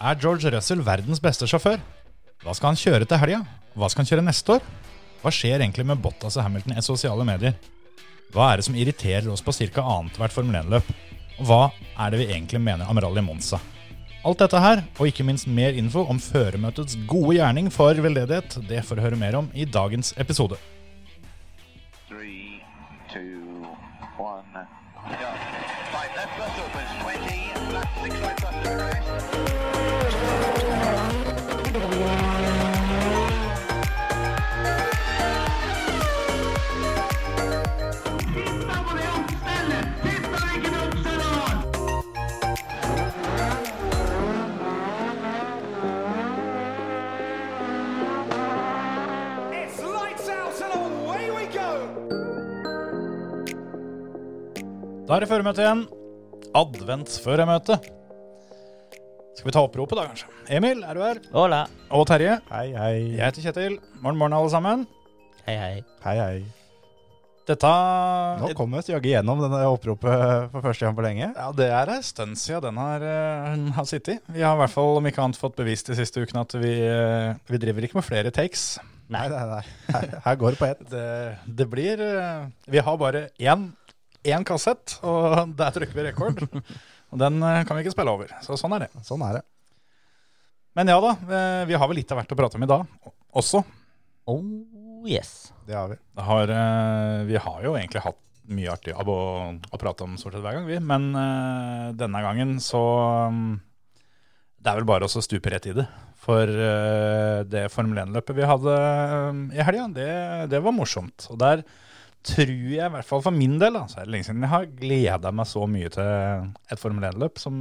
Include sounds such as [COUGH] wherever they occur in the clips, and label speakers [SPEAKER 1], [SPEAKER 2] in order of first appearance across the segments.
[SPEAKER 1] Er George Russell verdens beste sjåfør? Hva skal han kjøre til helga? Hva skal han kjøre neste år? Hva skjer egentlig med Bottas og Hamilton i sosiale medier? Hva er det som irriterer oss på ca. annethvert Formel 1-løp? Og hva er det vi egentlig mener om Rally Monza? Alt dette her, og ikke minst mer info om føremøtets gode gjerning for veldedighet, det får du høre mer om i dagens episode.
[SPEAKER 2] Three, two, one, go. Five left bus opens, 20, left six right bus to rest.
[SPEAKER 3] It's lights out and away we go!
[SPEAKER 1] Da er det føremøte igjen. Adventsføremøte. Skal vi ta oppropet, da, kanskje? Emil, er du her?
[SPEAKER 4] Hola.
[SPEAKER 1] Og Terje.
[SPEAKER 5] Hei, hei.
[SPEAKER 1] Jeg heter Kjetil. Morgen, morgen, alle sammen.
[SPEAKER 4] Hei, hei.
[SPEAKER 5] Hei, hei.
[SPEAKER 1] Dette
[SPEAKER 5] Nå kom vi oss jaggu gjennom denne oppropet for første gang på lenge.
[SPEAKER 1] Ja, det er en stund siden den har, eh, har sittet. Vi har i hvert fall om ikke annet fått bevist de siste ukene at vi, eh, vi driver ikke med flere takes.
[SPEAKER 5] Nei, nei, nei. Her, her går det på ett.
[SPEAKER 1] Det, det blir eh, Vi har bare én, én kassett, og der trykker vi rekord. Og den eh, kan vi ikke spille over. Så sånn er det.
[SPEAKER 5] Sånn er det.
[SPEAKER 1] Men ja da, eh, vi har vel litt av hvert å prate om i dag også.
[SPEAKER 4] Oh yes.
[SPEAKER 5] Det har vi.
[SPEAKER 1] Det har, eh, vi har jo egentlig hatt mye artig jobb å, å prate om stort sett hver gang, vi. Men eh, denne gangen så mm, Det er vel bare å stupe rett i det. For eh, det Formel 1-løpet vi hadde eh, i helga, det, det var morsomt. Og der tror jeg, i hvert fall for min del, da, så er det lenge siden jeg har gleda meg så mye til et Formel 1-løp som,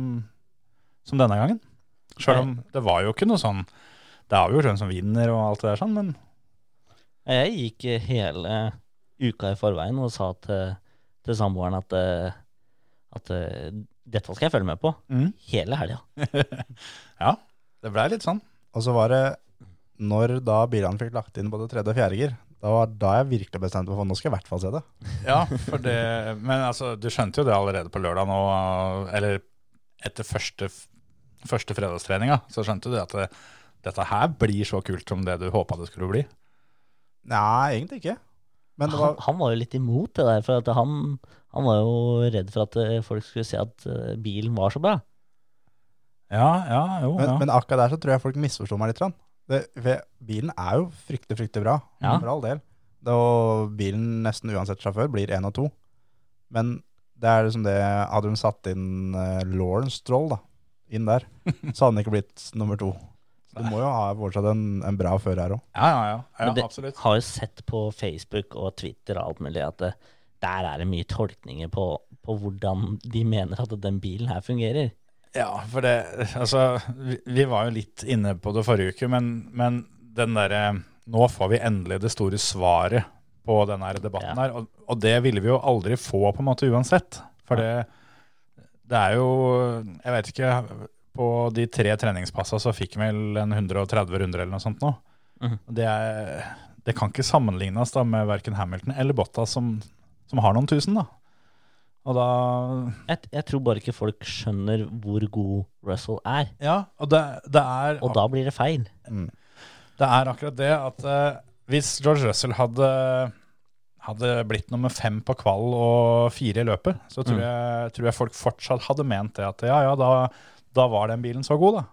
[SPEAKER 1] som denne gangen. Sjøl om det var jo ikke noe sånn Det er jo hvem som vinner og alt det der sånn, men
[SPEAKER 4] Jeg gikk eh, hele uka i forveien og sa til, til samboeren at, eh, at eh, dette skal jeg følge med på
[SPEAKER 1] Mm.
[SPEAKER 4] hele helga.
[SPEAKER 1] det blei litt sånn.
[SPEAKER 5] Og så var det når da bilene fikk lagt inn både tredje og fjerde gir, da var da jeg virkelig bestemte meg for nå skal jeg i hvert fall se det.
[SPEAKER 1] Ja, for det, men altså, du skjønte jo det allerede på lørdag nå, eller etter første, første fredagstreninga, så skjønte du det at det, dette her blir så kult som det du håpa det skulle bli.
[SPEAKER 5] Nei, egentlig ikke. Men det
[SPEAKER 4] Han,
[SPEAKER 5] var
[SPEAKER 4] han var jo litt imot det der, for at han, han var jo redd for at eh, folk skulle se at eh, bilen var så bra.
[SPEAKER 1] Ja, ja, jo,
[SPEAKER 5] Men,
[SPEAKER 1] ja.
[SPEAKER 5] men akkurat der så tror jeg folk misforsto meg litt. grann. Det, for bilen er jo fryktelig, fryktelig bra,
[SPEAKER 4] Ja.
[SPEAKER 5] for all del. Det, og bilen, nesten uansett sjåfør, blir én og to. Men det er liksom det Hadde de satt inn eh, Lawrence Stroll da, inn der, så hadde han ikke blitt nummer to. Du må jo ha fortsatt en, en bra fører her òg.
[SPEAKER 1] ja, ja, ja, ja
[SPEAKER 4] Men det-
[SPEAKER 1] absolutt.
[SPEAKER 4] Har jo sett på Facebook og Twitter og alt mulig at eh, der er det mye tolkninger på, på hvordan de mener at den bilen her fungerer.
[SPEAKER 1] Ja, for det, altså, vi, vi var jo litt inne på det forrige uke, men, men den derre Nå får vi endelig det store svaret på denne her debatten
[SPEAKER 4] Ja.
[SPEAKER 1] her, og, og det ville vi jo aldri få på en måte uansett. For det, det er jo Jeg vet ikke På de tre treningspassa så fikk vi vel en 130 runder eller noe sånt nå.
[SPEAKER 4] Mhm.
[SPEAKER 1] Og Det, er, det kan ikke sammenlignes da med verken Hamilton eller Bottas som, som har noen tusen, da. Og da
[SPEAKER 4] Jeg, jeg tror bare ikke folk skjønner hvor god Russell er,
[SPEAKER 1] Ja, og det, det er
[SPEAKER 4] og da blir det feil.
[SPEAKER 1] Mm. Det er akkurat det at eh, hvis George Russell hadde, hadde blitt nummer fem på kvall og fire i løpet, så tror,
[SPEAKER 4] Mm.
[SPEAKER 1] jeg, tror jeg folk fortsatt hadde ment det at ja, ja, da, da var den bilen så god, da.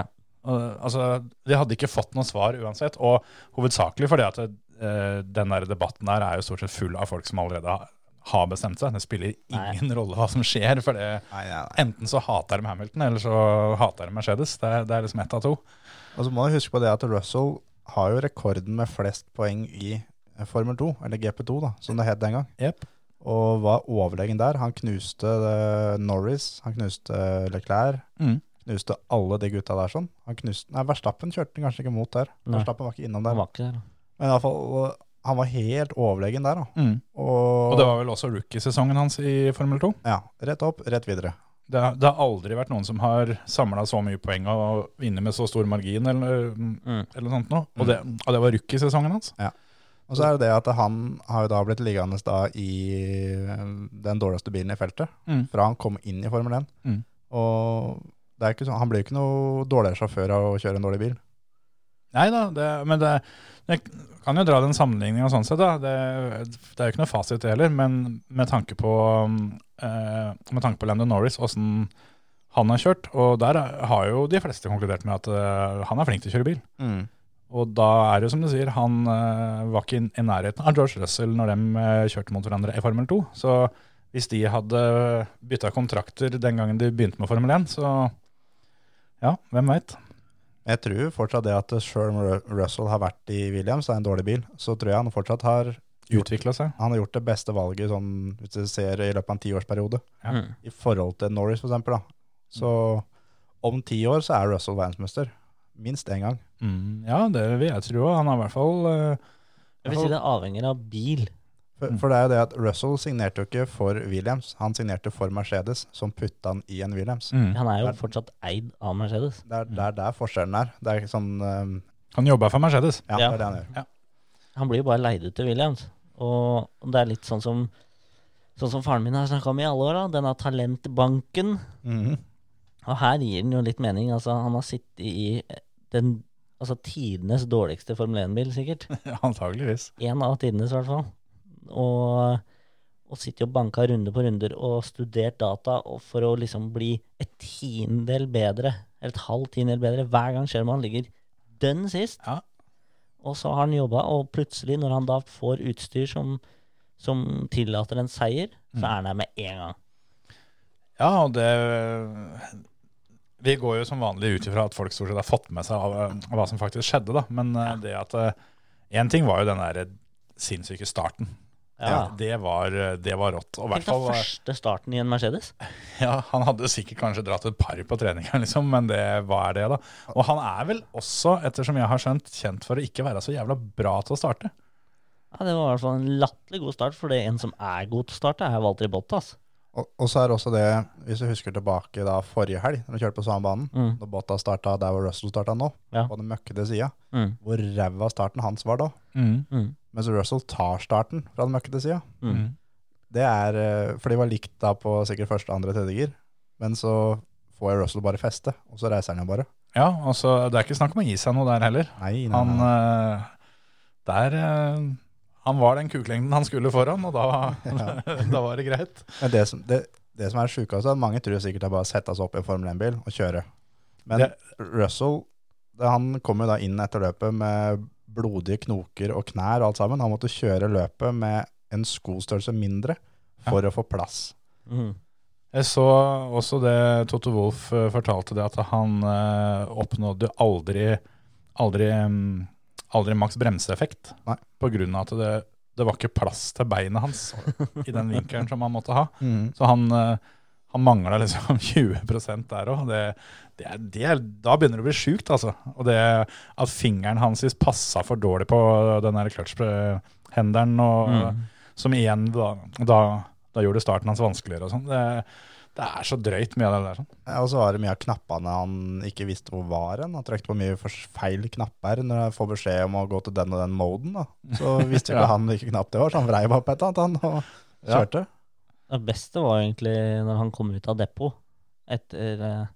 [SPEAKER 4] Ja.
[SPEAKER 1] Og, altså, de hadde ikke fått noe svar uansett, og hovedsakelig fordi at eh, den der debatten der er jo stort sett full av folk som allerede ha- har bestemt seg. Det spiller
[SPEAKER 4] Nei.
[SPEAKER 1] ingen rolle hva som skjer, for det,
[SPEAKER 5] Nei, nei, nei.
[SPEAKER 1] enten så hater de Hamilton, eller så hater de Mercedes. Det, er- det er liksom ett av to.
[SPEAKER 5] Og så må du huske på det at Russell har jo rekorden med flest poeng i eh, Formel 2, eller GP2 da, som det het den gang.
[SPEAKER 1] Jep.
[SPEAKER 5] Og var overlegen der. Han knuste eh, Norris, han knuste eh, Leclerc,
[SPEAKER 1] Mm.
[SPEAKER 5] knuste alle de gutta der sånn. Han knuste, nei, Verstappen kjørte han kanskje ikke mot der.
[SPEAKER 4] Nei.
[SPEAKER 5] Verstappen var ikke innom
[SPEAKER 4] Han
[SPEAKER 5] der.
[SPEAKER 4] var ikke der. da.
[SPEAKER 5] Men i alle fall, eh, han var helt overlegen der da.
[SPEAKER 1] Mm.
[SPEAKER 5] Og,
[SPEAKER 1] Og det var vel også rookiesesongen hans i Formel 2.
[SPEAKER 5] Ja, rett opp, rett videre.
[SPEAKER 1] Det, har- det har aldri vært noen som har samla så mye poeng og vunnet med så stor margin, eller, eller noe sånt noe. Og det, og det var rookiesesongen hans.
[SPEAKER 5] Og så er det det at han har jo da blitt liggende da i eh, den dårligste bilen i feltet,
[SPEAKER 1] Mm.
[SPEAKER 5] fra han kom inn i Formel 1.
[SPEAKER 1] Mm.
[SPEAKER 5] Og Det er ikke sånn, han blir jo ikke noe dårligere sjåfør av å kjøre en dårlig bil.
[SPEAKER 1] Nei da, det, men det, jeg kan jo dra den sammenligninga sånn sett. da. Det, det er jo ikke noe fasit det heller, men med tanke på, mm, eh, med tanke på Landon Norris, åssen han har kjørt, og der har jo de fleste konkludert med at eh, han er flink til å kjøre bil. Og da er det jo som du sier, han eh, var ikke i nærheten av George Russell når de eh, kjørte mot hverandre i Formel 2. Så hvis de hadde bytta kontrakter den gangen de begynte med Formel 1, så ja, hvem veit.
[SPEAKER 5] Jeg tror fortsatt det at selv om Ru- Russell har vært i Williams, det er en dårlig bil, så tror jeg han fortsatt har,
[SPEAKER 1] Utvikla seg.
[SPEAKER 5] han har gjort det beste valget sånn, hvis du ser i løpet av en tiårsperiode,
[SPEAKER 1] Ja.
[SPEAKER 4] Mm.
[SPEAKER 5] i forhold til Norris for eksempel. Da. Så om ti år så er Russell verdensmester. Minst én gang.
[SPEAKER 1] Mm, ja, det vil jeg tro. Han har i hvert fall eh,
[SPEAKER 4] Jeg vil si det avhenger av bil.
[SPEAKER 5] For,
[SPEAKER 1] Mm.
[SPEAKER 5] for det er jo det at Russell signerte jo ikke for Williams, han signerte for Mercedes, som putta han i en Williams.
[SPEAKER 1] mm,
[SPEAKER 4] Han er jo fortsatt eid av Mercedes.
[SPEAKER 5] Det er der, der forskjellen er. Det er ikke sånn um,
[SPEAKER 1] Han jobba for Mercedes. [LAUGHS]
[SPEAKER 5] ja, det
[SPEAKER 4] Ja.
[SPEAKER 5] er det han gjør.
[SPEAKER 4] Han blir jo bare leid ut til Williams. Og det er litt sånn som Sånn som faren min har snakka om i alle år, da. Denne talentbanken.
[SPEAKER 5] Mhm.
[SPEAKER 4] Og her gir den jo litt mening. Altså, han har sittet i den altså, tidenes dårligste Formel 1-bil, sikkert.
[SPEAKER 1] Antageligvis.
[SPEAKER 4] En av tidenes, i hvert fall. Og, og sitter og banka runde på runder og studert data og for å liksom bli et tiendedel bedre, eller et halvt tiendedel bedre, hver gang Sherman ligger dønn sist.
[SPEAKER 1] Ja.
[SPEAKER 4] Og så har han jobba, og plutselig, når han da får utstyr som, som tillater en seier,
[SPEAKER 1] Mm.
[SPEAKER 4] så er han der med en gang.
[SPEAKER 1] Ja, og det Vi går jo som vanlig ut ifra at folk stort sett har fått med seg av, eh, hva som faktisk skjedde, da. Men eh, det at Én ting var jo den der eh, sinnssyke starten.
[SPEAKER 4] Ja.
[SPEAKER 1] Det, var, det var rått. Og i hvert
[SPEAKER 4] Tenk deg
[SPEAKER 1] fall, eh,
[SPEAKER 4] første starten i en Mercedes.
[SPEAKER 1] ja, Han hadde sikkert kanskje dratt et par på treninga, liksom, men det, hva er det, da? Og han er vel også, ettersom jeg har skjønt, kjent for å ikke være så jævla bra til å starte.
[SPEAKER 4] Ja, Det var i hvert fall en latterlig god start, for det en som er god til å starte, er Walter Bottas.
[SPEAKER 5] Og, og så er det også det, hvis du husker tilbake da forrige helg, når vi kjørte på samme banen,
[SPEAKER 4] Mm.
[SPEAKER 5] da Bottas starta der hvor Russell starta nå,
[SPEAKER 4] Ja.
[SPEAKER 5] på den møkkete sida,
[SPEAKER 4] Mm.
[SPEAKER 5] hvor ræva starten hans var da,
[SPEAKER 4] Mm.
[SPEAKER 5] mens Russell tar starten fra den møkkete sida.
[SPEAKER 4] Mm.
[SPEAKER 5] Det er eh, For de var likt da på sikkert første, andre, tredje gir, men så får jo Russell bare feste, og så reiser han jo bare.
[SPEAKER 1] Ja, altså, det er ikke snakk om å gi seg noe der heller.
[SPEAKER 5] Nei, nei,
[SPEAKER 1] Han
[SPEAKER 5] nei.
[SPEAKER 1] eh, Der eh, Han var den kuklengden han skulle foran, og da, [LAUGHS] da var det greit.
[SPEAKER 5] Men det som, det, det som er sjukest, er at mange tror sikkert det er bare å sette seg opp i en Formel 1-bil og kjøre. Men
[SPEAKER 1] Det-
[SPEAKER 5] Russell det, han kom jo da inn etter løpet med blodige knoker og knær og alt sammen. Han måtte kjøre løpet med en skostørrelse mindre for å få plass.
[SPEAKER 4] Mm.
[SPEAKER 1] Jeg så også det Toto Wolff eh, fortalte det, at han eh, oppnådde aldri aldri, mm, aldri maks bremseeffekt.
[SPEAKER 5] Nei.
[SPEAKER 1] På grunn av at det, det var ikke plass til beinet hans i den vinkelen som han måtte ha. Så han, eh, han mangla liksom [LAUGHS] 20 der òg. Det, det, er- det, er- da begynner det å bli sjukt, altså. Og det at fingeren hans passa for dårlig på den der clutch-henderen, og
[SPEAKER 4] Mm.
[SPEAKER 1] som igjen da, da, da gjorde starten hans vanskeligere og sånn. Det, det er så drøyt mye av det der. sånn.
[SPEAKER 5] Ja, Eh, Og så var det mye av knappene han ikke visste hvor var hen. Han trykte på mye for feil knapper når han får beskjed om å gå til den og den moden. Da.
[SPEAKER 1] [LAUGHS]
[SPEAKER 5] Så visste jo
[SPEAKER 1] Ja.
[SPEAKER 5] ikke han hvilken knapp det var, så han vrei bare på et eller annet han, og
[SPEAKER 1] Ja.
[SPEAKER 5] kjørte.
[SPEAKER 4] Det beste var egentlig når han kom ut av depot etter eh,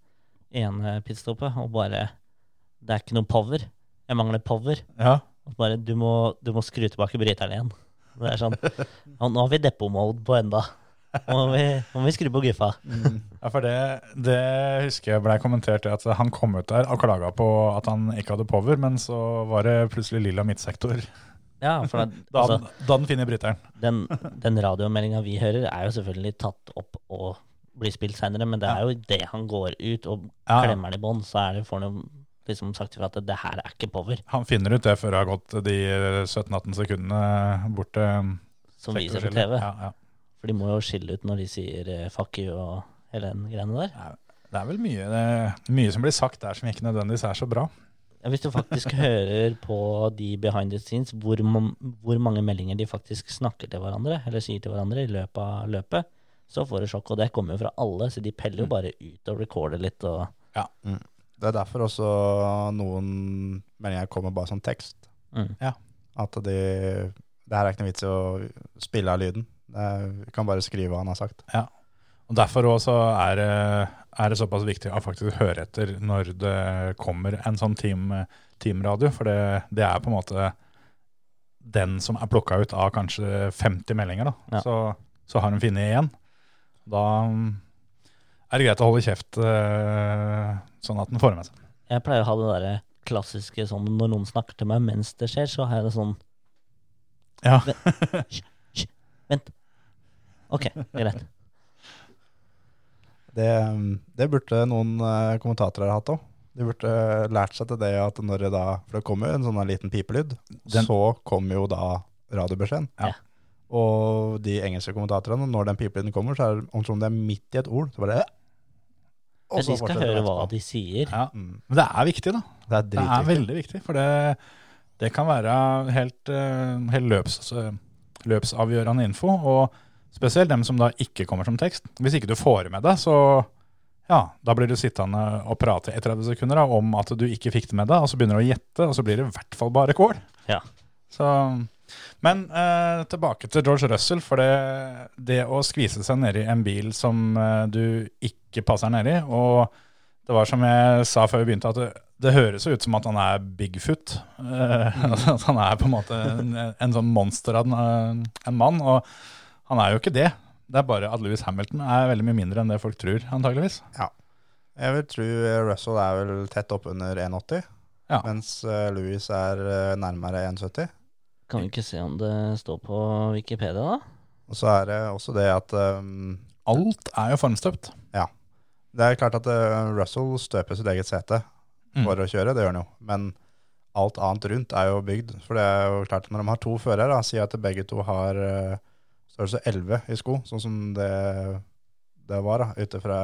[SPEAKER 4] ene pitstoppet og bare Det er ikke noe power. Jeg mangler power.
[SPEAKER 1] Ja.
[SPEAKER 4] Og bare, du, må, du må skru tilbake bryteren igjen. Det er sånn «Ja, Nå har vi depot-mode på enda. Nå må vi, nå må vi skru på guffa.
[SPEAKER 1] Ja, for det, det husker jeg blei kommentert det at han kom ut der og klaga på at han ikke hadde power, men så var det plutselig lilla midtsektor
[SPEAKER 4] Ja, for at,
[SPEAKER 1] da
[SPEAKER 4] [LAUGHS] altså,
[SPEAKER 1] han, da han finner bryteren.
[SPEAKER 4] den, den radiomeldinga vi hører, er jo selvfølgelig tatt opp og blir spilt seinere, men det er jo idet han går ut og
[SPEAKER 1] Ja.
[SPEAKER 4] klemmer den i bånn, så er det, får han jo liksom sagt ifra at det her er ikke power,
[SPEAKER 1] Han finner ut det før det har gått de 17-18 sekundene bort til
[SPEAKER 4] som vi ser på
[SPEAKER 1] sektorskillet.
[SPEAKER 4] TV.
[SPEAKER 1] Ja, ja.
[SPEAKER 4] For de må jo skille ut når de sier eh, 'fuck you' og hele den greiene der.
[SPEAKER 1] Det er vel mye, det, mye som blir sagt der som ikke nødvendigvis er så bra.
[SPEAKER 4] Ja, Hvis du faktisk hører på de behind the scenes, hvor, man, hvor mange meldinger de faktisk snakker til hverandre, eller sier til hverandre i løpet av løpet, så får du sjokk. Og det kommer jo fra alle, så de peller jo bare ut og recorder litt. og...
[SPEAKER 5] Det er derfor også noen meldinger kommer bare som tekst.
[SPEAKER 4] Mm.
[SPEAKER 1] Ja.
[SPEAKER 5] At de, det her er ikke noe vits i å spille av lyden. Det er, vi kan bare skrive hva han har sagt.
[SPEAKER 1] Og Derfor også er, det- er det såpass viktig å faktisk høre etter når det kommer en sånn team, teamradio, for det, det er på en måte den som er plukka ut av kanskje 50 meldinger, da.
[SPEAKER 4] Ja.
[SPEAKER 1] Så, så har hun funnet igjen. Da mm, er det greit å holde kjeft eh, sånn at den får med seg.
[SPEAKER 4] Jeg pleier å ha det derre klassiske sånn når noen snakker til meg mens det skjer, så har jeg det sånn
[SPEAKER 1] Ja.
[SPEAKER 4] Vent. OK, greit.
[SPEAKER 5] Det, mm, det burde noen eh, kommentatorer hatt òg. De burde eh, lært seg til det at når det da For det kommer jo en sånn her liten pipelyd.
[SPEAKER 1] Den-
[SPEAKER 5] Så kommer jo da radiobeskjeden.
[SPEAKER 1] Ja.
[SPEAKER 5] Og de engelske kommentatorene, når den pipelyden kommer, så er det om som det er midt i et ord. Så bare, eh,
[SPEAKER 4] Men de skal høre hva
[SPEAKER 5] de
[SPEAKER 4] de sier.
[SPEAKER 1] ja. Men det er viktig, da.
[SPEAKER 5] Mm, Det er
[SPEAKER 1] Det er
[SPEAKER 5] dritviktig.
[SPEAKER 1] veldig viktig, for det, det kan være helt, eh, helt løps, eh, løpsavgjørende info, og spesielt dem som da ikke kommer som tekst. Hvis ikke du får det med deg, så ja, da blir du sittende og prate i 30 sekunder da, om at du ikke fikk det med deg, og så begynner du å gjette, og så blir det i hvert fall bare kål.
[SPEAKER 4] Ja.
[SPEAKER 1] Så, men eh, tilbake til George Russell, for det, det å skvise seg ned i en bil som eh, du ikke passer ned i, og det var som jeg sa før vi begynte, at det, det høres jo ut som at han er Bigfoot. Eh, [LAUGHS] altså at han er på en måte en, en sånn monster av en, eh, en mann, og han er jo ikke det. Det er bare at Lewis Hamilton er veldig mye mindre enn det folk tror, antageligvis.
[SPEAKER 5] Jeg vil tro eh, Russell er vel tett oppunder 1,80,
[SPEAKER 1] Ja.
[SPEAKER 5] mens eh, Louis er eh, nærmere 1,70.
[SPEAKER 4] Kan vi ikke se om det står på Wikipedia, da?
[SPEAKER 5] Og så er det også det at eh,
[SPEAKER 1] Alt er jo formstøpt.
[SPEAKER 5] Det er klart at eh, Russell støper sitt eget sete
[SPEAKER 1] Mm.
[SPEAKER 5] for å kjøre, det gjør han jo. Men alt annet rundt er jo bygd. For det er jo klart at når de har to førere, da, sier jeg at begge to har eh, størrelse 11 i sko, sånn som det, det var da, ute fra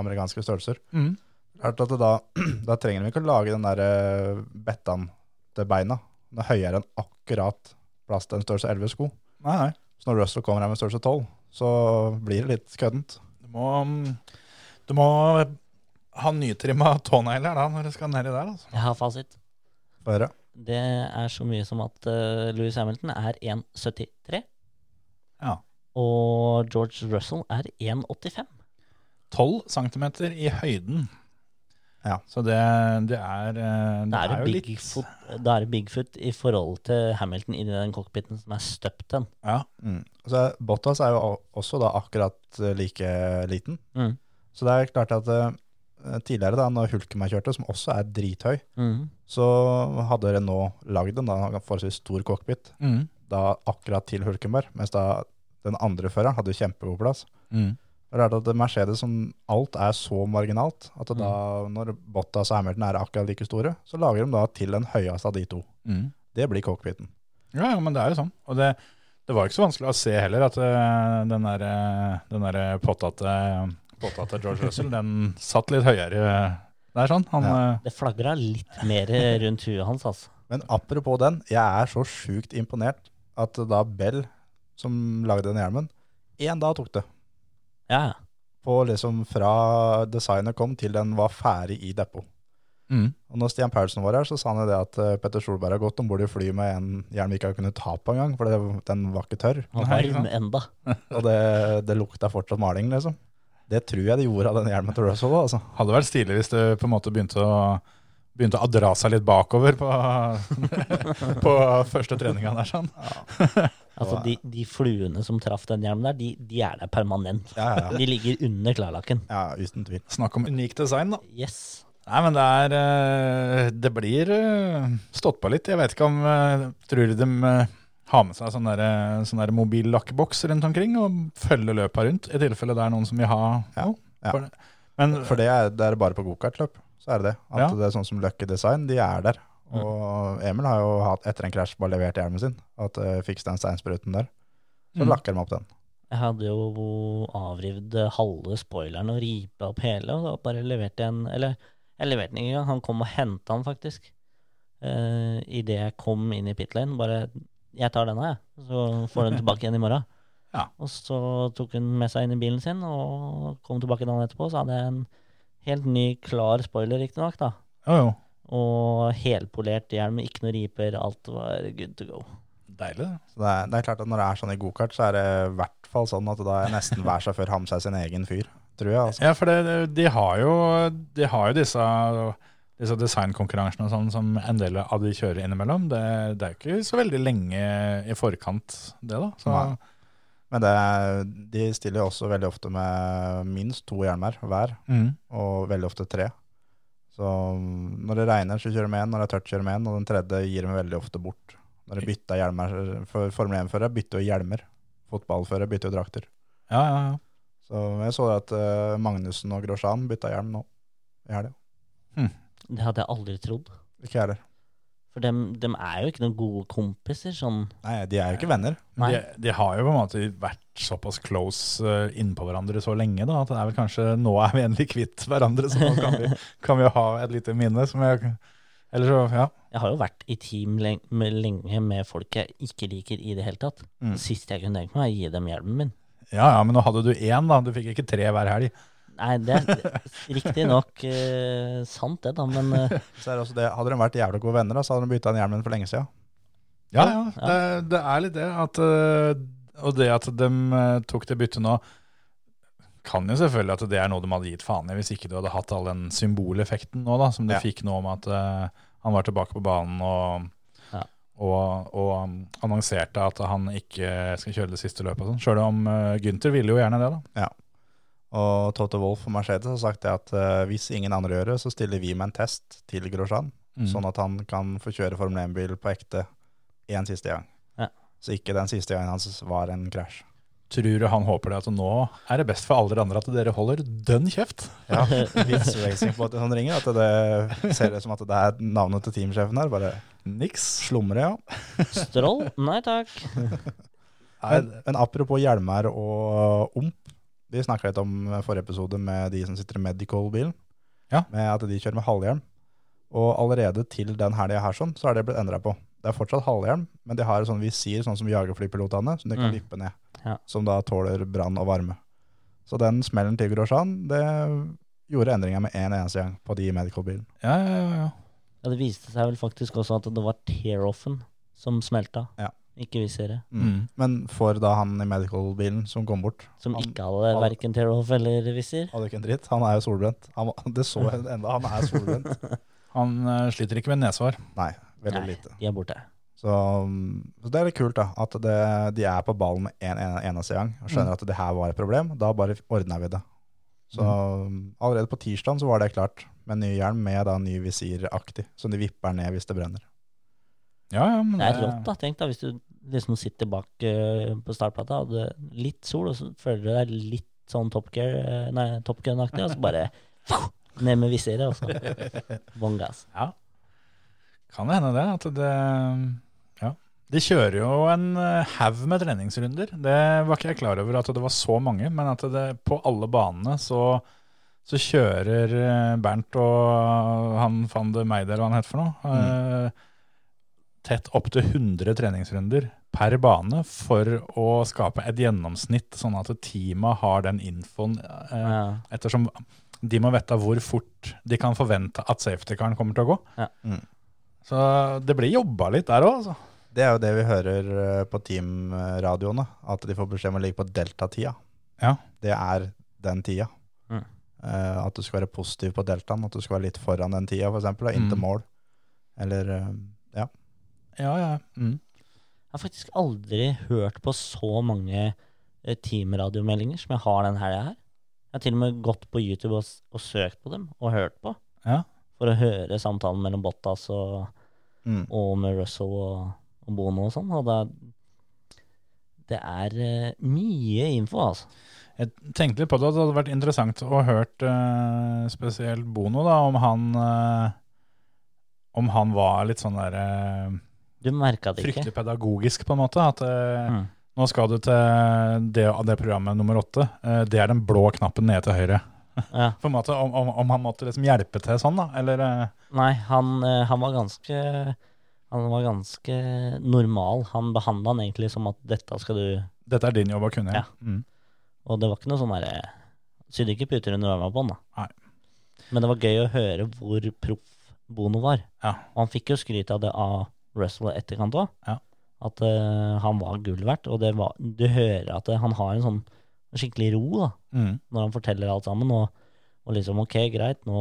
[SPEAKER 5] amerikanske størrelser.
[SPEAKER 1] Mm.
[SPEAKER 5] Klart at det da, [CLEARS THROAT] da trenger de ikke å lage den der eh, bettan til beina. Den er høyere enn akkurat plass til en størrelse 11 sko.
[SPEAKER 1] Nei, nei.
[SPEAKER 5] Så når Russell kommer her med størrelse 12, så blir det litt køddent.
[SPEAKER 1] Du må, mm, du må ha nytrimma tånegler da, når du skal nedi der. Altså.
[SPEAKER 4] Jeg har fasit.
[SPEAKER 5] Få høre.
[SPEAKER 4] Det er så mye som at eh, Lewis Hamilton er 1,73.
[SPEAKER 1] Ja.
[SPEAKER 4] Og George Russell er 1,85.
[SPEAKER 1] 12 centimeter i høyden.
[SPEAKER 5] Ja.
[SPEAKER 1] Så det, det er eh, Det,
[SPEAKER 4] Da er det
[SPEAKER 1] jo
[SPEAKER 4] Bigfoot, da er det Bigfoot i forhold til Hamilton inni den cockpiten som er støpt den.
[SPEAKER 1] Ja.
[SPEAKER 5] Mm. Altså, Bottas er jo o- også da akkurat eh, like liten.
[SPEAKER 4] Mm.
[SPEAKER 5] Så det er klart at eh, tidligere, da når Hulkenberg kjørte, som også er drithøy,
[SPEAKER 4] Mhm.
[SPEAKER 5] så hadde Renault lagd en da, forholdsvis stor cockpit
[SPEAKER 1] Mm.
[SPEAKER 5] da akkurat til Hulkenberg, mens da den andre føreren hadde jo kjempegod plass.
[SPEAKER 1] Mm.
[SPEAKER 5] Det er klart at Mercedes som alt er så marginalt at da når Bottas og Hamilton er akkurat like store, så lager de da til den høyeste av de to.
[SPEAKER 1] Mm.
[SPEAKER 5] Det blir cockpiten.
[SPEAKER 1] Ja, ja, men det er jo sånn. Og det, det var ikke så vanskelig å se heller at eh, den der, eh, den der eh, potta til potta til George Russell, den satt litt høyere eh, der, sånn. Han, eh,
[SPEAKER 4] Det flagra litt mer rundt huet hans, altså.
[SPEAKER 5] Men apropos den, jeg er så sjukt imponert at da Bell, som lagde den hjelmen, én dag tok det.
[SPEAKER 4] Ja, ja.
[SPEAKER 5] På liksom fra designet kom til den var ferdig i depot.
[SPEAKER 1] mm.
[SPEAKER 5] Og når Stian Paulsen var her, så sa han jo det at eh, Petter Solberg har gått om bord i fly med en hjelm vi ikke har kunnet ta på engang, for det, den var ikke tørr.
[SPEAKER 1] Nei,
[SPEAKER 4] Han var
[SPEAKER 1] ikke sant.
[SPEAKER 4] varm enda.
[SPEAKER 5] Og det, det lukta fortsatt maling, liksom. Det tror jeg det gjorde av den hjelmen til Russell, altså.
[SPEAKER 1] Hadde vært stilig hvis det på en måte begynte å Begynte å dra seg litt bakover på, [LAUGHS] på første treninga der, sånn.
[SPEAKER 4] Altså, de, de fluene som traff den hjelmen der, de, de er der permanent.
[SPEAKER 5] Ja, ja, ja.
[SPEAKER 4] De ligger under klarlakken.
[SPEAKER 5] ja uten tvil.
[SPEAKER 1] Snakk om unik design, da.
[SPEAKER 4] Yes.
[SPEAKER 1] Nei, men det er eh, Det blir eh, stått på litt. Jeg vet ikke om eh, Tror du de eh, har med seg sånn der, sånn der mobillakkeboks rundt omkring og følger løpa rundt, i tilfelle det er noen som vil ha
[SPEAKER 5] Ja,
[SPEAKER 1] noe?
[SPEAKER 5] ja.
[SPEAKER 1] For det- Men
[SPEAKER 5] For det er det er bare på gokartløp, så er det det. At
[SPEAKER 1] Ja. Mm.
[SPEAKER 5] det er sånn som Lucky Design, de er der. Og Emil har jo hatt etter en krasj bare levert hjelmen sin, at uh, fiks den steinspruten der. Så
[SPEAKER 1] Mm.
[SPEAKER 5] lakker de opp den.
[SPEAKER 4] Jeg hadde jo avrivd halve spoileren og ripa opp hele, og da bare leverte jeg en Eller, jeg leverte den ikke engang. Han kom og henta den, faktisk. Uh, Idet jeg kom inn i pit lane. Bare 'Jeg tar denne, jeg, så får du den tilbake igjen i morgen'.
[SPEAKER 1] Ja.
[SPEAKER 4] Og så tok hun med seg inn i bilen sin og kom tilbake dagen etterpå. Så hadde jeg en helt ny, klar spoiler, riktignok, da.
[SPEAKER 1] jo, jo.
[SPEAKER 4] Og helpolert hjelm, ikke noe riper. Alt var good to go.
[SPEAKER 1] Deilig, det.
[SPEAKER 5] Så det, er, det er klart at når det er sånn i gokart, så er det i hvert fall sånn at da er nesten hver sjåfør har med seg sin egen fyr, tror jeg. Altså.
[SPEAKER 1] Ja, for det, det- de, har jo, de har jo disse, disse designkonkurransene og sånn som en del av de kjører innimellom. Det, det er jo ikke så veldig lenge i forkant, det da. Så,
[SPEAKER 5] Nei. Men det, er- de stiller jo også veldig ofte med minst to hjelmer hver,
[SPEAKER 1] mm.
[SPEAKER 5] og veldig ofte tre. Så mm, når det regner, så kjører de med en, når det er tørt, kjører de med en, og den tredje gir de veldig ofte bort. Når de bytter hjelmer, for Formel 1-førere bytter jo hjelmer, fotballførere bytter jo drakter.
[SPEAKER 1] ja, ja, ja.
[SPEAKER 5] Så jeg så at eh, Magnussen og Grosjean bytta hjelm nå i helga.
[SPEAKER 4] Det hadde jeg aldri trodd.
[SPEAKER 5] Ikke jeg heller.
[SPEAKER 4] For dem, dem er jo ikke noen gode kompiser, sånn.
[SPEAKER 5] Nei, de er jo ikke venner.
[SPEAKER 4] Nei.
[SPEAKER 1] De, de har jo på en måte vært såpass close eh, innpå hverandre så lenge da, at det er vel kanskje nå er vi endelig kvitt hverandre, så nå kan vi, kan vi jo ha et lite minne som jeg Eller så, ja.
[SPEAKER 4] Jeg har jo vært i team lenge med, lenge med folk jeg ikke liker i det hele tatt.
[SPEAKER 1] Mm.
[SPEAKER 4] Det siste jeg kunne tenkt meg, er å gi dem hjelmen min.
[SPEAKER 1] Ja, ja, men nå hadde du én, da. Du fikk ikke tre hver helg.
[SPEAKER 4] Nei, det er riktignok uh, sant, det, da, men eh,
[SPEAKER 5] Så er det også det, hadde de vært jævlig gode venner, da, så hadde de bytta den hjelmen for lenge siden.
[SPEAKER 1] Ja, ja. Det, det er litt det at eh, Og det at de tok det byttet nå, kan jo selvfølgelig at det er noe de hadde gitt faen i hvis ikke du hadde hatt all den symboleffekten nå, da, som du
[SPEAKER 5] Ja.
[SPEAKER 1] fikk nå om at eh, han var tilbake på banen og,
[SPEAKER 4] Ja.
[SPEAKER 1] og, og um, annonserte at han ikke skal kjøre det siste løpet og sånn. Sjøl om uh, Gynter ville jo gjerne det, da.
[SPEAKER 5] Og Toto Wolff og Mercedes har sagt det at eh, hvis ingen andre gjør det, så stiller vi med en test til Grosjean, sånn at han kan få kjøre Formel 1-bil på ekte én siste gang.
[SPEAKER 4] Ja.
[SPEAKER 5] Så ikke den siste gangen hans var en krasj.
[SPEAKER 1] Tror du han håper det at nå er det best for alle dere andre at dere holder dønn kjeft?
[SPEAKER 5] Ja, Vits racingbåten som ringer, at det ser ut som at det er navnet til teamsjefen her. Bare
[SPEAKER 1] Niks.
[SPEAKER 5] slumre, ja.
[SPEAKER 4] Stroll? Nei takk.
[SPEAKER 5] Men, men apropos hjelmer og omp. Vi snakka litt om forrige episode med de som sitter i medical-bilen.
[SPEAKER 1] Ja.
[SPEAKER 5] Med at de kjører med halvhjelm. Og allerede til den helga her sånn, så er det blitt endra på. Det er fortsatt halvhjelm, men de har et sånn visir, sånn som jagerflypilotene, som de kan
[SPEAKER 4] Mm.
[SPEAKER 5] vippe ned.
[SPEAKER 4] Ja.
[SPEAKER 5] Som da tåler brann og varme. Så den smellen til Grosjan, det gjorde endringer med en eneste gang på de i medical-bilen.
[SPEAKER 1] Ja, ja, ja. ja.
[SPEAKER 4] Ja, det viste seg vel faktisk også at det var tear-offen som smelta,
[SPEAKER 5] Ja.
[SPEAKER 4] ikke visere.
[SPEAKER 1] Mm.
[SPEAKER 5] Men for da han i medical-bilen som kom bort,
[SPEAKER 4] Som
[SPEAKER 5] Han-
[SPEAKER 4] ikke hadde verken tear-off eller visir.
[SPEAKER 5] hadde ikke en dritt. Han er jo solbrent. Han, var- [LAUGHS] det så jeg enda, han er solbrent.
[SPEAKER 1] Han eh, sliter ikke med nesvar.
[SPEAKER 5] Nei, veldig
[SPEAKER 4] Nei,
[SPEAKER 5] lite.
[SPEAKER 4] [LAUGHS] de er borte.
[SPEAKER 5] Så, mm, så det er litt kult da, at det, de er på ballen med en, en eneste gang, og skjønner at det her var et problem, da bare ordner vi det. Så mm, allerede på tirsdagen så var det klart, med ny hjelm, med da ny visiraktig, som de vipper ned hvis det brenner.
[SPEAKER 1] Ja, ja, men
[SPEAKER 4] Det er rått, da. Tenk da, hvis du liksom sitter bak eh, på startplata, og det er litt sol, og så føler du deg litt sånn Top Gear, eh, nei, Top Gun-aktig, og så bare [LAUGHS] ned med visiret, og så bånn gass.
[SPEAKER 1] Kan det hende det. At det ja. De kjører jo en eh, haug med treningsrunder. Det var ikke jeg klar over at det var så mange, men at det på alle banene så, så kjører eh, Bernt og han van de Meide, eller hva han heter for noe,
[SPEAKER 4] Mm.
[SPEAKER 1] eh, tett opp til 100 treningsrunder per bane for å skape et gjennomsnitt, sånn at teamet har den infoen eh,
[SPEAKER 4] Ja.
[SPEAKER 1] Ettersom de må vite hvor fort de kan forvente at safety-karen kommer til å gå.
[SPEAKER 4] Ja.
[SPEAKER 5] Mm.
[SPEAKER 1] Så det blir jobba litt der òg, altså.
[SPEAKER 5] Det er jo det vi hører eh, på teamradioene, at de får beskjed om å ligge på delta-tida.
[SPEAKER 1] Ja.
[SPEAKER 5] Det er den tida.
[SPEAKER 4] Mm.
[SPEAKER 5] Eh, at du skal være positiv på deltaen, at du skal være litt foran den tida, for eksempel, da, inn til
[SPEAKER 1] Mm.
[SPEAKER 5] mål. Eller, eh, ja.
[SPEAKER 1] Ja, ja. Mm.
[SPEAKER 4] Jeg har faktisk aldri hørt på så mange eh, teamradiomeldinger som jeg har den helga her. Jeg har til og med gått på YouTube og, s- og søkt på dem, og hørt på,
[SPEAKER 1] Ja.
[SPEAKER 4] for å høre samtalen mellom Bottas og
[SPEAKER 5] Mm.
[SPEAKER 4] og med Russell og, og Bono og sånn. Og da, det er eh, mye info, altså.
[SPEAKER 1] Jeg tenkte litt på det, at det hadde vært interessant å hørt eh, spesielt Bono, da, om han eh, Om han var litt sånn der eh,
[SPEAKER 4] Du merka det ikke.
[SPEAKER 1] fryktelig pedagogisk, på en måte. At eh,
[SPEAKER 4] Mm.
[SPEAKER 1] nå skal du til det og det programmet nummer åtte. Eh, det er den blå knappen nede til høyre.
[SPEAKER 4] Ja.
[SPEAKER 1] På en måte, Om, om, om han måtte liksom hjelpe til sånn, da? Eller eh,
[SPEAKER 4] Nei, han, eh, han var ganske han var ganske normal. Han behandla han egentlig som at dette skal du
[SPEAKER 1] Dette er din jobb å kunne.
[SPEAKER 4] Ja.
[SPEAKER 1] Mm.
[SPEAKER 4] Og det var ikke noe sånn derre Sydde ikke puter under armene på han, da.
[SPEAKER 1] Nei.
[SPEAKER 4] Men det var gøy å høre hvor proff Bono var.
[SPEAKER 1] Ja.
[SPEAKER 4] Og han fikk jo skryt av det av Russell i etterkant òg.
[SPEAKER 1] Ja.
[SPEAKER 4] At eh, han var gull verdt. Og det var, du hører at eh, han har en sånn skikkelig ro da,
[SPEAKER 1] Mm.
[SPEAKER 4] når han forteller alt sammen. Og, og liksom OK, greit, nå,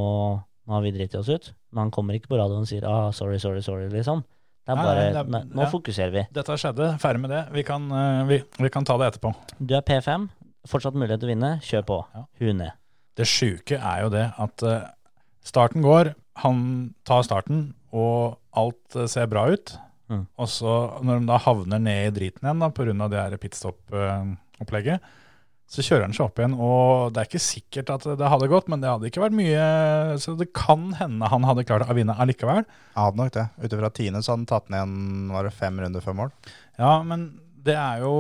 [SPEAKER 4] nå har vi driti oss ut. Men han kommer ikke på radioen og sier ah, sorry, sorry, sorry, liksom. Det er
[SPEAKER 1] Nei,
[SPEAKER 4] bare,
[SPEAKER 1] det er-
[SPEAKER 4] nei, nå
[SPEAKER 1] ja.
[SPEAKER 4] fokuserer vi.
[SPEAKER 1] Dette skjedde, ferdig med det. Vi kan, eh, vi, vi kan ta det etterpå.
[SPEAKER 4] Du er P5, fortsatt mulighet til å vinne, kjør på.
[SPEAKER 1] Ja.
[SPEAKER 4] Hun ned.
[SPEAKER 1] Det sjuke er jo det at eh, starten går, han tar starten, og alt eh, ser bra ut.
[SPEAKER 4] Mm.
[SPEAKER 1] Og så når de da havner ned i driten igjen da, på grunn av det her pitstop-opplegget, så kjører han seg opp igjen, og det er ikke sikkert at det hadde gått, men det hadde ikke vært mye, så det kan hende han hadde klart å vinne allikevel.
[SPEAKER 5] Jeg hadde nok det. Ut ifra tiende så hadde han tatt ned en, var det fem runder før mål.
[SPEAKER 1] Ja, men det er jo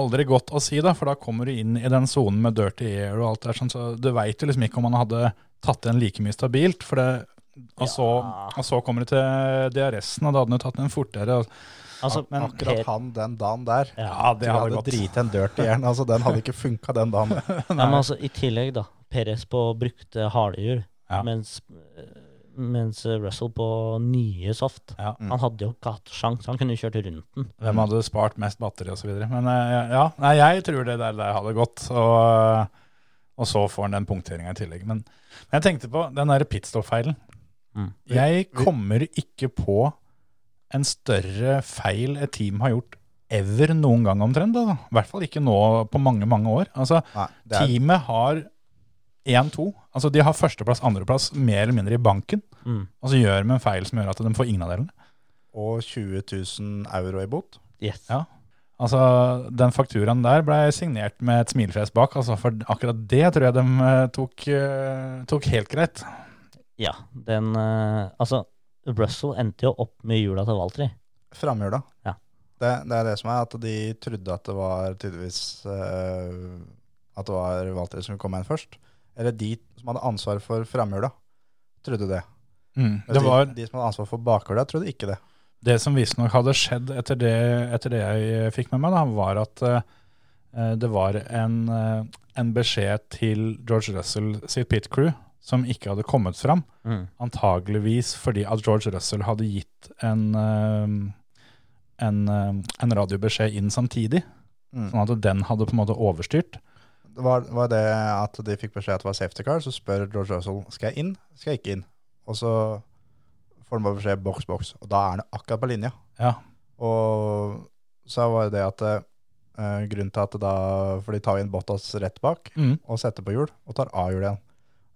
[SPEAKER 1] aldri godt å si, da, for da kommer du inn i den sonen med dirty air og alt det der, sånn, så du veit jo liksom ikke om han hadde tatt igjen like mye stabilt. for det og så,
[SPEAKER 4] Ja.
[SPEAKER 1] og så kommer det til DRS-en, og da hadde han jo tatt den fortere. og-
[SPEAKER 4] Altså,
[SPEAKER 1] Men-
[SPEAKER 5] Akkurat
[SPEAKER 4] Per-
[SPEAKER 5] han den dagen der.
[SPEAKER 1] Ja, det
[SPEAKER 5] Jeg
[SPEAKER 1] hadde
[SPEAKER 5] hadde
[SPEAKER 1] gått.
[SPEAKER 5] driti en dørt i hjernen. Altså, den hadde ikke funka den
[SPEAKER 1] [LAUGHS]
[SPEAKER 5] dagen.
[SPEAKER 4] Ja, men altså, I tillegg, da. Perez på brukte halehjul,
[SPEAKER 1] Ja.
[SPEAKER 4] mens, eh, mens eh, Russell på nye soft.
[SPEAKER 1] Ja.
[SPEAKER 4] Han hadde jo ikke hatt sjans, han kunne jo kjørt rundt den.
[SPEAKER 5] Mm.
[SPEAKER 1] Hvem hadde spart mest batteri osv. Men eh, ja, nei, jeg tror det der, der hadde gått. Og, eh, og så får han den punkteringa i tillegg. Men, men jeg tenkte på den derre pitstop-feilen.
[SPEAKER 4] Mm.
[SPEAKER 1] Jeg kommer ikke på en større feil et team har gjort ever noen gang omtrent. Da. I hvert fall ikke nå på mange, mange år. Altså,
[SPEAKER 5] Nei, det er,
[SPEAKER 1] teamet har 1-2. Altså, de har førsteplass, andreplass, mer eller mindre i banken.
[SPEAKER 4] Mm.
[SPEAKER 1] Og så gjør de en feil som gjør at de får ingen av delene.
[SPEAKER 5] og 20 000 euro i bot.
[SPEAKER 4] Yes.
[SPEAKER 1] Ja. Altså, Den fakturaen der ble signert med et smilefjes bak, altså, for akkurat det tror jeg de eh, tok, eh, tok helt greit.
[SPEAKER 4] Ja, den eh, Altså, Russell endte jo opp med hjula til Valtry.
[SPEAKER 5] Framhjula.
[SPEAKER 4] Ja.
[SPEAKER 5] Det, det er det som er at de trodde at det var tydeligvis eh, At det var Walter som kom inn først. Eller de som hadde ansvar for framhjula, trodde det.
[SPEAKER 1] Mm. Det var
[SPEAKER 5] de, de som hadde ansvar for bakhjula, trodde ikke det.
[SPEAKER 1] det som visstnok hadde skjedd etter det, etter det jeg fikk med meg, da, var at eh, det var en, eh, en beskjed til George Russell sitt pit crew som ikke hadde kommet fram.
[SPEAKER 4] Mm.
[SPEAKER 1] Antageligvis fordi at George Russell hadde gitt en, eh, en, eh, en radiobeskjed inn samtidig,
[SPEAKER 5] Mm.
[SPEAKER 1] sånn at den hadde på en måte overstyrt.
[SPEAKER 5] Det var, var det at de fikk beskjed at det var safety car, så spør George Russell skal jeg inn, skal jeg ikke inn. Og så får han bare beskjed boks, boks. Og da er han akkurat på linja.
[SPEAKER 1] Ja.
[SPEAKER 5] Og så var det at eh, grunnen til at det da, for de tar inn Bottas rett bak
[SPEAKER 1] Mm.
[SPEAKER 5] og setter på hjul, og tar av hjulet igjen.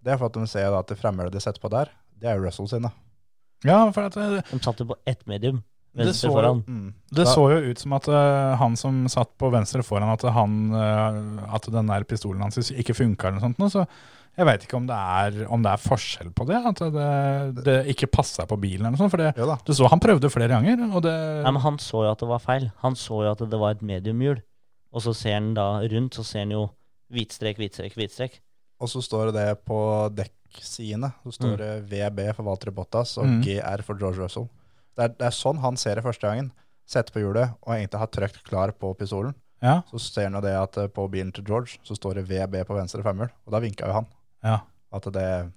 [SPEAKER 5] Det er for at de ser da at det fremmede de setter på der, det er jo Russell sine.
[SPEAKER 1] Ja, for at det,
[SPEAKER 4] De satt jo på ett medium.
[SPEAKER 1] Det
[SPEAKER 4] Venstre
[SPEAKER 1] så-
[SPEAKER 4] foran.
[SPEAKER 5] Mm.
[SPEAKER 1] det
[SPEAKER 5] Da-
[SPEAKER 1] så jo ut som at eh, han som satt på venstre foran, at, han, eh, at den der pistolen hans ikke funka eller noe sånt. nå, Så jeg veit ikke om det, er, om det er forskjell på det. At det, det ikke passa på bilen eller noe sånt. For det,
[SPEAKER 5] Jo da.
[SPEAKER 1] du så han prøvde flere ganger, og det
[SPEAKER 4] Nei, men han så jo at det var feil. Han så jo at det var et mediumhjul. Og så ser han da rundt, så ser han jo hvit strek, hvit strek, hvit strek.
[SPEAKER 5] Og så står det det på dekksidene. Så står det VB for Walter Bottas og
[SPEAKER 1] Mm.
[SPEAKER 5] GR for George Russell. Det er, det er sånn han ser det første gangen. Setter på hjulet og egentlig har trykt klar på pistolen.
[SPEAKER 1] Ja,
[SPEAKER 5] Så ser han jo det at eh, på bilen til George så står det VB på venstre femhjul. Og da vinka jo han.
[SPEAKER 1] ja.
[SPEAKER 5] At det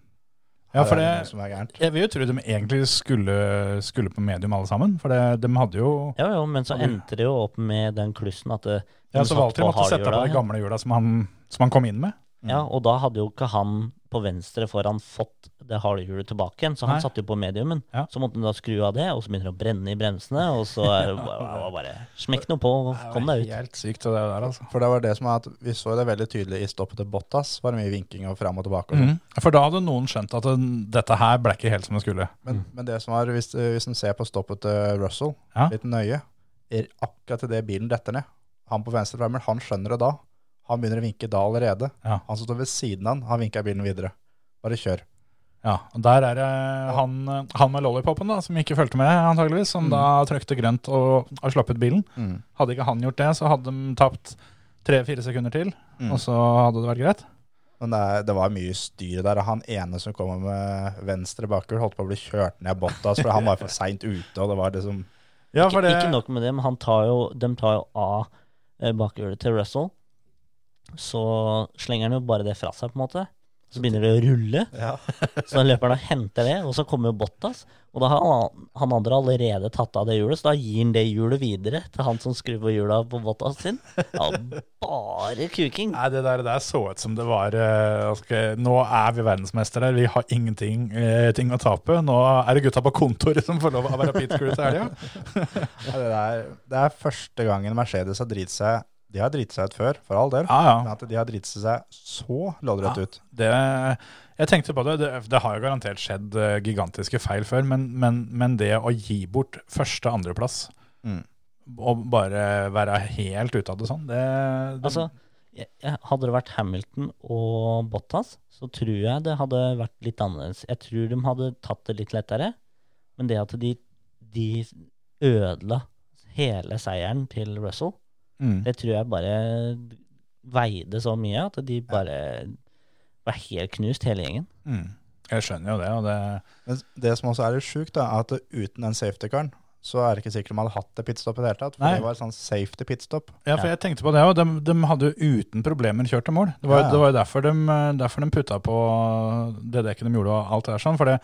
[SPEAKER 1] ja for
[SPEAKER 5] her
[SPEAKER 1] det
[SPEAKER 5] er sånn. noe som er gærent.
[SPEAKER 1] Jeg vil jo tro de egentlig skulle, skulle på medium alle sammen. For det, de hadde jo
[SPEAKER 4] Ja, jo, men så
[SPEAKER 1] Ja, du-
[SPEAKER 4] endte det jo opp med den klussen at det,
[SPEAKER 1] Ja,
[SPEAKER 4] de
[SPEAKER 1] så
[SPEAKER 4] satt
[SPEAKER 1] Walter måtte sette på
[SPEAKER 4] hardhjula,
[SPEAKER 1] de gamle hjula som han, som han kom inn med.
[SPEAKER 4] Ja, og da hadde jo ikke han på venstre foran fått det hardhjulet tilbake igjen, så han
[SPEAKER 1] Nei.
[SPEAKER 4] satt jo på mediumen.
[SPEAKER 1] Ja.
[SPEAKER 4] Så måtte han da skru av det, og så begynner det å brenne i bremsene, og så er det bare, bare, bare smekk noe på, og kom deg ut.
[SPEAKER 1] Helt sykt det der, altså.
[SPEAKER 5] For det var det som er at vi så det veldig tydelig i stoppet til Bottas. Var det mye vinking og fram og tilbake. Og sånn.
[SPEAKER 1] Mm. For da hadde noen skjønt at den- dette her ble ikke helt som det skulle.
[SPEAKER 5] Men, men det som er, hvis, eh, hvis en ser på stoppet til Russell
[SPEAKER 1] Ja.
[SPEAKER 5] litt nøye, er akkurat idet bilen detter ned Han på venstre fremmel, han skjønner det da. Han begynner å vinke da allerede.
[SPEAKER 1] Ja.
[SPEAKER 5] Han som står ved siden av han, han vinker bilen videre. Bare kjør.
[SPEAKER 1] Ja, og Der er det han, han med lollipopen da, som ikke fulgte med, antageligvis, som da trykte grønt og har sluppet bilen. Hadde ikke han gjort det, så hadde de tapt tre-fire sekunder til,
[SPEAKER 5] Mm.
[SPEAKER 1] og så hadde det vært greit.
[SPEAKER 5] Men det, er, det var mye styr der. og Han ene som kommer med venstre bakhjul, holdt på å bli kjørt ned av Bottas, for han var for seint ute. og det var liksom...
[SPEAKER 1] Ja,
[SPEAKER 4] Ikke, ikke nok med det, men han tar jo, de tar jo av eh, bakhjulet til Russell. Så slenger han jo bare det fra seg, på en måte. Så begynner det å rulle.
[SPEAKER 5] Ja.
[SPEAKER 4] [LAUGHS] Så den løperen da henter det, og så kommer jo Bottas. Og da har han, han andre allerede tatt av det hjulet, så da gir han det hjulet videre til han som skrur på hjula på Bottas sin. Ja, [LAUGHS] bare kuking.
[SPEAKER 1] Nei, det der, det der så ut som det var eh, ok, Nå er vi verdensmestere, vi har ingenting eh, ting å tape. Nå er det gutta på kontoret som får lov å være pit crew til helga.
[SPEAKER 5] Ja, Det, er, det er første gangen Mercedes har driti seg De har driti seg ut før, for all del.
[SPEAKER 1] [LAUGHS] Ja,
[SPEAKER 5] Men
[SPEAKER 1] ja.
[SPEAKER 5] at de har driti seg så loddrett
[SPEAKER 1] Ja.
[SPEAKER 5] ut.
[SPEAKER 1] Det, jeg tenkte på det, det, det har jo garantert skjedd eh, gigantiske feil før, men, men, men det å gi bort første- andreplass
[SPEAKER 5] Mm.
[SPEAKER 1] og bare være helt ute av det sånn, det, det
[SPEAKER 4] Altså, jeg, jeg, hadde det vært Hamilton og Bottas, så tror jeg det hadde vært litt annerledes. Jeg tror de hadde tatt det litt lettere, men det at de, de ødela hele seieren til Russell,
[SPEAKER 1] mm.
[SPEAKER 4] det tror jeg bare veide så mye at de bare var helt knust, hele gjengen.
[SPEAKER 1] Mm. Jeg skjønner jo det, og det
[SPEAKER 5] Men det som også er litt sjukt, da, er at uten den safety-caren, så er det ikke sikkert de hadde hatt det pitstoppet i det hele tatt. For
[SPEAKER 1] Nei.
[SPEAKER 5] det var et sånn safety pitstop.
[SPEAKER 1] Ja, for jeg tenkte på det òg. De, de hadde jo uten problemer kjørt til mål. Det var,
[SPEAKER 5] Ja, ja.
[SPEAKER 1] det var jo derfor de, derfor de putta på det dekket de gjorde og alt det der sånn. For det,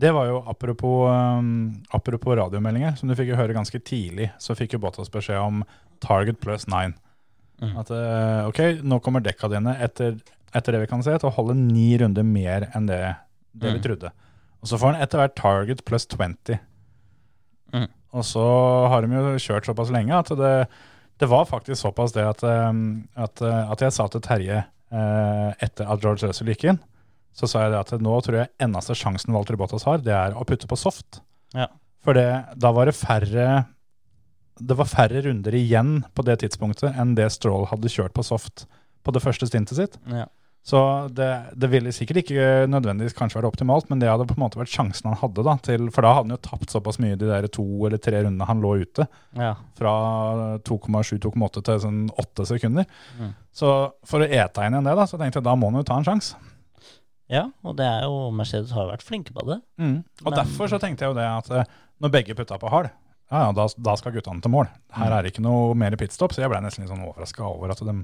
[SPEAKER 1] det var jo apropos, um, apropos radiomeldinger, som du fikk jo høre ganske tidlig, så fikk jo Bottas beskjed om target plus nine.
[SPEAKER 4] Mm.
[SPEAKER 1] At eh, ok, nå kommer dekka dine etter, etter det vi kan se, til å holde ni runder mer enn det, det
[SPEAKER 4] Mm.
[SPEAKER 1] vi trodde. Og så får han etter hvert target pluss 20.
[SPEAKER 4] Mm.
[SPEAKER 1] Og så har de jo kjørt såpass lenge at det, det var faktisk såpass det at, eh, at, eh, at jeg sa til Terje eh, etter at George Russell gikk inn, så sa jeg det at nå tror jeg eneste sjansen Walter Bottas har, det er å putte på soft.
[SPEAKER 4] Ja.
[SPEAKER 1] For det, da var det færre det var færre runder igjen på det tidspunktet enn det Stroll hadde kjørt på soft på det første stintet sitt.
[SPEAKER 4] Ja.
[SPEAKER 1] Så det, det ville sikkert ikke nødvendigvis kanskje være optimalt, men det hadde på en måte vært sjansen han hadde. da, til, For da hadde han jo tapt såpass mye de der to eller tre rundene han lå ute.
[SPEAKER 4] ja.
[SPEAKER 1] Fra 2,7-2,8 til sånn åtte sekunder.
[SPEAKER 4] Mm.
[SPEAKER 1] Så for å ete inn igjen det, da, så tenkte jeg da må han jo ta en sjanse.
[SPEAKER 4] Ja, og det er jo Mercedes har jo vært flinke på det.
[SPEAKER 1] Mm. Og
[SPEAKER 4] Men-
[SPEAKER 1] derfor så tenkte jeg jo det at eh, når begge putta på hard, ja, ja, da, da skal guttene til mål. Her er det ikke noe mer pitstop, så jeg ble nesten litt sånn overraska over at de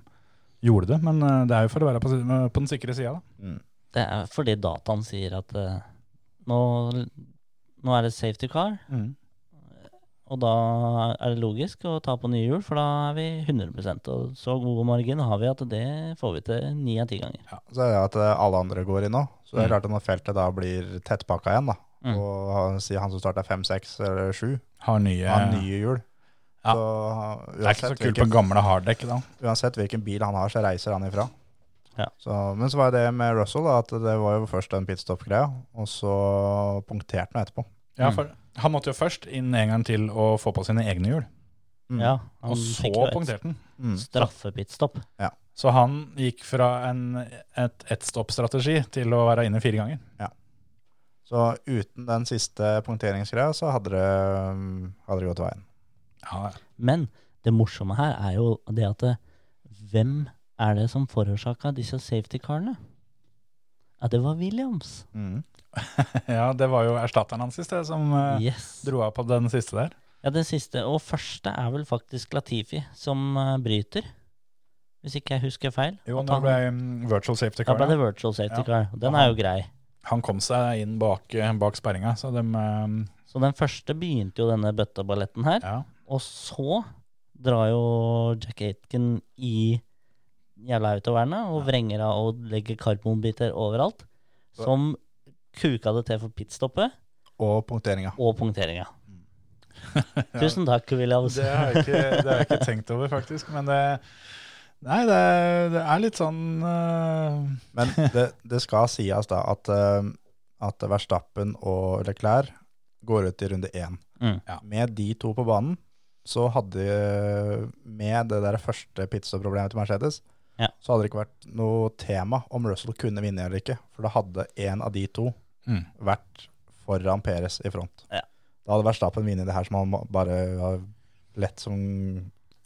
[SPEAKER 1] gjorde det. Men eh, det er jo for å være på, si- på den sikre sida, da.
[SPEAKER 4] Det er fordi dataen sier at eh, nå, nå er det safety car, Og da er det logisk å ta på nye hjul, for da er vi 100 Og så god margin har vi at det får vi til ni av ti ganger.
[SPEAKER 5] Så er det at eh, alle andre går inn nå. Så det er
[SPEAKER 4] Mm.
[SPEAKER 5] klart at når feltet da blir tettpakka igjen, da,
[SPEAKER 4] Mm.
[SPEAKER 5] og han- si han som starta fem, seks eller sju,
[SPEAKER 1] Har nye,
[SPEAKER 5] har nye hjul.
[SPEAKER 1] Ja.
[SPEAKER 5] Så
[SPEAKER 1] Det er ikke så
[SPEAKER 5] uansett
[SPEAKER 1] kult
[SPEAKER 5] hvilken-
[SPEAKER 1] på gamle harddekk, da.
[SPEAKER 5] uansett hvilken bil han har, så reiser han ifra.
[SPEAKER 4] Ja.
[SPEAKER 5] Så, men så var det med Russell, da, at det var jo først den pitstop-greia, og så punkterte han etterpå.
[SPEAKER 1] Ja, for han måtte jo først inn en gang til å få på sine egne hjul,
[SPEAKER 5] Mm.
[SPEAKER 4] Ja,
[SPEAKER 1] og så
[SPEAKER 4] fikk jo et
[SPEAKER 1] punkterte han.
[SPEAKER 5] Mm.
[SPEAKER 4] Straffepitstopp.
[SPEAKER 1] Så han gikk fra en et ettstopp-strategi til å være inne fire ganger.
[SPEAKER 5] Så uten den siste punkteringsgreia, så hadde det, mm, hadde det gått veien.
[SPEAKER 1] Ja,
[SPEAKER 4] Men det morsomme her er jo det at eh, hvem er det som forårsaka disse safety carene? Ja, det var Williams.
[SPEAKER 5] Mm.
[SPEAKER 1] [LAUGHS] ja det var jo erstatteren hans i sted som eh,
[SPEAKER 4] Yes.
[SPEAKER 1] dro av på den siste der.
[SPEAKER 4] Ja, den siste og første er vel faktisk Latifi som eh, bryter, hvis ikke jeg husker feil.
[SPEAKER 1] Jo,
[SPEAKER 4] At
[SPEAKER 1] nå
[SPEAKER 4] han-
[SPEAKER 1] ble mm, virtual safety
[SPEAKER 4] da
[SPEAKER 1] car.
[SPEAKER 4] ble
[SPEAKER 1] ja.
[SPEAKER 4] det virtual safety
[SPEAKER 1] Ja.
[SPEAKER 4] car. og Den
[SPEAKER 1] Og
[SPEAKER 4] er
[SPEAKER 1] han-
[SPEAKER 4] jo grei.
[SPEAKER 1] Han kom seg inn bak, bak sperringa, så de eh,
[SPEAKER 4] Så den første begynte jo denne bøtteballetten her.
[SPEAKER 1] Ja.
[SPEAKER 4] Og så drar jo Jack Aitken i jævla autovernet og vrenger av og legger karbonbiter overalt. Som kuka det til for pitstoppet
[SPEAKER 5] Og punkteringa.
[SPEAKER 4] og punkteringa.
[SPEAKER 1] [LAUGHS]
[SPEAKER 4] Tusen takk, Williams.
[SPEAKER 1] Mm. Det har jeg ikke, det har jeg ikke tenkt over, faktisk. Men det, nei, det, det er litt sånn eh,
[SPEAKER 5] Men det, det skal sies da at, eh, at Verstappen og Leclerc går ut i runde én.
[SPEAKER 4] Mm.
[SPEAKER 1] Ja.
[SPEAKER 5] Med de to på banen, så hadde Med det der første pizzaproblemet til Mercedes,
[SPEAKER 4] Ja.
[SPEAKER 5] så hadde det ikke vært noe tema om Russell kunne vinne eller ikke. For da hadde en av de to
[SPEAKER 1] Mm.
[SPEAKER 5] vært foran Peres i front.
[SPEAKER 4] Ja.
[SPEAKER 5] Da hadde Verstappen vunnet det her som han må- bare har lett som mm.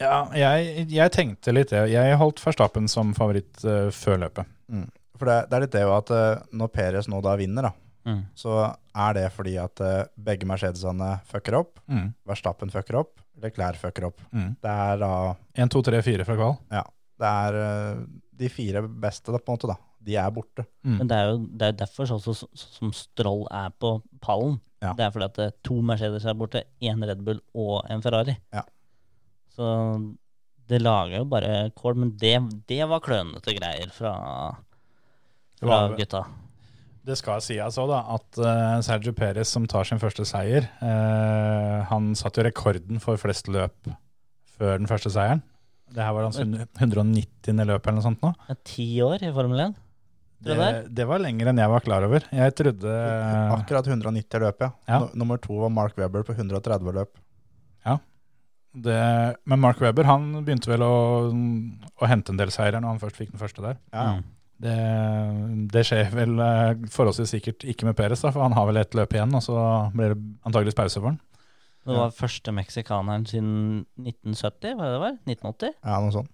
[SPEAKER 1] Ja, jeg, jeg tenkte litt det. Jeg holdt Verstappen som favoritt eh, før løpet.
[SPEAKER 5] Mm. For det, det er litt det jo at eh, når Peres nå da vinner, da,
[SPEAKER 4] Mm.
[SPEAKER 5] så er det fordi at eh, begge Mercedesene fucker opp.
[SPEAKER 1] Mm.
[SPEAKER 5] Verstappen fucker opp, Leclerc fucker opp.
[SPEAKER 1] Mm.
[SPEAKER 5] Det er da
[SPEAKER 1] 1, 2, 3, 4 fra kval.
[SPEAKER 5] det er eh, de fire beste da, på en måte da, De er borte.
[SPEAKER 4] Men det er jo det er derfor sånn som- sånn som Stroll er på pallen.
[SPEAKER 5] Ja.
[SPEAKER 4] Det er fordi at det er to Mercedes er borte, én Red Bull og en Ferrari.
[SPEAKER 5] Ja.
[SPEAKER 4] Så det lager jo bare kål. Men det, det var klønete greier fra,
[SPEAKER 1] Det
[SPEAKER 4] fra
[SPEAKER 1] var-
[SPEAKER 4] gutta.
[SPEAKER 1] Det skal sies òg, da, at eh, Sergio Perez, som tar sin første seier eh, Han satte jo rekorden for flest løp før den første seieren. Det her var hans hund- 190. løp eller noe sånt nå.
[SPEAKER 4] Det er Ti år i Formel 1.
[SPEAKER 1] Det,
[SPEAKER 4] Tror du det?
[SPEAKER 1] det var lenger enn jeg var klar over. Jeg trodde
[SPEAKER 5] Akkurat 190 løp, ja.
[SPEAKER 1] Eh. Ja.
[SPEAKER 5] Nu- Nummer to var Mark Webber på 130 løp.
[SPEAKER 1] det, Men Mark Webber han begynte vel å, å hente en del seirer når han først fikk den første der.
[SPEAKER 5] Ja, ja.
[SPEAKER 4] Mm.
[SPEAKER 1] Det, det skjer vel eh, forholdsvis sikkert ikke med Perez, da, for han har vel ett løp igjen, og så blir det antageligvis pause for han.
[SPEAKER 4] Det var første meksikaneren siden 1970, var det det var? 1980?
[SPEAKER 5] ja noe sånt.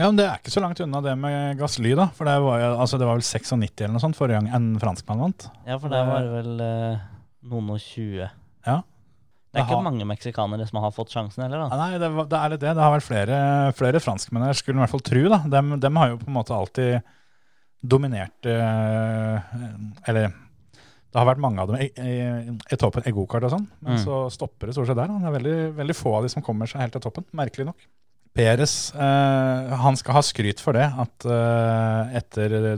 [SPEAKER 1] Ja, men Det er ikke så langt unna det med Gasly, da. For det var, jo- altså, det var vel 96 eller noe sånt forrige gang en franskmann vant.
[SPEAKER 4] Ja, for der var det vel eh, noen og tjue.
[SPEAKER 1] Ja.
[SPEAKER 4] Det
[SPEAKER 1] Jaha.
[SPEAKER 4] er ikke mange meksikanere som har fått sjansen heller,
[SPEAKER 1] Ja,
[SPEAKER 4] da.
[SPEAKER 1] nei, det, var, det er litt det. Det har vært flere, flere franskmenn her, skulle en i hvert fall tro. da. Dem, dem har jo på en måte alltid dominert eh, Eller det har vært mange av dem i, i, i toppen, i gokart og sånn, men
[SPEAKER 4] Mm.
[SPEAKER 1] så stopper det stort sett der. da. Det er veldig, veldig få av de som kommer seg helt til toppen, merkelig nok. Peres eh, han skal ha skryt for det, at eh, etter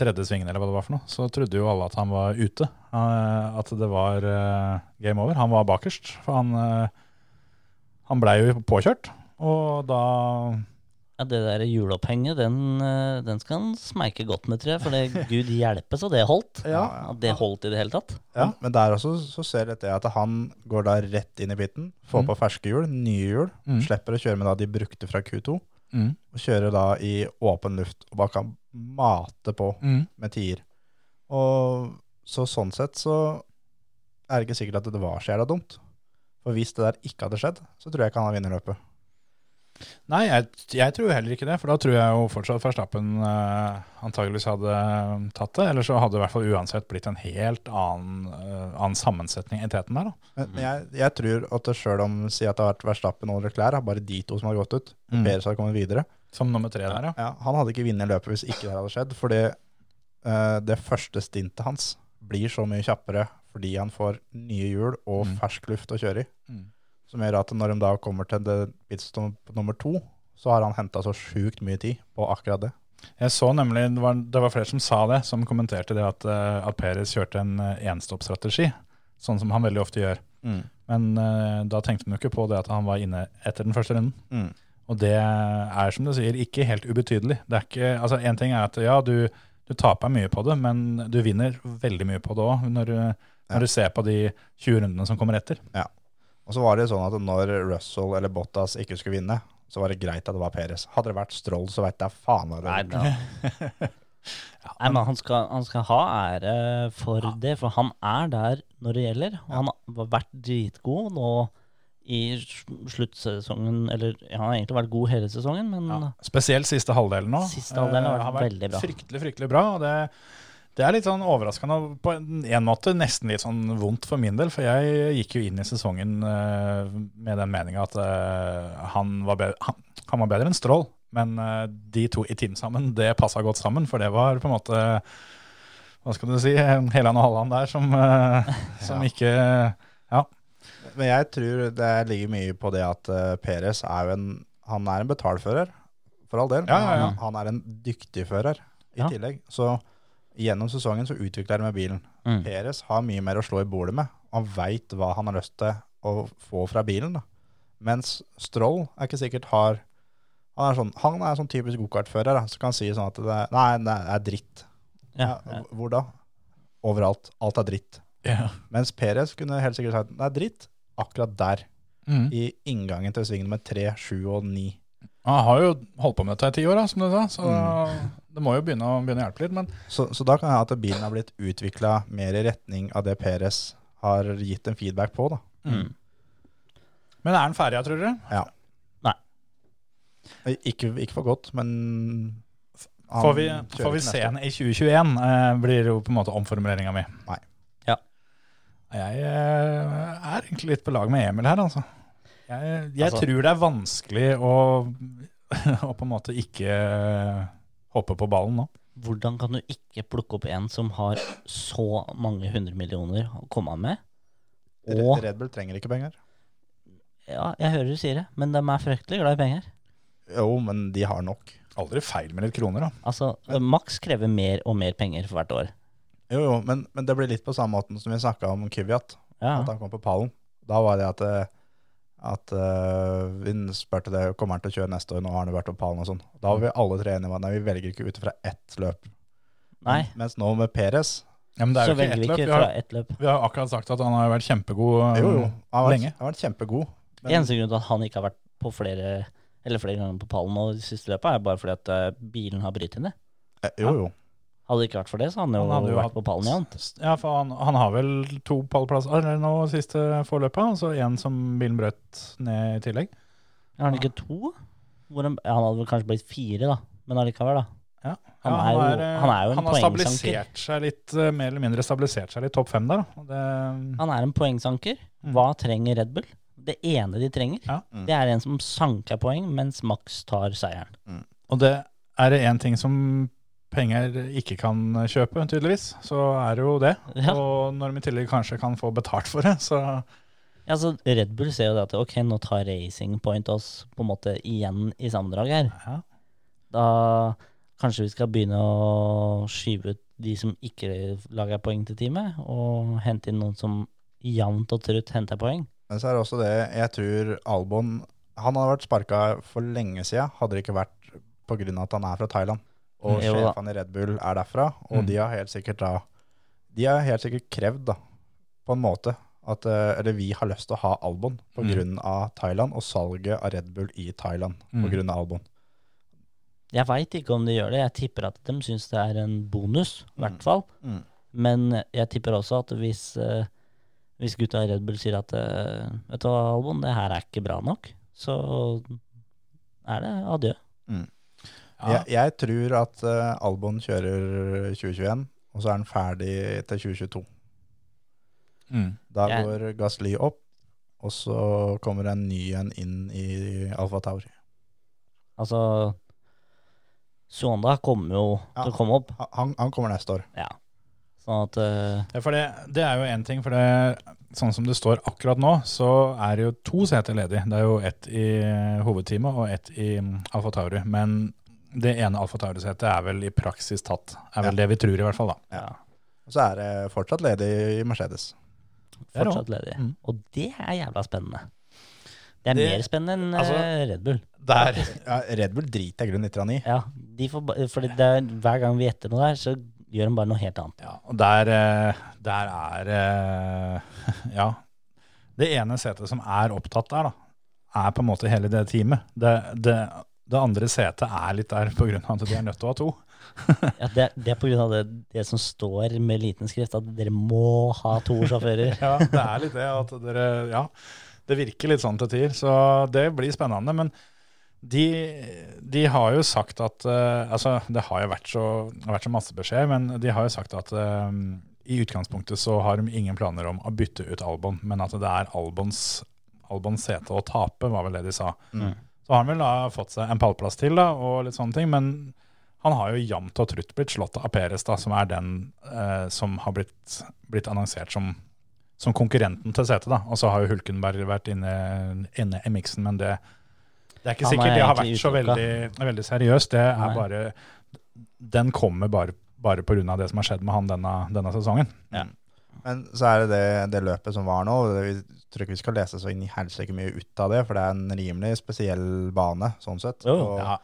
[SPEAKER 1] tredje svingen eller hva det var for noe, så trodde jo alle at han var ute. eh, at det var eh, game over. Han var bakerst, for han eh, han blei jo påkjørt, og da
[SPEAKER 4] Ja, det der hjulopphenget, den, eh, den skal han smeike godt med, tror jeg. For
[SPEAKER 5] [LAUGHS]
[SPEAKER 4] det, gud hjelpe så det holdt.
[SPEAKER 5] Ja.
[SPEAKER 4] At det holdt i det hele tatt.
[SPEAKER 5] Ja. Men der også så ser jeg at han går da rett inn i pitten, får på ferske hjul, nye hjul,
[SPEAKER 1] Mm.
[SPEAKER 5] slipper å kjøre med da de brukte fra Q2, og kjører da i åpen luft, og bare kan mate på
[SPEAKER 1] mm.
[SPEAKER 5] med tier. Og så sånn sett så er det ikke sikkert at det var så jævla dumt. For hvis det der ikke hadde skjedd, så tror jeg ikke han hadde vunnet løpet.
[SPEAKER 1] Nei, jeg, jeg tror heller ikke det, for da tror jeg jo fortsatt Verstappen uh, antageligvis hadde eh, tatt det. Eller så hadde det i hvert fall uansett blitt en helt annen, eh, annen sammensetning i teten der. da.
[SPEAKER 5] Men men jeg, jeg tror at sjøl om si at det har vært Verstappen og Leclerc, har bare de to som har gått ut,
[SPEAKER 1] Mm.
[SPEAKER 5] Perez har kommet videre
[SPEAKER 1] Som nummer tre der, ja.
[SPEAKER 5] ja, Han hadde ikke vunnet løpet hvis ikke det hadde skjedd, fordi eh, det første stintet hans blir så mye kjappere fordi han får nye hjul og
[SPEAKER 1] Mm.
[SPEAKER 5] fersk luft å kjøre i.
[SPEAKER 1] Mm.
[SPEAKER 5] Som gjør at når de da kommer til det pitstop nummer to, så har han henta så sjukt mye tid på akkurat det.
[SPEAKER 1] Jeg så nemlig, det var, det var flere som sa det, som kommenterte det at, eh, at Perez kjørte en eh, enstoppstrategi, sånn som han veldig ofte gjør. Men eh, da tenkte man jo ikke på det at han var inne etter den første runden.
[SPEAKER 5] Mm.
[SPEAKER 1] Og det er, som du sier, ikke helt ubetydelig. Det er ikke, altså En ting er at ja, du, du taper mye på det, men du vinner veldig mye på det òg, når, du-
[SPEAKER 5] Ja.
[SPEAKER 1] når du ser på de 20 rundene som kommer etter.
[SPEAKER 5] Og så var det sånn at når Russell eller Bottas ikke skulle vinne, så var det greit at det var Perez. Hadde det vært Stroll, så veit jeg faen hva det
[SPEAKER 4] Nei,
[SPEAKER 5] [LAUGHS] var.
[SPEAKER 4] da. Nei, men han skal, han skal ha ære for det, for han er der når det gjelder. Og han har vært dritgod nå i sl- sluttsesongen, eller ja, han har egentlig vært god hele sesongen, men
[SPEAKER 1] Spesielt siste halvdelen nå.
[SPEAKER 4] Siste halvdelen har
[SPEAKER 1] Eh,
[SPEAKER 4] vært veldig bra.
[SPEAKER 1] Fryktelig, fryktelig bra. og det, det er litt sånn overraskende, og på en en måte nesten litt sånn vondt for min del, for jeg gikk jo inn i sesongen eh, med den meninga at eh, han, var bedre, han, han var bedre enn Strål, men eh, de to i team sammen, det passa godt sammen, for det var på en måte Hva skal du si? Heland og Halland der som,
[SPEAKER 4] [LAUGHS]
[SPEAKER 1] eh, som ikke
[SPEAKER 5] Men jeg tror det ligger mye på det at eh, Perez er jo en Han er en betalfører, for all del.
[SPEAKER 1] Ja, ja, ja.
[SPEAKER 5] Han, han er en dyktig fører i
[SPEAKER 4] Ja.
[SPEAKER 5] tillegg. Så gjennom sesongen så utvikler han med bilen.
[SPEAKER 4] Mm.
[SPEAKER 5] Perez har mye mer å slå i bordet med. Han veit hva han har lyst til å få fra bilen. Da. Mens Stroll er ikke sikkert har Han er sånn, han er sånn typisk gokartfører da, som kan si sånn at det er, nei, det er dritt.
[SPEAKER 4] ja,
[SPEAKER 5] Ja, hvor da? Overalt. Alt er dritt.
[SPEAKER 1] Ja.
[SPEAKER 5] Mens Perez kunne helt sikkert sagt det er dritt akkurat der
[SPEAKER 1] Mm.
[SPEAKER 5] i inngangen til sving nummer 3, 7 og 9.
[SPEAKER 1] Han har jo holdt på med dette i ti år, da, som du sa, så
[SPEAKER 4] Mm.
[SPEAKER 1] det må jo begynne å, begynne å hjelpe litt. men
[SPEAKER 5] Så, så da kan jeg ha at bilen har blitt utvikla mer i retning av det Perez har gitt en feedback på. da.
[SPEAKER 4] Mm.
[SPEAKER 1] Men er den ferdig, tror dere?
[SPEAKER 5] Eh, Ikke, ikke for godt, men han
[SPEAKER 1] Får vi,
[SPEAKER 5] kjører
[SPEAKER 1] får vi
[SPEAKER 5] til
[SPEAKER 1] se
[SPEAKER 5] neste år.
[SPEAKER 1] henne i 2021, eh, blir jo på en måte omformuleringa mi.
[SPEAKER 5] Nei.
[SPEAKER 4] Ja.
[SPEAKER 1] Jeg eh, er egentlig litt på lag med Emil her, altså. Jeg, jeg
[SPEAKER 4] Altså-
[SPEAKER 1] tror det er [LAUGHS] vanskelig å, å på en måte ikke eh, hoppe på ballen nå.
[SPEAKER 4] Hvordan kan du ikke plukke opp en som har så mange hundre millioner å komme av med? Og
[SPEAKER 5] Red Bull trenger ikke penger.
[SPEAKER 4] Ja, jeg hører du sier det, men de er fryktelig glad i penger.
[SPEAKER 5] Jo, men de har nok.
[SPEAKER 1] Aldri feil med litt kroner, da.
[SPEAKER 4] Altså, Max krever mer og mer penger for hvert år.
[SPEAKER 5] Jo, jo, men, men det blir litt på samme måten som vi snakka om Kyviat.
[SPEAKER 4] Ja,
[SPEAKER 5] At han kom på pallen. Da var det at, eh, at eh, vi spurte det, kommer han til å kjøre neste år, nå har han jo vært på pallen og sånn. Da var vi alle tre enige om at nei, vi velger ikke ut fra ett løp.
[SPEAKER 4] Nei,
[SPEAKER 5] Mens nå med Peres
[SPEAKER 1] Ja, men det er
[SPEAKER 4] så
[SPEAKER 1] jo
[SPEAKER 4] velger
[SPEAKER 1] ikke
[SPEAKER 4] vi
[SPEAKER 1] ett løp.
[SPEAKER 4] ikke
[SPEAKER 1] Vi
[SPEAKER 4] fra
[SPEAKER 1] har,
[SPEAKER 4] ett løp.
[SPEAKER 1] vi har akkurat sagt at han har vært kjempegod. eh,
[SPEAKER 5] Jo, jo, han har vært,
[SPEAKER 1] Lenge.
[SPEAKER 5] han har vært kjempegod. Men-
[SPEAKER 4] Eneste grunn til at han ikke har vært på flere eller flere ganger på pallen nå de siste løpa, er bare fordi at eh, bilen har brytt henne.
[SPEAKER 5] Eh, Jo, jo.
[SPEAKER 4] Hadde det ikke vært for det, så hadde han jo,
[SPEAKER 1] Han hadde jo
[SPEAKER 4] vært
[SPEAKER 1] hatt-
[SPEAKER 4] på pallen igjen.
[SPEAKER 1] Ja, for han, han har vel to pallplasser eller nå siste forløpet, og så én som bilen brøt ned i tillegg.
[SPEAKER 4] Har han ikke to? Hvor han, ja, han hadde vel kanskje blitt fire, da. Men allikevel, da. Han
[SPEAKER 1] Ja,
[SPEAKER 4] er jo-
[SPEAKER 1] eh,
[SPEAKER 4] han er jo en
[SPEAKER 1] han har
[SPEAKER 4] poengsanker.
[SPEAKER 1] stabilisert seg litt, eh, mer eller mindre stabilisert seg litt topp fem der. da. Og Det,
[SPEAKER 4] Han er en poengsanker.
[SPEAKER 1] Mm.
[SPEAKER 4] Hva trenger Red Bull? Det ene de trenger,
[SPEAKER 1] Ja.
[SPEAKER 4] det er en som sanker poeng, mens Max tar seieren.
[SPEAKER 1] og det er det én ting som penger ikke kan kjøpe, tydeligvis, så er det jo det.
[SPEAKER 4] Ja.
[SPEAKER 1] Og når de i tillegg kanskje kan få betalt for det, så
[SPEAKER 4] Ja, så Red Bull ser jo det at ok, nå tar Racing Point oss på en måte igjen i sammendrag her.
[SPEAKER 1] ja.
[SPEAKER 4] Da kanskje vi skal begynne å skyve ut de som ikke lager poeng til teamet, og hente inn noen som jevnt og trutt henter poeng.
[SPEAKER 5] Men så er det også det, jeg tror Albon Han hadde vært sparka for lenge siden, hadde det ikke vært på grunn av at han er fra Thailand. Og
[SPEAKER 4] Mm, jo da.
[SPEAKER 5] sjefene i Red Bull er derfra, og
[SPEAKER 1] Mm.
[SPEAKER 5] de har helt sikkert da De har helt sikkert krevd, da, på en måte, at eh, Eller vi har lyst til å ha Albon på
[SPEAKER 1] Mm.
[SPEAKER 5] grunn av Thailand, og salget av Red Bull i Thailand på
[SPEAKER 1] Mm.
[SPEAKER 5] grunn av Albon.
[SPEAKER 4] Jeg veit ikke om de gjør det, jeg tipper at de syns det er en bonus, i hvert fall.
[SPEAKER 5] Mm.
[SPEAKER 4] Men jeg tipper også at hvis, eh, hvis gutta i Red Bull sier at eh, Vet du hva, Albon, det her er ikke bra nok, så er det adjø.
[SPEAKER 1] Ja.
[SPEAKER 5] Jeg, jeg tror at eh, Albon kjører 2021, og så er han ferdig til 2022.
[SPEAKER 1] Mm.
[SPEAKER 5] Da
[SPEAKER 4] Jeg-
[SPEAKER 5] går Gasly opp, og så kommer en ny en inn i Alfa Tauri.
[SPEAKER 4] Altså Sonda kommer jo
[SPEAKER 5] Ja.
[SPEAKER 4] til å komme opp.
[SPEAKER 5] Han, han kommer neste år.
[SPEAKER 4] Ja. Sånn at eh,
[SPEAKER 1] Ja, for det, det er jo én ting, for det, sånn som det står akkurat nå, så er det jo to seter ledig. Det er jo ett i hovedteamet og ett i mm, Alfa Tauri. Men det ene Alfa Tauri-setet er vel i praksis tatt. Er vel det vi tror, i hvert fall. da.
[SPEAKER 5] Ja. Og så er det fortsatt ledig i Mercedes.
[SPEAKER 1] Det er det
[SPEAKER 4] fortsatt ledig.
[SPEAKER 1] Mm.
[SPEAKER 4] Og det er jævla spennende. Det er
[SPEAKER 1] Det-
[SPEAKER 4] mer spennende enn
[SPEAKER 1] altså-
[SPEAKER 4] eh, Red Bull.
[SPEAKER 1] Der.
[SPEAKER 5] Ja, Red Bull driter jeg i grunnen litt grann i.
[SPEAKER 4] Ja, de får, ba- fordi det er, Hver gang vi gjetter noe der, så gjør de bare noe helt annet.
[SPEAKER 1] Ja, og der, eh, der er eh, [LAUGHS] Ja. Det ene setet som er opptatt der, da, er på en måte hele det teamet. Det, det, det andre setet er litt der pga. at de er nødt til å ha to.
[SPEAKER 4] Ja, det, det er på grunn av det, det som står med liten skrift, at dere må ha to
[SPEAKER 1] [LAUGHS]
[SPEAKER 4] sjåfører.
[SPEAKER 1] Ja, det er litt det at dere Ja, det virker litt sånn til tider, så det blir spennende. Men de, de har jo sagt at eh, Altså, det har jo vært så, det har vært så masse beskjed, men de har jo sagt at eh, i utgangspunktet så har de ingen planer om å bytte ut Albon, men at det er Albons, Albons sete å tape, var vel det de sa.
[SPEAKER 5] Mm.
[SPEAKER 1] Så har han vel da fått seg en pallplass til, da, og litt sånne ting, men han har jo jevnt og trutt blitt slått av Peres, da, som er den eh, som har blitt, blitt annonsert som som konkurrenten til setet. da. Og så har jo Hulkenberg vært inne, inne i miksen, men det, det er ikke
[SPEAKER 4] Han er
[SPEAKER 1] sikkert det har vært
[SPEAKER 4] egentlig
[SPEAKER 1] så veldig, veldig seriøst. Det er
[SPEAKER 4] Nei.
[SPEAKER 1] bare, den kommer bare, bare pga. det som har skjedd med han denne, denne sesongen.
[SPEAKER 5] Men så er det det, det løpet som var nå. og det- Vi tror ikke vi skal lese så inn i helsike mye ut av det, for det er en rimelig spesiell bane sånn sett.
[SPEAKER 4] Jo,
[SPEAKER 5] og,
[SPEAKER 1] Ja.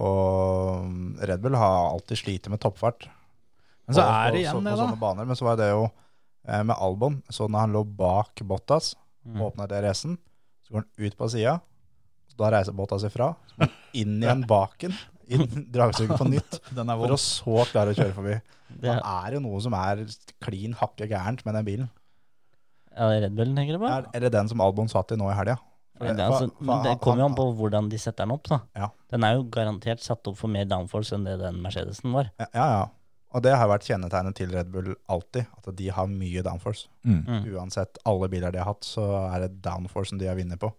[SPEAKER 5] og Red Bull har alltid slitt med toppfart.
[SPEAKER 1] Men så
[SPEAKER 5] på-
[SPEAKER 1] er det
[SPEAKER 5] på-
[SPEAKER 1] igjen
[SPEAKER 5] på
[SPEAKER 1] det, da.
[SPEAKER 5] sånne baner, men så var det jo eh, med Albon, så når han lå bak Bottas og åpna DRS-en, så går han ut på sida, da reiser Bottas ifra, så går han inn igjen baken, inn dragsuget på nytt,
[SPEAKER 1] Den er
[SPEAKER 5] for å så klare å kjøre forbi. Det
[SPEAKER 4] Det,
[SPEAKER 5] er jo noe som er klin hakke gærent med den bilen.
[SPEAKER 4] ja, Red Bull, tenker du på?
[SPEAKER 5] Er, er det den som Albon satt i nå i helga? for-
[SPEAKER 4] Eller, altså,
[SPEAKER 5] for- for
[SPEAKER 4] men det
[SPEAKER 5] han-
[SPEAKER 4] kommer jo
[SPEAKER 5] han-
[SPEAKER 4] an på hvordan de setter den opp. da.
[SPEAKER 5] Ja.
[SPEAKER 4] Den er jo garantert satt opp for mer downforce enn det den Mercedesen var.
[SPEAKER 5] Ja, ja. ja. Og det har vært kjennetegnet til Red Bull alltid, at de har mye downforce.
[SPEAKER 1] Mm.
[SPEAKER 4] Mm.
[SPEAKER 5] Uansett alle biler de har hatt, så er det downforcen de har vunnet på.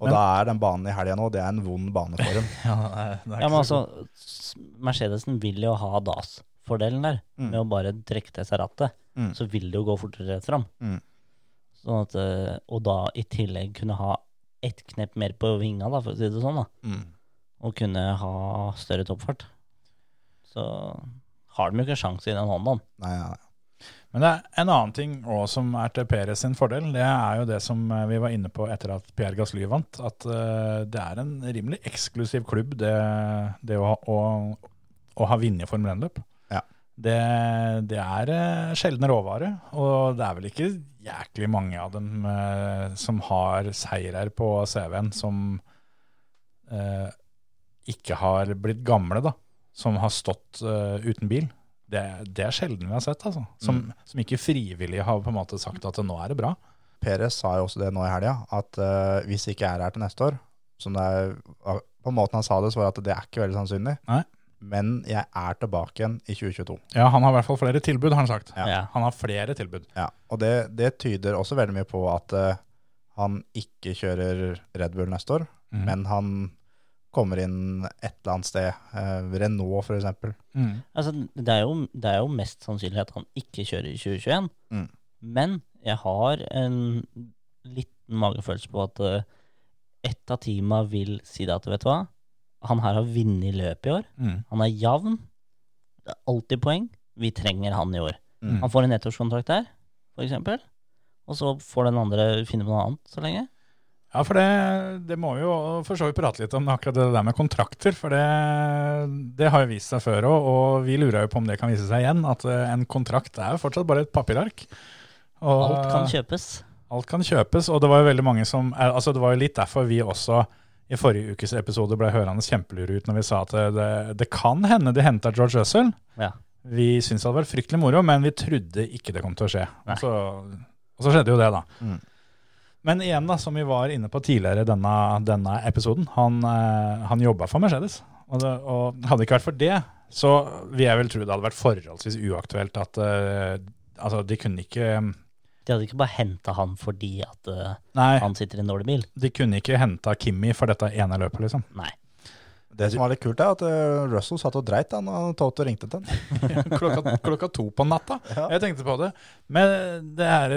[SPEAKER 5] Og da er den banen i helga nå, det er en vond bane for dem.
[SPEAKER 1] Ja, det er
[SPEAKER 4] Ja,
[SPEAKER 1] ikke
[SPEAKER 4] men
[SPEAKER 1] så-
[SPEAKER 4] altså, s- Mercedesen vil jo ha DAS-fordelen der.
[SPEAKER 5] Mm.
[SPEAKER 4] Med å bare trekke til seg rattet,
[SPEAKER 5] Mm.
[SPEAKER 4] så vil det jo gå fortere rett fram.
[SPEAKER 5] Mm.
[SPEAKER 4] Sånn at, eh, og da i tillegg kunne ha ett knepp mer på vinga, da, for å si det sånn. da.
[SPEAKER 5] Mm.
[SPEAKER 4] Og kunne ha større toppfart. Så har de jo ikke sjanse i den hånda.
[SPEAKER 5] Nei, nei, nei.
[SPEAKER 1] Men det er en annen ting også som er til Perez sin fordel. Det er jo det som eh, vi var inne på etter at Pierre Gasly vant, at eh, det er en rimelig eksklusiv klubb, det, det å, ha- å, å ha vunnet Formel 1-løp.
[SPEAKER 5] Ja.
[SPEAKER 1] Det, det er eh, sjeldne råvarer, og det er vel ikke jæklig mange av dem eh, som har seirer på CV-en som eh, ikke har blitt gamle, da. Som har stått eh, uten bil. Det, det er sjelden vi har sett, altså. Som,
[SPEAKER 5] Mm.
[SPEAKER 1] som ikke frivillig har på en måte sagt at nå er det bra.
[SPEAKER 5] Perez sa jo også det nå i helga, at eh, hvis jeg ikke er her til neste år som det er, På måten han sa det, så var det at det er ikke veldig sannsynlig.
[SPEAKER 1] Nei.
[SPEAKER 5] Men jeg er tilbake igjen i 2022.
[SPEAKER 1] Ja, han har i hvert fall flere tilbud, har han sagt.
[SPEAKER 5] Ja.
[SPEAKER 4] Ja.
[SPEAKER 1] Han har flere tilbud.
[SPEAKER 5] Ja, og det, det tyder også veldig mye på at eh, han ikke kjører Red Bull neste år,
[SPEAKER 1] Mhm.
[SPEAKER 5] men han kommer inn et eller annet sted. eh, Renault, for eksempel.
[SPEAKER 1] Mm.
[SPEAKER 4] Altså, det, er jo, det er jo mest sannsynlig at han ikke kjører i 2021.
[SPEAKER 5] Mm.
[SPEAKER 4] Men jeg har en liten magefølelse på at eh, ett av teama vil si det at vet du hva, han her har vunnet løpet i år.
[SPEAKER 1] Mm.
[SPEAKER 4] Han er jevn. Det er alltid poeng. Vi trenger han i år.
[SPEAKER 5] Mm.
[SPEAKER 4] Han får en ettårskontrakt der, for eksempel. Og så får den andre finne på noe annet så lenge.
[SPEAKER 1] Ja, for det, det må vi jo for så vidt prate litt om akkurat det der med kontrakter. For det, det har jo vist seg før òg, og vi lurer jo på om det kan vise seg igjen. At eh, en kontrakt er jo fortsatt bare et papirark. Og-
[SPEAKER 4] Alt kan kjøpes.
[SPEAKER 1] Alt kan kjøpes, og det var jo veldig mange som eh, altså Det var jo litt derfor vi også i forrige ukes episode ble hørende kjempelure ut når vi sa at eh, det, det kan hende de henta George Russell.
[SPEAKER 4] Ja.
[SPEAKER 1] Vi syntes det hadde vært fryktelig moro, men vi trodde ikke det kom til å skje.
[SPEAKER 4] Nei.
[SPEAKER 1] Og så, og så skjedde jo det, da.
[SPEAKER 5] Mm.
[SPEAKER 1] Men igjen, da, som vi var inne på tidligere i denne, denne episoden, han, eh, han jobba for Mercedes. Og, det, og hadde det ikke vært for det, så vil jeg vel tro det hadde vært forholdsvis uaktuelt at eh, Altså, de kunne ikke
[SPEAKER 4] De hadde ikke bare henta han fordi at eh,
[SPEAKER 1] Nei.
[SPEAKER 4] han sitter i en dårlig bil.
[SPEAKER 1] De kunne ikke henta Kimi for dette ene løpet,
[SPEAKER 4] [LAUGHS]
[SPEAKER 1] liksom.
[SPEAKER 4] Nei.
[SPEAKER 5] Det som var litt kult, er at eh, Russell satt og dreit da når Toto ringte til ham.
[SPEAKER 1] Klokka, klokka to på natta.
[SPEAKER 5] Ja.
[SPEAKER 1] Jeg tenkte på det. Men eh, det her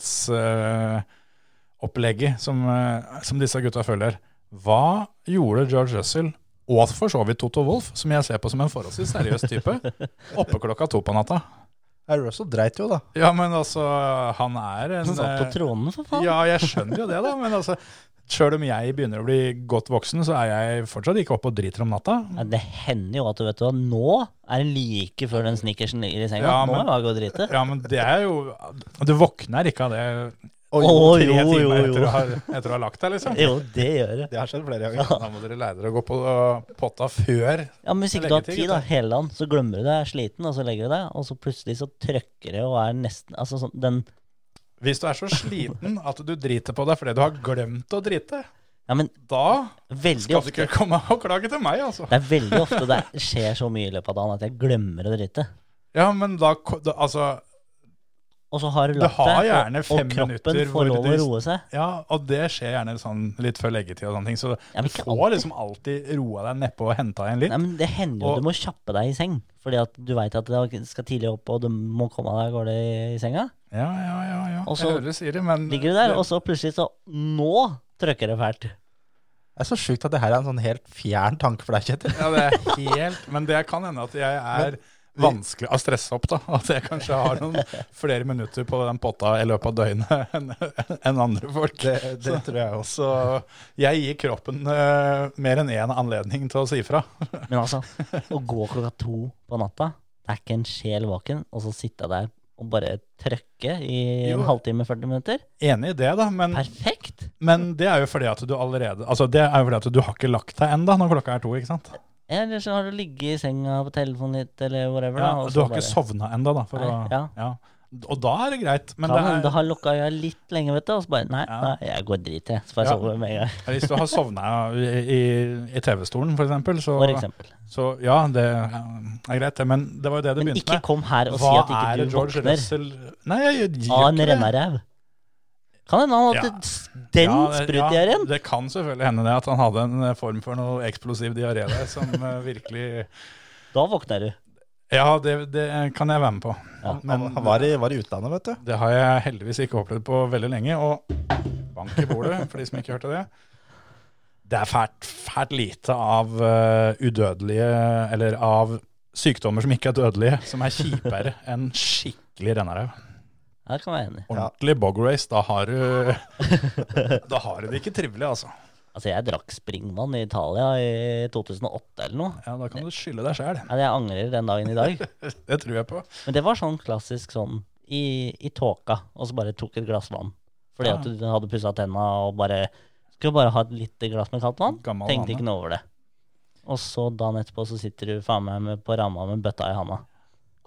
[SPEAKER 1] toppidrettsopplegget eh, som, eh, som disse gutta følger Hva gjorde George Russell, og for så vidt Toto Wolff, som jeg ser på som en forholdsvis seriøs type,
[SPEAKER 4] [LAUGHS]
[SPEAKER 1] oppe klokka to på natta?
[SPEAKER 5] Nei, Russell dreit jo, da.
[SPEAKER 1] Ja, men altså, han er en
[SPEAKER 4] Han satt på
[SPEAKER 1] eh,
[SPEAKER 4] tronen, for faen.
[SPEAKER 1] Ja, jeg skjønner jo det, da. Men altså, sjøl om jeg begynner å bli godt voksen, så er jeg fortsatt ikke oppe og driter om natta.
[SPEAKER 4] Nei, det hender jo at du vet du hva, nå er det like før den snickersen ligger i senga.
[SPEAKER 1] Ja,
[SPEAKER 4] nå
[SPEAKER 1] men-
[SPEAKER 4] er det bare å gå og
[SPEAKER 1] [LAUGHS]
[SPEAKER 4] drite.
[SPEAKER 1] Ja, men det er jo Du våkner ikke av det
[SPEAKER 5] Og
[SPEAKER 4] Å,
[SPEAKER 1] tre
[SPEAKER 4] jo,
[SPEAKER 1] timer
[SPEAKER 4] jo,
[SPEAKER 1] Etter,
[SPEAKER 4] jo.
[SPEAKER 1] å ha, etter å ha lagt deg, liksom.
[SPEAKER 4] [LAUGHS] Jo, det gjør det.
[SPEAKER 5] det har skjedd flere
[SPEAKER 1] Ja, Da må dere lære dere å gå på øh, potta før.
[SPEAKER 4] Ja, men Hvis ikke du har
[SPEAKER 1] Leggetid,
[SPEAKER 4] tid, da, hele dagen, så glemmer du det, er sliten, og så legger du deg, og så plutselig så trøkker det og er nesten Altså sånn den
[SPEAKER 1] Hvis du er så sliten at du driter på deg fordi du har glemt å drite,
[SPEAKER 4] Ja, men
[SPEAKER 1] da
[SPEAKER 4] veldig
[SPEAKER 1] skal du
[SPEAKER 4] ofte
[SPEAKER 1] ikke komme og klage til meg, altså.
[SPEAKER 4] Det er veldig ofte det skjer så mye i løpet av dagen at jeg glemmer å drite.
[SPEAKER 1] Ja, men da ko- da- Altså,
[SPEAKER 4] Og så har du
[SPEAKER 1] Du
[SPEAKER 4] lagt
[SPEAKER 1] har
[SPEAKER 4] deg,
[SPEAKER 1] gjerne
[SPEAKER 4] og,
[SPEAKER 1] fem
[SPEAKER 4] og kroppen
[SPEAKER 1] minutter hvor
[SPEAKER 4] får lov å
[SPEAKER 1] du-
[SPEAKER 4] roe seg.
[SPEAKER 1] ja, og det skjer gjerne sånn litt før leggetid og sånne ting, så
[SPEAKER 4] Ja, men
[SPEAKER 1] du
[SPEAKER 4] ikke
[SPEAKER 1] får liksom alltid roa deg nedpå og henta igjen litt.
[SPEAKER 4] Nei, men Det hender jo
[SPEAKER 1] Og-
[SPEAKER 4] du må kjappe deg i seng, fordi at du veit at du skal tidlig opp, og du må komme deg av gårde i, i senga.
[SPEAKER 1] Ja, ja, ja, ja.
[SPEAKER 4] Og så
[SPEAKER 1] jeg hører du sier det, men
[SPEAKER 4] Ligger du der, og så plutselig så Nå trøkker det fælt.
[SPEAKER 5] Det er så sjukt at det her er en sånn helt fjern tanke for deg, Kjetil.
[SPEAKER 1] Ja, det er helt Men det kan hende at jeg er vanskelig å stresse opp, da. At jeg kanskje har noen flere minutter på den potta i løpet av døgnet enn enn andre folk.
[SPEAKER 5] Det- det
[SPEAKER 1] tror jeg også. Jeg gir kroppen eh, mer enn én anledning til å si fra.
[SPEAKER 4] Men altså, å gå klokka to på natta, det er ikke en sjel våken, og så sitte der og bare trøkke i
[SPEAKER 1] Jo.
[SPEAKER 4] en halvtime, 40 minutter.
[SPEAKER 1] Enig i det, da, men,
[SPEAKER 4] Perfekt!
[SPEAKER 1] men det er jo fordi at du allerede Altså, det er jo fordi at du har ikke lagt deg ennå når klokka er to, ikke sant?
[SPEAKER 4] Eller så har du ligget i senga på telefonen litt, eller whatever.
[SPEAKER 1] Ja,
[SPEAKER 4] da, og
[SPEAKER 1] du
[SPEAKER 4] så
[SPEAKER 1] har ikke sovna ennå, da. For å,
[SPEAKER 4] Nei, ja.
[SPEAKER 1] ja. Og da er det greit, men
[SPEAKER 4] Kan
[SPEAKER 1] det
[SPEAKER 4] hende
[SPEAKER 1] er,
[SPEAKER 4] det har lukka øya litt lenge, vet du. Og så bare Nei,
[SPEAKER 1] Ja.
[SPEAKER 4] nei jeg går og driter, jeg. Så får jeg
[SPEAKER 1] Ja.
[SPEAKER 4] sove med en gang.
[SPEAKER 1] hvis du har sovna i, i, i TV-stolen, for eksempel, så
[SPEAKER 4] For eksempel.
[SPEAKER 1] Så ja, det er greit, det. Men det var jo det du
[SPEAKER 4] Men
[SPEAKER 1] begynte
[SPEAKER 4] ikke
[SPEAKER 1] med.
[SPEAKER 4] kom her og si
[SPEAKER 1] Hva er
[SPEAKER 4] at ikke
[SPEAKER 1] det
[SPEAKER 4] du
[SPEAKER 1] George
[SPEAKER 4] våkner
[SPEAKER 1] Russell Nei, jeg gjør
[SPEAKER 4] av
[SPEAKER 1] ikke
[SPEAKER 4] en
[SPEAKER 1] det.
[SPEAKER 4] rennaræv. Kan hende han hadde
[SPEAKER 1] Ja.
[SPEAKER 4] s- den
[SPEAKER 1] Ja, det-
[SPEAKER 4] sprut i
[SPEAKER 1] Ja, det kan selvfølgelig hende det at han hadde en eh, form for noe eksplosiv diaré der som eh, virkelig
[SPEAKER 4] Da våkner du.
[SPEAKER 1] Ja, det, det kan jeg være med på.
[SPEAKER 5] Men han var i, var i utlandet, vet du.
[SPEAKER 1] Det har jeg heldigvis ikke opplevd på veldig lenge. Og bank i bordet, for de som ikke hørte det. Det er fælt, fælt lite av eh, udødelige, eller av sykdommer som ikke er dødelige, som er [LAUGHS] kjipere enn skikkelig rennaræv.
[SPEAKER 4] Her kan jeg være enig.
[SPEAKER 1] Ordentlig bog race, da har du [LAUGHS] Da har du det ikke trivelig, altså.
[SPEAKER 4] Altså, jeg drakk springvann i Italia i 2008 eller noe.
[SPEAKER 1] Ja, Da kan du skylde deg sjæl.
[SPEAKER 4] Nei, Jeg angrer den dagen i
[SPEAKER 1] [LAUGHS]
[SPEAKER 4] dag.
[SPEAKER 1] Det tror jeg på.
[SPEAKER 4] Men det var sånn klassisk sånn i, i tåka, og så bare tok et glass vann. Fordi
[SPEAKER 1] Ja.
[SPEAKER 4] at du hadde pussa tenna og bare Skulle bare ha et lite glass med kaldt vann.
[SPEAKER 1] Gammel
[SPEAKER 4] Tenkte
[SPEAKER 1] vane.
[SPEAKER 4] ikke noe over det. Og så dagen etterpå så sitter du faen meg med, på ramma med bøtta i handa.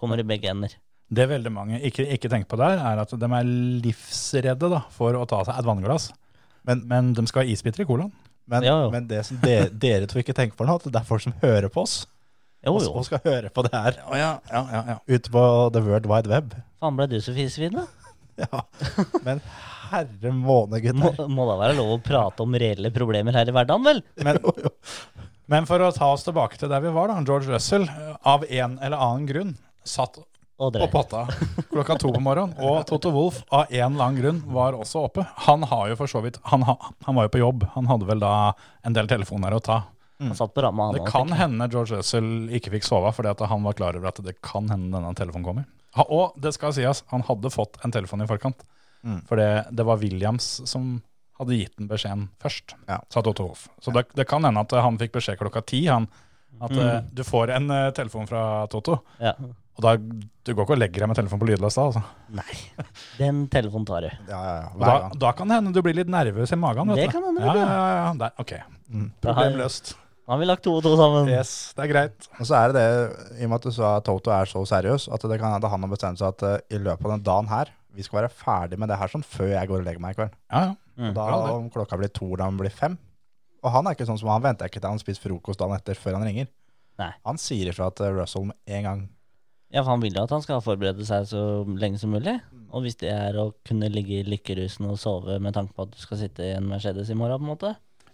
[SPEAKER 4] Kommer i begge ender.
[SPEAKER 1] Det veldig mange ikke, ikke tenker på der, er at de er livsredde da, for å ta seg et vannglass.
[SPEAKER 5] Men-
[SPEAKER 1] men de skal ha isbiter i colaen.
[SPEAKER 5] Men,
[SPEAKER 4] Ja, jo.
[SPEAKER 5] men det som dere, dere to ikke tenker på nå, at det er folk som hører på oss.
[SPEAKER 4] Jo,
[SPEAKER 5] Og,
[SPEAKER 4] jo.
[SPEAKER 5] og skal høre på det her
[SPEAKER 1] Å ja, ja, ja, ja.
[SPEAKER 5] ute på the world wide web.
[SPEAKER 4] Faen, ble du så fisefin,
[SPEAKER 1] [LAUGHS]
[SPEAKER 4] da?
[SPEAKER 5] Ja. [LAUGHS] Men herre
[SPEAKER 4] Må,
[SPEAKER 5] måne, gutter.
[SPEAKER 4] må da være lov å prate om reelle problemer her i hverdagen, vel?
[SPEAKER 1] Men, men for å ta oss tilbake til der vi var, da. George Russell, eh, av en eller annen grunn, satt
[SPEAKER 4] Og
[SPEAKER 1] på
[SPEAKER 4] dere.
[SPEAKER 1] potta klokka to på morgenen. Og Toto Wolff, av en eller annen grunn, var også oppe. Han har jo for så vidt han, ha, han var jo på jobb. Han hadde vel da en del telefoner å ta.
[SPEAKER 4] Han satt på ramma, han
[SPEAKER 1] Det
[SPEAKER 4] også,
[SPEAKER 1] kan
[SPEAKER 4] tenker jeg.
[SPEAKER 1] hende George Russell ikke fikk sove fordi at han var klar over at det kan hende denne telefonen kommer. Ha, og det skal sies, han hadde fått en telefon i forkant. For det, det var Williams som hadde gitt den beskjeden først,
[SPEAKER 5] Ja.
[SPEAKER 1] sa Toto Wolff. Så det, det kan hende at eh, han fikk beskjed klokka ti. Han, at eh, du får en eh, telefon fra Toto.
[SPEAKER 4] Ja.
[SPEAKER 1] Og da, du går ikke og legger deg med telefonen på lydløs da. Altså.
[SPEAKER 4] Nei. Den telefonen tar du.
[SPEAKER 5] Ja, ja, ja.
[SPEAKER 1] Og Da,
[SPEAKER 5] Hver gang.
[SPEAKER 1] da kan det hende du blir litt nervøs i magen. Vet
[SPEAKER 4] Det
[SPEAKER 1] du.
[SPEAKER 4] kan hende,
[SPEAKER 1] Ja,
[SPEAKER 4] vet du.
[SPEAKER 1] ja, ja, ja. Der, ok,
[SPEAKER 4] Da har-
[SPEAKER 1] Mm. problem løst.
[SPEAKER 4] Nå har vi lagt to og to sammen.
[SPEAKER 1] Yes, det er greit.
[SPEAKER 5] Og så er det det, i og med at du sa at Toto er så seriøs, at det kan hende han har bestemt seg at eh, i løpet av den dagen her, vi skal være ferdig med det her sånn før jeg går og legger meg i kveld.
[SPEAKER 1] Ja, ja.
[SPEAKER 5] Og da
[SPEAKER 1] Bra, det.
[SPEAKER 5] om klokka blir to, da han blir fem. Og han er ikke sånn som han venter ikke til han spiser frokost dagen etter før han ringer.
[SPEAKER 4] Nei.
[SPEAKER 5] Han sier ifra til Russell med en gang.
[SPEAKER 4] Ja, for han vil jo at han skal forberede seg så lenge som mulig. Og hvis det er å kunne ligge i lykkerusen og sove med tanke på at du skal sitte i en Mercedes i morgen, på en måte.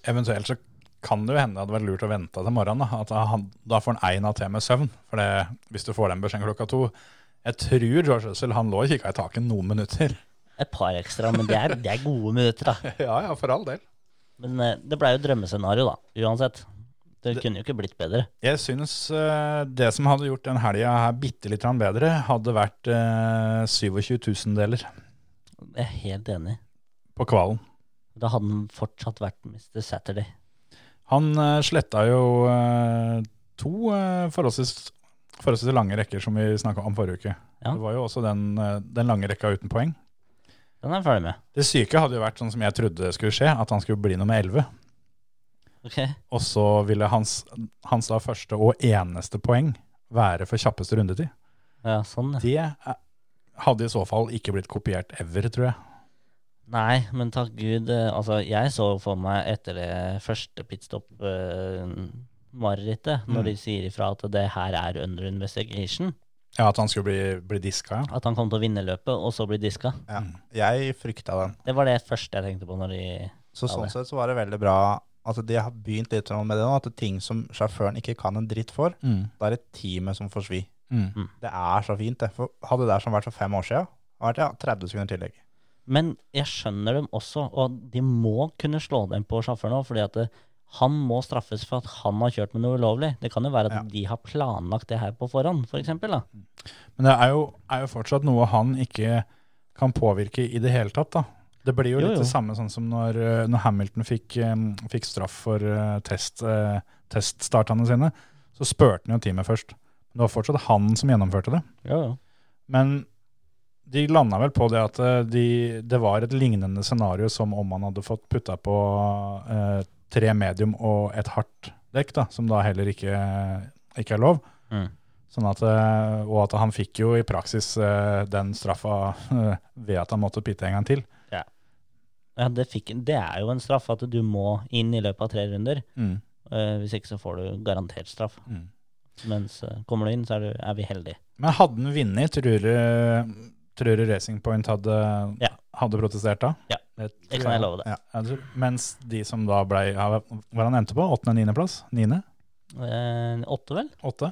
[SPEAKER 1] Eventuelt så kan det jo hende det hadde vært lurt å vente til morgenen. Da, at han, da får han én av til med søvn. For det, hvis du får den beskjeden klokka to Jeg tror George Russell han lå og kikka i taket noen minutter.
[SPEAKER 4] Et par ekstra, men det er, det er gode minutter, da.
[SPEAKER 1] [LAUGHS] ja, ja, for all del.
[SPEAKER 4] Men eh, det blei jo drømmescenario, da. Uansett. Det kunne jo ikke blitt bedre.
[SPEAKER 1] Jeg syns eh, det som hadde gjort den helga her bitte litt grann bedre, hadde vært eh, 27 000-deler
[SPEAKER 4] Jeg er helt enig.
[SPEAKER 1] på kvalen.
[SPEAKER 4] Da hadde han fortsatt vært Mr. Saturday.
[SPEAKER 1] Han eh, sletta jo eh, to eh, forholdsvis, forholdsvis lange rekker som vi snakka om forrige uke.
[SPEAKER 4] Ja.
[SPEAKER 1] Det var jo også den, eh, den lange rekka uten poeng.
[SPEAKER 4] Den er jeg ferdig med.
[SPEAKER 1] Det syke hadde jo vært sånn som jeg trodde skulle skje, at han skulle bli nummer 11.
[SPEAKER 4] Ok.
[SPEAKER 1] Og så ville hans, hans da første og eneste poeng være for kjappeste rundetid.
[SPEAKER 4] Ja, sånn, ja.
[SPEAKER 1] Det er- hadde i så fall ikke blitt kopiert ever, tror jeg.
[SPEAKER 4] Nei, men takk Gud. eh, Altså, jeg så for meg etter det første pitstop-marerittet, når de sier ifra at det her er under investigation,
[SPEAKER 1] Ja, At han skulle bli, bli diska, ja.
[SPEAKER 4] at han kom til å vinne løpet, og så bli diska.
[SPEAKER 5] Ja. Jeg frykta den.
[SPEAKER 4] Det var det første jeg tenkte på når de
[SPEAKER 5] Så
[SPEAKER 4] Ja,
[SPEAKER 5] sånn
[SPEAKER 4] det.
[SPEAKER 5] sett så var det veldig bra at de har begynt litt sånn med det nå, at ting som sjåføren ikke kan en dritt for,
[SPEAKER 1] Mm.
[SPEAKER 5] da er det teamet som får svi.
[SPEAKER 1] Mm.
[SPEAKER 5] Det er så fint, det. For hadde det der som vært for fem år siden, hadde det vært ja, 30 sekunder tillegg.
[SPEAKER 4] Men jeg skjønner dem også, og de må kunne slå dem på sjåføren òg, fordi at eh, han må straffes for at han har kjørt med noe ulovlig. Det kan jo være at
[SPEAKER 5] Ja.
[SPEAKER 4] de har planlagt det her på forhånd, for eksempel, da.
[SPEAKER 1] Men det er jo, er jo fortsatt noe han ikke kan påvirke i det hele tatt, da. Det blir jo,
[SPEAKER 4] Jo,
[SPEAKER 1] litt
[SPEAKER 4] jo.
[SPEAKER 1] det samme sånn som når, eh, når Hamilton fikk, em, fikk straff for eh, test, eh, teststartene sine. Så spurte han jo teamet først. Men det var fortsatt han som gjennomførte det.
[SPEAKER 4] Jo, jo.
[SPEAKER 1] Men de landa vel på det at eh, de, det var et lignende scenario som om man hadde fått putta på eh, tre medium og et hardt dekk, da, som da heller ikke, eh, ikke er lov.
[SPEAKER 4] Mm.
[SPEAKER 1] Sånn at, eh, og at han fikk jo i praksis eh, den straffa eh, ved at han måtte pitte en gang til.
[SPEAKER 4] Ja, det, fikk, det er jo en straff at du må inn i løpet av tre runder. Eh, hvis ikke så får du garantert straff.
[SPEAKER 1] Mm.
[SPEAKER 4] Mens eh, kommer du inn, så er, du, er vi heldige.
[SPEAKER 1] Men hadde han vunnet, tror du, tror du Racing Point hadde,
[SPEAKER 4] Ja.
[SPEAKER 1] hadde protestert da?
[SPEAKER 4] Ja,
[SPEAKER 1] Det
[SPEAKER 4] Det kan jeg love deg.
[SPEAKER 5] Ja.
[SPEAKER 1] Ja, det tror jeg. Mens de som da ble ja, Hva han endte på? Åttende- niendeplass? Niende?
[SPEAKER 4] Eh, åtte, vel?
[SPEAKER 1] Åtte?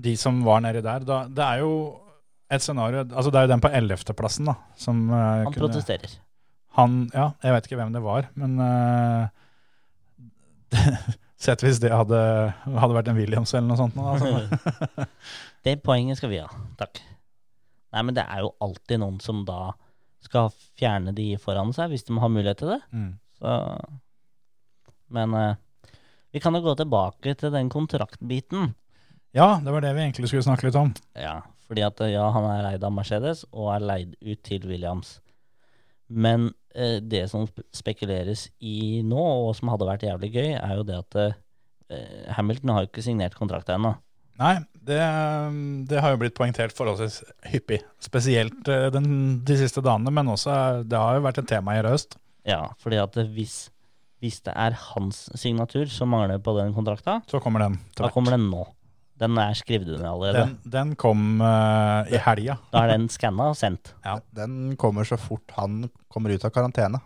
[SPEAKER 1] De som var nedi der. Da, det er jo et scenario Altså, det er jo den på ellevteplassen, da, som eh,
[SPEAKER 4] Han
[SPEAKER 1] kunne [LAUGHS]
[SPEAKER 4] protesterer.
[SPEAKER 1] Han Ja, jeg vet ikke hvem det var, men eh, [LAUGHS] Sett hvis det hadde, hadde vært en Williams eller noe sånt. nå, Altså.
[SPEAKER 4] det poenget skal vi ha. Takk. Nei, men det er jo alltid noen som da skal fjerne de foran seg, hvis de har mulighet til det.
[SPEAKER 1] Mm.
[SPEAKER 4] Så. Men eh, vi kan jo gå tilbake til den kontraktbiten.
[SPEAKER 1] Ja, det var det vi egentlig skulle snakke litt om.
[SPEAKER 4] Ja, fordi at eh, ja, han er leid av Mercedes og er leid ut til Williams. Men eh, det som sp- spekuleres i nå, og som hadde vært jævlig gøy, er jo det at eh, Hamilton har jo ikke signert kontrakt ennå.
[SPEAKER 1] Nei, det, eh, det har jo blitt poengtert forholdsvis hyppig. Spesielt eh, den, de siste dagene, men også eh, det har jo vært et tema i høst.
[SPEAKER 4] Ja, fordi at eh, hvis, hvis det er hans signatur som mangler på den kontrakta,
[SPEAKER 1] Så kommer den. til
[SPEAKER 4] da
[SPEAKER 1] hvert.
[SPEAKER 4] kommer den nå. Den er skrevet under allerede.
[SPEAKER 1] den, den kom eh, i helga.
[SPEAKER 4] Da er den skanna og sendt.
[SPEAKER 5] Den kommer så fort han kommer ut av karantene.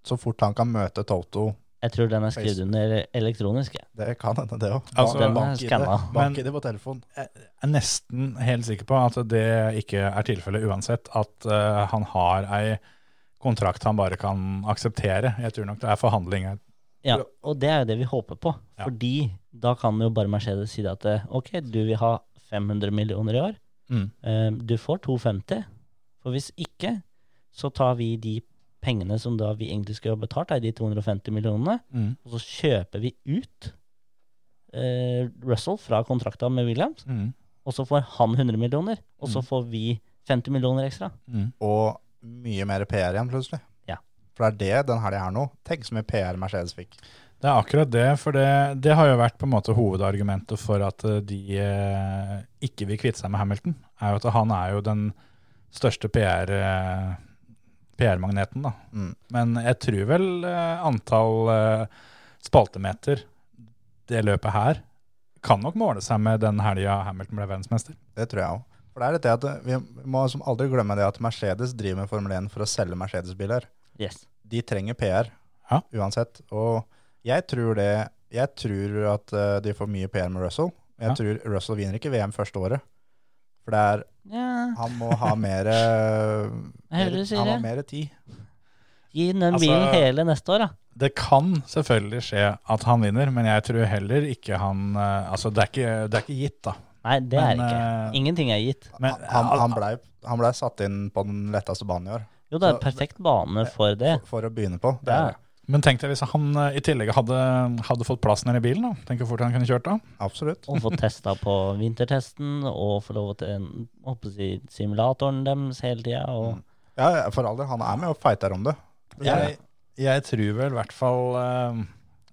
[SPEAKER 5] Så fort han kan møte Toto.
[SPEAKER 4] Jeg tror den er skrevet
[SPEAKER 5] Facebook.
[SPEAKER 4] under elektronisk. jeg.
[SPEAKER 5] Det kan hende, det òg.
[SPEAKER 1] Altså,
[SPEAKER 4] den er skanna.
[SPEAKER 5] Bank i det på telefon.
[SPEAKER 1] Jeg er nesten helt sikker på at det ikke er tilfellet uansett. At eh, han har ei kontrakt han bare kan akseptere. Jeg tror nok det er forhandlinger.
[SPEAKER 4] Ja, og det er jo det vi håper på.
[SPEAKER 1] Ja.
[SPEAKER 4] Fordi da kan jo bare Mercedes si det at eh, ok, du vil ha 500 millioner i år.
[SPEAKER 5] Mm.
[SPEAKER 4] Eh, Du får 250. For hvis ikke, så tar vi de pengene som da vi egentlig skulle ha betalt, er de 250 millionene,
[SPEAKER 1] Mm.
[SPEAKER 4] og så kjøper vi ut eh, Russell fra kontrakta med Williams,
[SPEAKER 1] Mm.
[SPEAKER 4] og så får han 100 millioner, og så får vi 50 millioner ekstra.
[SPEAKER 1] Mm.
[SPEAKER 5] Og mye mer PR igjen, plutselig.
[SPEAKER 4] Ja.
[SPEAKER 5] For det er det den helga her nå. Tenk så mye PR Mercedes fikk.
[SPEAKER 1] Det er akkurat det, for det, det har jo vært på en måte hovedargumentet for at eh, de eh, ikke vil kvitte seg med Hamilton, er jo at han er jo den største PR, eh, PR-magneten. da.
[SPEAKER 5] Mm.
[SPEAKER 1] Men jeg tror vel eh, antall eh, spaltemeter det løpet her kan nok måle seg med den helga Hamilton ble verdensmester.
[SPEAKER 5] Det tror jeg òg. For det er dette at eh, vi må som aldri glemme det at Mercedes driver med Formel 1 for å selge Mercedes-biler.
[SPEAKER 4] Yes.
[SPEAKER 5] De trenger PR
[SPEAKER 1] Ja.
[SPEAKER 5] uansett. Og jeg tror det Jeg tror at eh, de får mye PR med Russell. Jeg
[SPEAKER 1] Ja.
[SPEAKER 5] tror Russell vinner ikke VM første året. For det er
[SPEAKER 4] Ja,
[SPEAKER 5] Han må ha mer eh,
[SPEAKER 4] Jeg hører du sier
[SPEAKER 5] Han må ha
[SPEAKER 4] det.
[SPEAKER 5] mer tid.
[SPEAKER 4] Gi den
[SPEAKER 1] Altså-
[SPEAKER 4] bilen hele neste år, da.
[SPEAKER 1] Det kan selvfølgelig skje at han vinner, men jeg tror heller ikke han eh, Altså, det er ikke, det er ikke gitt, da.
[SPEAKER 4] Nei, det
[SPEAKER 1] Men,
[SPEAKER 4] er ikke.
[SPEAKER 1] eh,
[SPEAKER 4] Ingenting er gitt.
[SPEAKER 1] Men-
[SPEAKER 5] han han, han blei ble satt inn på den letteste banen i år
[SPEAKER 4] Jo, det er
[SPEAKER 5] så-
[SPEAKER 4] perfekt bane for det.
[SPEAKER 5] for, for å begynne på. Det
[SPEAKER 4] Ja.
[SPEAKER 5] er
[SPEAKER 1] Men tenk deg hvis han eh, i tillegg hadde, hadde fått plass nede i bilen, da. Tenk hvor fort han kunne kjørt da.
[SPEAKER 5] absolutt.
[SPEAKER 4] Å få testa på vintertesten og få lov til å håper jeg, si, simulatoren deres hele tida.
[SPEAKER 5] Mm.
[SPEAKER 4] Og
[SPEAKER 5] Ja, ja, for all del. Han er med og fighter om det.
[SPEAKER 1] Jeg, jeg tror vel i hvert fall eh,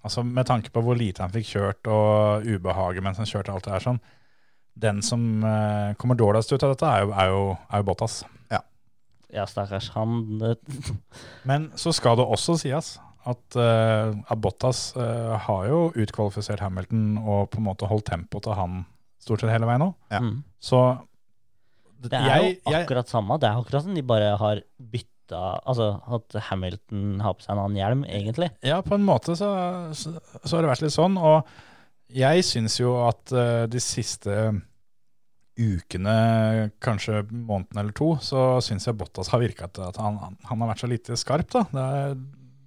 [SPEAKER 1] Altså med tanke på hvor lite han fikk kjørt og ubehaget mens han kjørte alt det her sånn, den som eh, kommer dårligst ut av dette, er jo, er jo, er jo Bottas.
[SPEAKER 4] ja, stakkars han det,
[SPEAKER 1] Men så skal det også sies at, eh, at Bottas eh, har jo utkvalifisert Hamilton og på en måte holdt tempo til han stort sett hele veien nå.
[SPEAKER 5] Ja.
[SPEAKER 4] mm.
[SPEAKER 1] Så
[SPEAKER 4] Det er jo akkurat samme. Det er akkurat som de bare har bytta Altså at Hamilton har på seg en annen hjelm, egentlig.
[SPEAKER 1] Ja, på en måte så, så, så har det vært litt sånn. Og jeg syns jo at eh, de siste ukene, kanskje måneden eller to, så syns jeg Bottas har virka til at han, han- han har vært så lite skarp, da. Det er,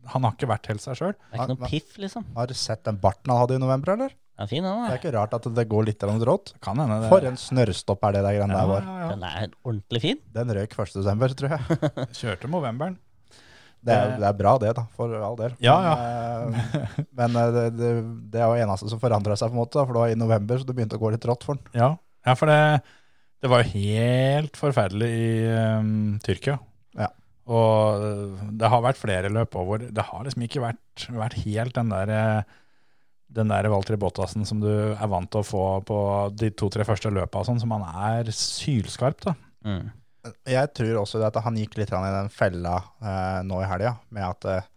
[SPEAKER 1] han har ikke vært helt seg sjøl.
[SPEAKER 4] Det er ikke noe piff, liksom.
[SPEAKER 5] Har du sett den barten han hadde i november, eller?
[SPEAKER 4] Den er fin,
[SPEAKER 5] Det
[SPEAKER 4] den.
[SPEAKER 5] er ikke rart at det går litt grann rått.
[SPEAKER 1] Kan hende det.
[SPEAKER 5] For en snørrstopp er det der greiene
[SPEAKER 1] ja,
[SPEAKER 5] der var.
[SPEAKER 1] ja,
[SPEAKER 4] da. Den er ordentlig fin.
[SPEAKER 5] Den røyk 1. desember, tror jeg. [LAUGHS]
[SPEAKER 1] ja. Kjørte Movemberen.
[SPEAKER 5] Det er, det er bra det, da, for all del.
[SPEAKER 1] Ja,
[SPEAKER 5] Men, eh, men eh, det, det, det er jo eneste som forandra seg, på en måte, da, for det var i november, så det begynte å gå litt rått for den.
[SPEAKER 1] Ja. ja, for det, det var jo helt forferdelig i ehm, Tyrkia.
[SPEAKER 5] Ja.
[SPEAKER 1] Og eh, det har vært flere løp også hvor det har liksom ikke vært, vært helt den der eh, den der Valtteri Bottasen som du er vant til å få på de to-tre første løpa og sånn, som han er sylskarp, da.
[SPEAKER 4] Mm.
[SPEAKER 5] Jeg tror også det at han gikk litt grann i den fella eh, nå i helga, med at eh,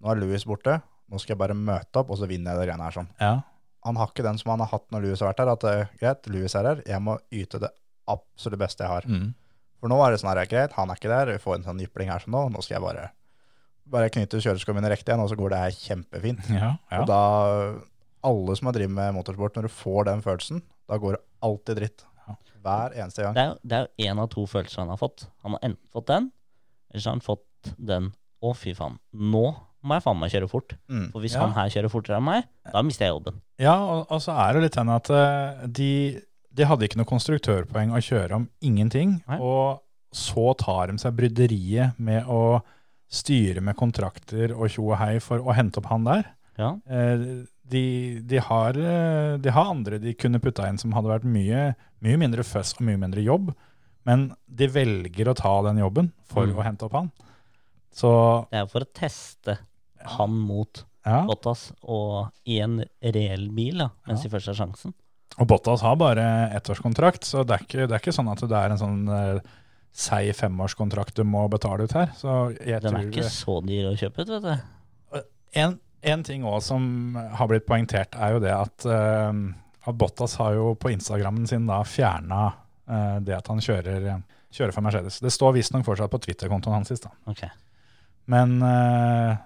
[SPEAKER 5] nå er Louis borte, nå skal jeg bare møte opp, og så vinner jeg det greiene her sånn.
[SPEAKER 1] Ja.
[SPEAKER 5] Han har ikke den som han har hatt når Louis har vært her, at eh, greit, Louis er her, jeg må yte det absolutt beste jeg har.
[SPEAKER 1] Mm.
[SPEAKER 5] For nå er det sånn her, greit, han er ikke der, vi får en sånn jypling her som nå, nå skal jeg bare Bare jeg knytter kjøreskoene mine riktig igjen, og så går det her kjempefint.
[SPEAKER 1] Ja, ja.
[SPEAKER 5] Og da, alle som har drevet med motorsport, når du får den følelsen, da går det alltid dritt.
[SPEAKER 1] Ja.
[SPEAKER 5] Hver eneste gang.
[SPEAKER 4] Det er, jo- det er jo én av to følelser han har fått. Han har enten fått den, eller så har han fått den Å, fy faen, nå må jeg faen meg kjøre fort.
[SPEAKER 5] Mm.
[SPEAKER 4] For hvis
[SPEAKER 1] Ja.
[SPEAKER 4] han her kjører fortere enn meg, da mister jeg jobben.
[SPEAKER 1] Ja, og, og så er det litt den at eh, de, de hadde ikke noe konstruktørpoeng å kjøre om ingenting,
[SPEAKER 4] Nei.
[SPEAKER 1] og så tar de seg bryderiet med å styre med kontrakter og tjo og hei for å hente opp han der.
[SPEAKER 4] Ja.
[SPEAKER 1] Eh, De, de, har, eh, de har andre de kunne putta inn som hadde vært mye, mye mindre føss og mye mindre jobb, men de velger å ta den jobben for
[SPEAKER 4] Mm.
[SPEAKER 1] å hente opp han. Så
[SPEAKER 4] Det er jo for å teste han mot
[SPEAKER 1] ja.
[SPEAKER 4] Bottas og i en reell bil, da,
[SPEAKER 1] Ja.
[SPEAKER 4] mens de først har sjansen.
[SPEAKER 1] Og Bottas har bare ettårskontrakt, så det er ikke, det er ikke sånn at det er en sånn eh, seig femårskontrakt du må betale ut her. Så jeg
[SPEAKER 4] Den
[SPEAKER 1] tror
[SPEAKER 4] er ikke så dyr å kjøpe ut, vet du.
[SPEAKER 1] en, en ting òg som har blitt poengtert, er jo det at, eh, at Bottas har jo på Instagrammen sin da fjerna det at han kjører, kjører for Mercedes. Det står visstnok fortsatt på Twitter-kontoen hans sist, da.
[SPEAKER 4] Ok.
[SPEAKER 1] Men eh,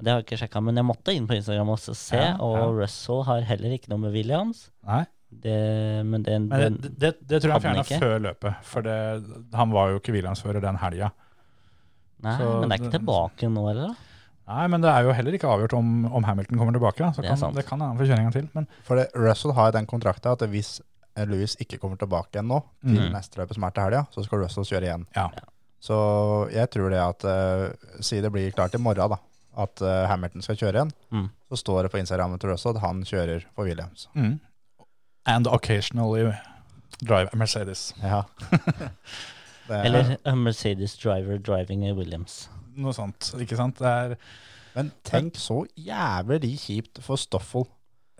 [SPEAKER 4] Det har jeg ikke sjekka, men jeg måtte inn på Instagram også og se.
[SPEAKER 1] Ja,
[SPEAKER 4] og
[SPEAKER 1] ja.
[SPEAKER 4] Russell har heller ikke noe med Williams.
[SPEAKER 1] nei.
[SPEAKER 4] Det, men den,
[SPEAKER 1] Men det,
[SPEAKER 4] den
[SPEAKER 1] det, det tror jeg han
[SPEAKER 4] hadde
[SPEAKER 1] fjerna
[SPEAKER 4] han ikke.
[SPEAKER 1] før løpet, for det, han var jo ikke Williams-fører den helga.
[SPEAKER 4] Nei,
[SPEAKER 1] så
[SPEAKER 4] men det er ikke
[SPEAKER 1] det-
[SPEAKER 4] tilbake nå, eller? da?
[SPEAKER 1] Nei, men det er jo heller ikke avgjort om, om Hamilton kommer tilbake. Da. Så
[SPEAKER 4] Det er
[SPEAKER 1] det, kan,
[SPEAKER 4] sant.
[SPEAKER 1] det kan hende han får kjøre en gang til. Men
[SPEAKER 5] For det, Russell har jo den kontrakta at hvis Louis ikke kommer tilbake igjen nå, til
[SPEAKER 4] Mm.
[SPEAKER 5] neste løpet som er til helga, så skal Russell kjøre igjen.
[SPEAKER 1] Mhm. Ja.
[SPEAKER 5] Så jeg tror det at uh, Si det blir klart i morgen, da, at eh, Hamilton skal kjøre igjen.
[SPEAKER 4] Mm.
[SPEAKER 5] Så står det på Instagrammen til Russell at han kjører for Williams.
[SPEAKER 1] Mm. And occasionally drive a Mercedes.
[SPEAKER 5] Ja. [LAUGHS] det er,
[SPEAKER 4] Eller a Mercedes driver driving a Williams.
[SPEAKER 1] Noe sånt, ikke sant? Det er,
[SPEAKER 5] Men tenk så jævlig kjipt for Stoffel.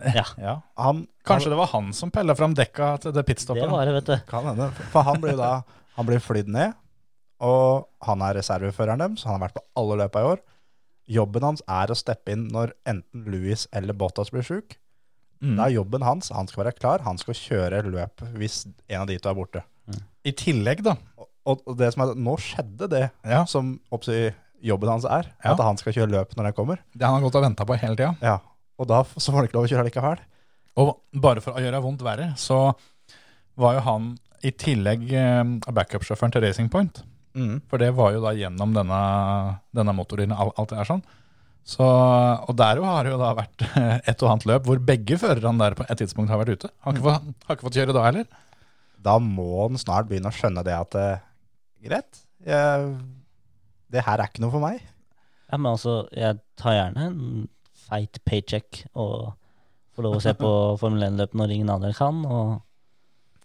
[SPEAKER 4] Ja,
[SPEAKER 1] ja.
[SPEAKER 5] Han
[SPEAKER 1] Kanskje det var han som pella fram dekka til det
[SPEAKER 4] det
[SPEAKER 1] pitstoppet. da.
[SPEAKER 4] var det, vet du.
[SPEAKER 5] Kan hende. For han blir jo da Han blir flydd ned, og han er reserveføreren deres. Han har vært på alle løpa i år. Jobben hans er å steppe inn når enten Louis eller Bottas blir sjuk.
[SPEAKER 1] Mm.
[SPEAKER 5] Da er jobben hans. Han skal være klar. Han skal kjøre løp hvis en av de to er borte.
[SPEAKER 1] I tillegg, da.
[SPEAKER 5] Og, og det som er, nå skjedde det
[SPEAKER 1] Ja.
[SPEAKER 5] som oppsi, jobben hans er.
[SPEAKER 1] Ja.
[SPEAKER 5] At han skal kjøre løp når han kommer.
[SPEAKER 1] Det han har gått og venta på hele tida.
[SPEAKER 5] Ja. Og da f- så får han ikke lov å kjøre likevel.
[SPEAKER 1] Og bare for å gjøre vondt verre, så var jo han i tillegg eh, backup-sjåføren til Racing Point.
[SPEAKER 4] Mm.
[SPEAKER 1] For det var jo da gjennom denne, denne motordyna, al- alt det er sånn. Så, og der jo har det jo da vært [LAUGHS] et og annet løp hvor begge førerne der på et tidspunkt har vært ute. Har
[SPEAKER 4] Mm.
[SPEAKER 1] ikke fått, har ikke fått kjøre da heller.
[SPEAKER 5] Da må han snart begynne å skjønne det at eh, Greit, jeg, det her er ikke noe for meg.
[SPEAKER 4] Ja, men altså, jeg tar gjerne en feit paycheck og får lov å se på
[SPEAKER 5] [LAUGHS]
[SPEAKER 4] Formel 1-løp når ingen andre kan. Og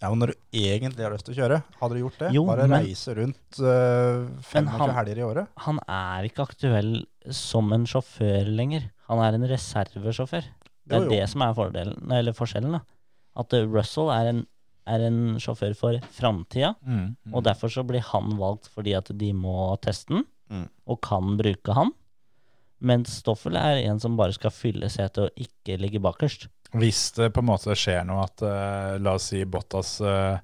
[SPEAKER 5] Ja, men Når du egentlig har lyst til å kjøre, hadde du gjort det?
[SPEAKER 4] Jo,
[SPEAKER 5] Bare
[SPEAKER 4] men-
[SPEAKER 5] reise rundt øh,
[SPEAKER 4] Men
[SPEAKER 5] 25
[SPEAKER 4] han-
[SPEAKER 5] helger i året?
[SPEAKER 4] han er ikke aktuell som en sjåfør lenger. Han er en reservesjåfør. Det
[SPEAKER 5] Jo,
[SPEAKER 4] er
[SPEAKER 5] jo.
[SPEAKER 4] det som er fordelen, eller forskjellen. da. At eh, Russell er en, er en sjåfør for framtida, og derfor så blir han valgt fordi at de må teste den,
[SPEAKER 5] Mm.
[SPEAKER 4] og kan bruke han. Mens Stoffel er en som bare skal fylle setet og ikke ligge bakerst.
[SPEAKER 1] Hvis det på en måte skjer noe at eh, la oss si Bottas eh,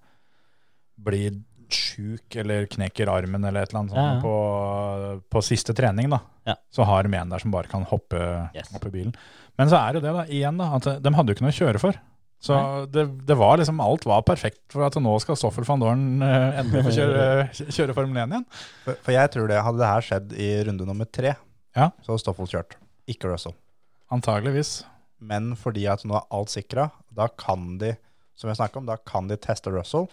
[SPEAKER 1] blir sjuk eller knekker armen eller et eller annet sånt
[SPEAKER 4] Ja, ja.
[SPEAKER 1] På, på siste trening, da,
[SPEAKER 4] Ja.
[SPEAKER 1] så har de en der som bare kan hoppe
[SPEAKER 4] Yes.
[SPEAKER 1] opp i bilen. Men så er det det da, igjen da, at de hadde jo ikke noe å kjøre for. Så det, det var liksom, alt var perfekt for at nå skal Stoffel van Dorn eh, endelig få kjøre, kjøre Formel 1 igjen.
[SPEAKER 5] For, for jeg tror det hadde det her skjedd i runde nummer tre,
[SPEAKER 1] Ja.
[SPEAKER 5] så hadde Stoffel kjørt. Ikke Russell.
[SPEAKER 1] Antageligvis.
[SPEAKER 5] Men fordi at nå er alt sikra, da kan de som jeg snakket om, da kan de teste Russell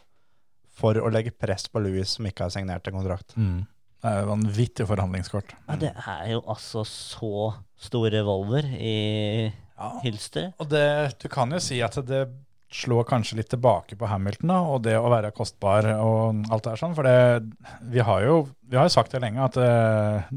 [SPEAKER 5] for å legge press på Louis som ikke har signert en kontrakt.
[SPEAKER 1] Det er jo vanvittig forhandlingskort.
[SPEAKER 4] Ja, det er jo altså så stor revolver i hylsteret.
[SPEAKER 1] Og det, du kan jo si at det slår kanskje litt tilbake på Hamilton da, og det å være kostbar og alt det her sånn, for det, vi har jo vi har jo sagt det lenge at eh,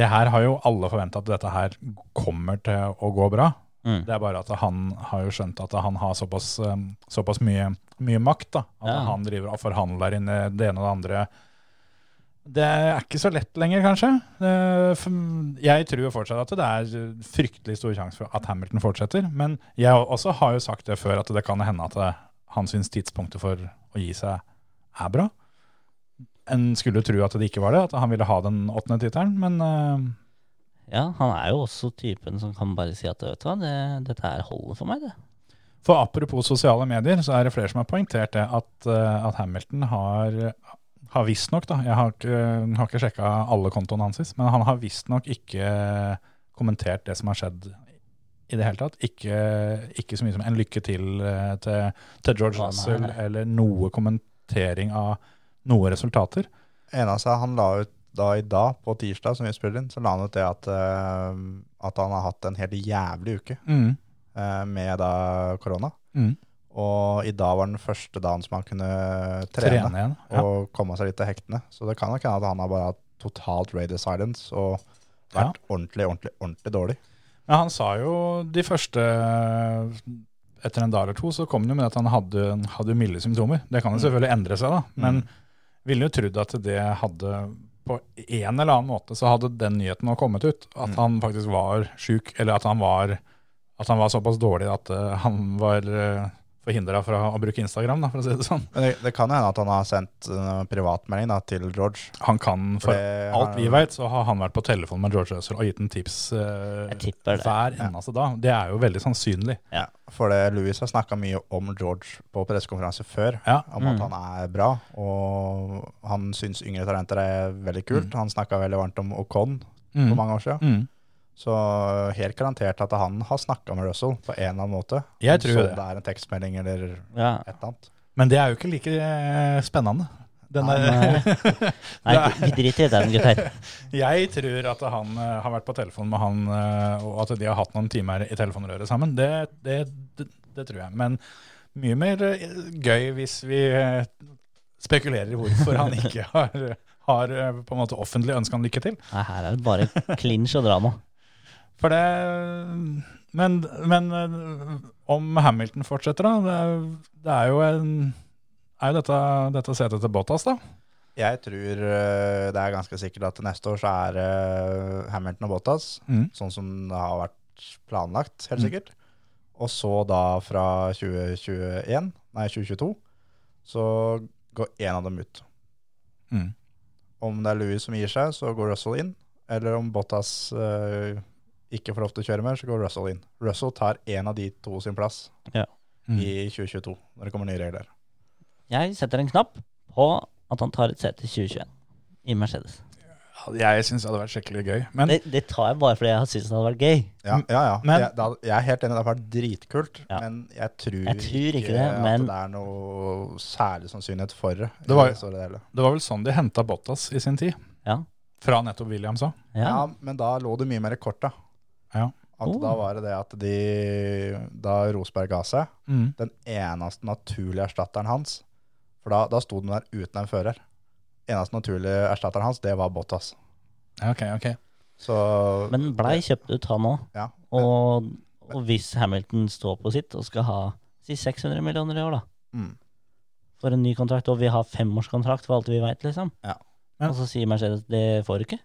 [SPEAKER 1] det her har jo alle forventa at dette her kommer til å gå bra.
[SPEAKER 4] Mm.
[SPEAKER 1] Det er bare at han har jo skjønt at han har såpass, eh, såpass mye, mye makt, da, at
[SPEAKER 4] Ja.
[SPEAKER 1] han driver og forhandler inn i det ene og det andre. Det er ikke så lett lenger, kanskje. Eh, for- Jeg tror jo fortsatt at det er fryktelig stor sjanse for at Hamilton fortsetter. Men jeg også har jo sagt det før, at det kan hende at det- han syns tidspunktet for å gi seg er bra. En skulle tro at det ikke var det, at han ville ha den åttende tittelen, men eh,
[SPEAKER 4] Ja, han er jo også typen som kan bare si at vet du hva, det, dette her holder for meg, det.
[SPEAKER 1] For apropos sosiale medier, så er det flere som har poengtert det at, eh, at Hamilton har, har visstnok, da Jeg har ikke, har ikke sjekka alle kontoene hans, men han har visstnok ikke kommentert det som har skjedd i det hele tatt. Ikke, ikke så mye som en lykke til eh, til, til George
[SPEAKER 4] Å, nei.
[SPEAKER 1] Russell eller noe kommentering av noen resultater.
[SPEAKER 5] En av seg, han la ut da i dag, på tirsdag, som vi spiller inn, så la han ut det at, eh, at han har hatt en helt jævlig uke eh, med da korona.
[SPEAKER 1] Mm.
[SPEAKER 5] Og i dag var den første dagen som han kunne trene,
[SPEAKER 1] Trene igjen. Ja.
[SPEAKER 5] og komme seg litt til hektene. Så det kan nok hende at han har bare hatt totalt radio silence og
[SPEAKER 1] Ja.
[SPEAKER 5] vært ordentlig, ordentlig, ordentlig dårlig.
[SPEAKER 1] Men han sa jo de første Etter en dag eller to så kom det jo med at han hadde, hadde milde symptomer. Det kan jo selvfølgelig endre seg, da. Men ville jo trodd at det hadde På en eller annen måte så hadde den nyheten nå kommet ut. At han faktisk var sjuk, eller at han var, at han var såpass dårlig at eh, han var uh, forhindra fra å bruke Instagram, da, for å si det sånn.
[SPEAKER 5] Men det, det kan jo hende at han har sendt en privatmelding da, til George.
[SPEAKER 1] Han kan,
[SPEAKER 5] For
[SPEAKER 1] for
[SPEAKER 5] det
[SPEAKER 1] alt vi
[SPEAKER 5] er-
[SPEAKER 1] veit, så har han vært på telefon med George Russell og gitt en tips eh,
[SPEAKER 4] Jeg tipper det.
[SPEAKER 1] hver eneste dag. Det er jo veldig sannsynlig.
[SPEAKER 5] For det, Louis har snakka mye om George på pressekonferanse før,
[SPEAKER 1] Ja. Mm.
[SPEAKER 5] om at han er bra. Og han syns yngre talenter er veldig kult. Han snakka veldig varmt om Ocon for mange år siden.
[SPEAKER 1] Mm.
[SPEAKER 5] Så helt garantert at han har snakka med Russell på en eller annen måte.
[SPEAKER 1] Jeg tror
[SPEAKER 5] så
[SPEAKER 1] det.
[SPEAKER 5] det er en tekstmelding eller et
[SPEAKER 4] Ja.
[SPEAKER 5] eller annet.
[SPEAKER 1] Men det er jo ikke like eh, spennende. Den [LAUGHS]
[SPEAKER 4] Han,
[SPEAKER 1] der,
[SPEAKER 4] eh, nei, vi driter i den, gutter.
[SPEAKER 1] jeg tror at han eh, har vært på telefon med han, eh, og at de har hatt noen timer i telefonrøret sammen. Det, det, det, det tror jeg. Men mye mer eh, gøy hvis vi eh, spekulerer i hvorfor han ikke [LAUGHS] har, har eh, på en måte offentlig ønska han lykke til.
[SPEAKER 4] Nei, her er det bare klinsj og drama.
[SPEAKER 1] For det Men, men eh, om Hamilton fortsetter, da. Det er, det er jo en er jo dette, dette setet til Bottas, da.
[SPEAKER 5] Jeg tror øh, det er ganske sikkert at neste år så er øh, Hamilton og Bottas,
[SPEAKER 1] Mm.
[SPEAKER 5] sånn som det har vært planlagt,
[SPEAKER 4] Mm.
[SPEAKER 5] helt sikkert. Og så da fra 2021, nei 2022, så går én av dem ut.
[SPEAKER 1] Mm.
[SPEAKER 5] Om det er Louis som gir seg, så går Russell inn. Eller om Bottas øh, ikke får lov til å kjøre mer, så går Russell inn. Russell tar én av de to sin plass
[SPEAKER 4] Ja.
[SPEAKER 1] Mm.
[SPEAKER 5] i 2022, når det kommer nye regler.
[SPEAKER 4] Jeg setter en knapp på at han tar et sete i 2021 i Mercedes.
[SPEAKER 1] Jeg syns det hadde vært skikkelig gøy. Men
[SPEAKER 4] Det, det tar jeg bare fordi jeg har syntes det hadde vært gøy.
[SPEAKER 5] Ja, ja. ja.
[SPEAKER 1] Men-
[SPEAKER 5] jeg, da, jeg er helt enig, det har vært dritkult,
[SPEAKER 4] Mm. Ja.
[SPEAKER 5] men jeg tror,
[SPEAKER 4] Jeg tror ikke det,
[SPEAKER 5] at
[SPEAKER 4] men-
[SPEAKER 5] det er noe særlig sannsynlighet for det. i
[SPEAKER 1] Det var-
[SPEAKER 5] store deler.
[SPEAKER 1] det var vel sånn de henta Bottas i sin tid.
[SPEAKER 4] Ja.
[SPEAKER 1] Fra nettopp Williams òg.
[SPEAKER 5] ja.
[SPEAKER 4] Ja.
[SPEAKER 5] men da lå det mye mer i korta.
[SPEAKER 1] Ja.
[SPEAKER 5] At
[SPEAKER 4] Oh.
[SPEAKER 5] Da var det det at de, da Rosberg ga seg,
[SPEAKER 1] Mm.
[SPEAKER 5] den eneste naturlige erstatteren hans For da, da sto den der uten en fører. Eneste naturlige erstatteren hans, det var Bottas.
[SPEAKER 1] Ok, ok.
[SPEAKER 5] Så
[SPEAKER 4] Men blei kjøpt ut, han òg.
[SPEAKER 5] ja.
[SPEAKER 4] Og, og hvis Hamilton står på sitt og skal ha si 600 millioner i år, da.
[SPEAKER 5] Mm.
[SPEAKER 4] For en ny kontrakt. Og vi har femårskontrakt for alt vi veit, liksom.
[SPEAKER 5] Ja.
[SPEAKER 1] Ja.
[SPEAKER 4] Og så sier Mercedes det får du ikke.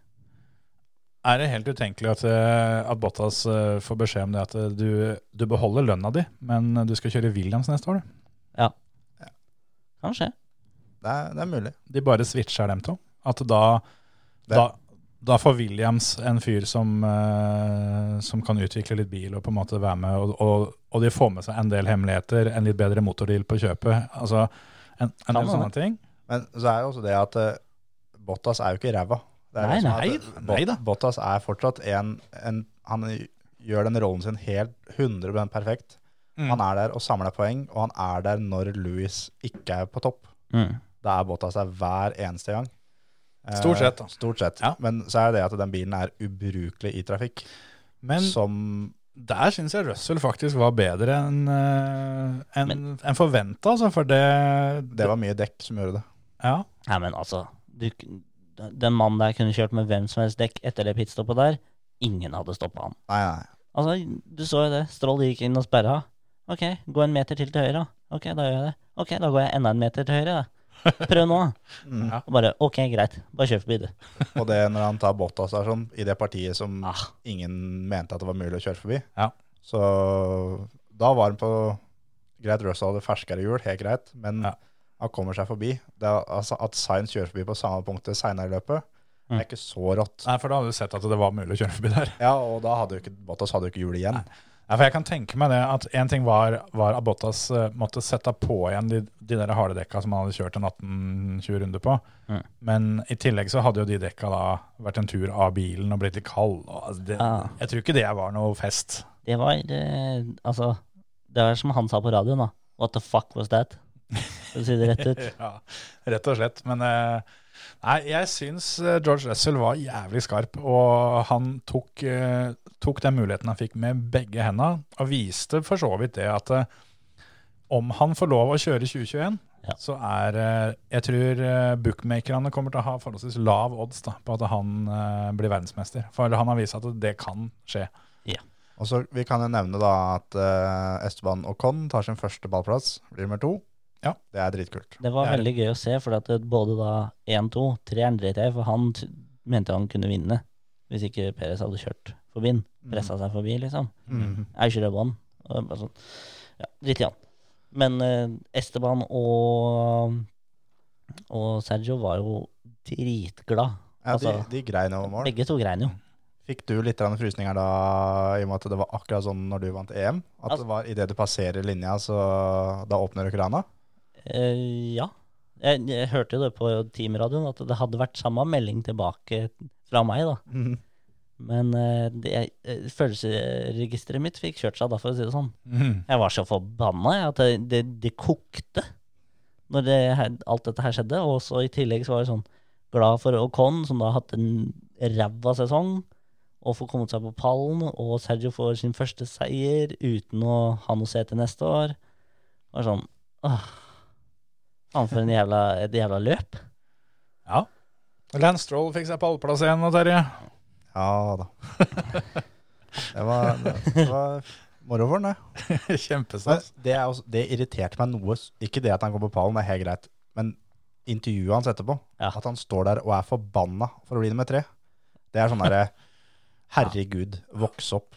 [SPEAKER 1] Er det helt utenkelig at, eh, at Bottas eh, får beskjed om det at eh, du, du beholder lønna di, men eh, du skal kjøre Williams neste år? du?
[SPEAKER 4] Kan skje.
[SPEAKER 5] det, er, det er mulig.
[SPEAKER 1] De bare switcher dem to. At da, da, da får Williams en fyr som, eh, som kan utvikle litt bil og på en måte være med, og, og, og de får med seg en del hemmeligheter, en litt bedre motordeal på kjøpet. Altså en, en del
[SPEAKER 4] man
[SPEAKER 1] sånne ting.
[SPEAKER 5] Men så er jo også det at eh, Bottas er jo ikke ræva. Det er
[SPEAKER 4] Nei,
[SPEAKER 5] jo sånn at,
[SPEAKER 1] nei,
[SPEAKER 5] eh,
[SPEAKER 1] nei da.
[SPEAKER 5] Bottas er fortsatt en, en Han gjør den rollen sin helt 100 perfekt.
[SPEAKER 1] Mm.
[SPEAKER 5] Han er der og samler poeng, og han er der når Louis ikke er på topp.
[SPEAKER 4] Mm.
[SPEAKER 5] Da er Bottas der hver eneste gang. Eh,
[SPEAKER 1] Stort sett, da.
[SPEAKER 5] Stort sett.
[SPEAKER 1] Ja.
[SPEAKER 5] Men så er det det at den bilen er ubrukelig i trafikk.
[SPEAKER 1] Men
[SPEAKER 5] som
[SPEAKER 1] Der syns jeg Russell faktisk var bedre enn eh, enn- enn forventa, altså, for det,
[SPEAKER 5] Det var mye dekk som gjorde det.
[SPEAKER 1] Ja.
[SPEAKER 4] Nei, men altså du, Den mannen der kunne kjørt med hvem som helst dekk etter det pitstoppet der. Ingen hadde stoppa han.
[SPEAKER 5] Nei, nei.
[SPEAKER 4] Altså, du så jo det. Stroll gikk inn og sperra. Ok, gå en meter til til høyre. da. Ok, da gjør jeg det. Ok, da går jeg enda en meter til høyre. da. Prøv nå, da.
[SPEAKER 1] Ja.
[SPEAKER 4] Og bare ok, greit. Bare kjør forbi, du.
[SPEAKER 5] Og det når han tar Bottas der sånn, i det partiet som
[SPEAKER 4] Ah.
[SPEAKER 5] ingen mente at det var mulig å kjøre forbi.
[SPEAKER 1] Ja.
[SPEAKER 5] Så da var han på Greit, Russell hadde ferskere hjul, helt greit, men
[SPEAKER 1] Ja.
[SPEAKER 5] han kommer seg forbi. Det er, altså, at Sainz kjører forbi på samme punktet seinere i løpet,
[SPEAKER 1] Mm.
[SPEAKER 5] Det er ikke så rått.
[SPEAKER 1] Nei, for da hadde du sett at det var mulig å kjøre forbi der.
[SPEAKER 5] Ja, og da hadde jo ikke Bottas hadde jo ikke hjul igjen.
[SPEAKER 1] Nei, for jeg kan tenke meg det at en ting var, var at Bottas eh, måtte sette på igjen de, de der harde dekka som han hadde kjørt en 18-20 runder på.
[SPEAKER 4] Mm.
[SPEAKER 1] Men i tillegg så hadde jo de dekka da vært en tur av bilen og blitt litt kald. Og, altså, det,
[SPEAKER 4] Ja.
[SPEAKER 1] Jeg tror ikke det var noe fest.
[SPEAKER 4] Det var eh, Altså, det var som han sa på radioen, da. What the fuck was that? For å si det rett ut.
[SPEAKER 1] [LAUGHS] Ja, rett og slett. Men eh, nei, jeg syns eh, George Russell var jævlig skarp, og han tok, eh, tok den muligheten han fikk med begge henda, og viste for så vidt det at eh, om han får lov å kjøre 2021,
[SPEAKER 4] Ja.
[SPEAKER 1] så er eh, Jeg tror eh, bookmakerne kommer til å ha forholdsvis lav odds da, på at han eh, blir verdensmester. For han har vist at det kan skje.
[SPEAKER 5] Og så Vi kan jo nevne da at eh, Esteban Ocon tar sin første ballplass, blir nummer to.
[SPEAKER 1] Ja.
[SPEAKER 5] Det er dritkult.
[SPEAKER 4] Det
[SPEAKER 1] Det
[SPEAKER 4] var
[SPEAKER 1] er
[SPEAKER 4] veldig gøy å se, for at det- både da 1-2, 3-eren dreit jeg i, for han t mente han kunne vinne hvis ikke Perez hadde kjørt forbi han. Pressa seg forbi, liksom.
[SPEAKER 5] Mhm.
[SPEAKER 4] I should have won. Og det er bare sånn, ja, litt igjen. Men eh, Esteban og, og Sergio var jo dritglad.
[SPEAKER 5] Ja, de,
[SPEAKER 4] Altså,
[SPEAKER 5] de grein over mål.
[SPEAKER 4] Begge to grein jo.
[SPEAKER 5] Fikk du litt grann frysninger da, i og med at det var akkurat sånn når du vant EM? At det var idet du passerer linja, så da åpner du krana?
[SPEAKER 4] Eh, ja. Jeg, jeg hørte jo det på teamradioen, at det hadde vært samme melding tilbake fra meg, da.
[SPEAKER 5] Mhm.
[SPEAKER 4] Men eh, det, eh, følelsesregisteret mitt fikk kjørt seg da, for å si det sånn. Jeg var så forbanna jeg, at det, det, det kokte når det, her- alt dette her skjedde. Og så i tillegg så var jeg sånn glad for Ocon, som da har hatt en ræva sesong, og får kommet seg på pallen. Og Sergio får sin første seier uten å ha noe å se til neste år. Og sånn åh, Faen, for en jævla, et jævla løp.
[SPEAKER 1] Ja. Lance Stroll fikk seg pallplass igjen, og Terje.
[SPEAKER 5] Ja da. Det var, det var moro for den, det. Men
[SPEAKER 1] Kjempestas.
[SPEAKER 5] det, er også, det irriterte meg noe. Ikke det at han går på pallen, det er helt greit. Men intervjuet hans etterpå,
[SPEAKER 4] Ja.
[SPEAKER 5] at han står der og er forbanna for å bli nummer tre, det er sånn derre Herregud, voks opp.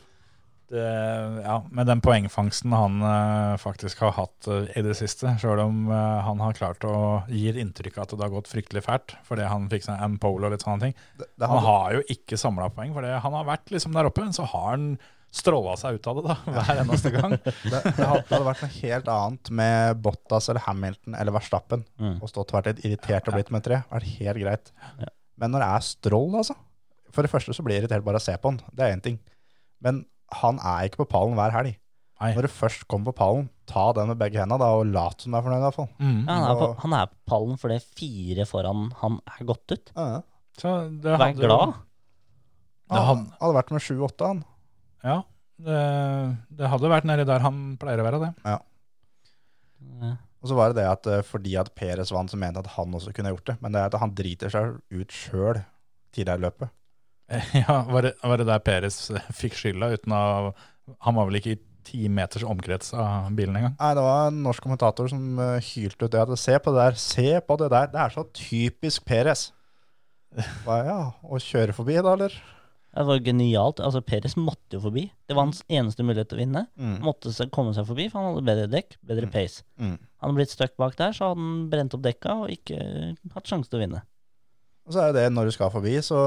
[SPEAKER 1] det, eh, ja, med den poengfangsten han eh, faktisk har hatt eh, i det siste, sjøl om eh, han har klart å gi et inntrykk av at det har gått fryktelig fælt fordi han fikk seg en pole og litt sånne ting.
[SPEAKER 5] Det, det
[SPEAKER 1] Han
[SPEAKER 5] hadde,
[SPEAKER 1] har jo ikke samla poeng, for det. han har vært liksom der oppe, så har han stråla seg ut av det da, [LAUGHS] hver eneste gang.
[SPEAKER 5] det, det hadde, det hadde vært noe helt annet med Bottas eller Hamilton eller Verstappen
[SPEAKER 4] Mm.
[SPEAKER 5] og stått og vært litt irritert og blitt nummer tre. Det er helt greit. Men når det er Stroll, altså For det første så blir jeg irritert bare av å se på han. Det er én ting. Men han er ikke på pallen hver helg.
[SPEAKER 1] Nei.
[SPEAKER 5] Når du først kommer på pallen, ta den med begge hendene da, og lat som du er fornøyd. i hvert fall.
[SPEAKER 1] Mm.
[SPEAKER 4] Ja, han, er på,
[SPEAKER 5] Og-
[SPEAKER 4] han er på pallen fordi fire foran han er gått ut.
[SPEAKER 5] Ja, ja.
[SPEAKER 1] Så det
[SPEAKER 4] Vær
[SPEAKER 1] hadde jo-
[SPEAKER 4] glad.
[SPEAKER 1] Det
[SPEAKER 5] Han
[SPEAKER 1] hadde,
[SPEAKER 5] hadde vært med 7-8, han.
[SPEAKER 1] ja, det, det hadde vært nedi der han pleier å være, det. [LAUGHS]
[SPEAKER 4] Ja.
[SPEAKER 5] Og så var det det at eh, fordi at Peres vant, så mente han at han også kunne gjort det. Men det er at han driter seg ut sjøl tidligere i løpet.
[SPEAKER 1] Ja, var det, var det der Peres eh, fikk skylda uten å Han var vel ikke i ti meters omkrets av bilen engang?
[SPEAKER 5] Nei, det var en norsk kommentator som eh, hylte ut det at se på det der, se på det der. Det er så typisk Peres. Hva, ja, å kjøre forbi da, eller?
[SPEAKER 4] Det var genialt. Altså, Peres måtte jo forbi. Det var hans eneste mulighet til å vinne.
[SPEAKER 5] Mm.
[SPEAKER 4] Måtte se- komme seg forbi, for han hadde bedre dekk, bedre pace.
[SPEAKER 5] Mm.
[SPEAKER 4] Han hadde blitt stuck bak der, så hadde han brent opp dekka og ikke hatt sjanse til å vinne.
[SPEAKER 5] Og så er det det når du skal forbi, så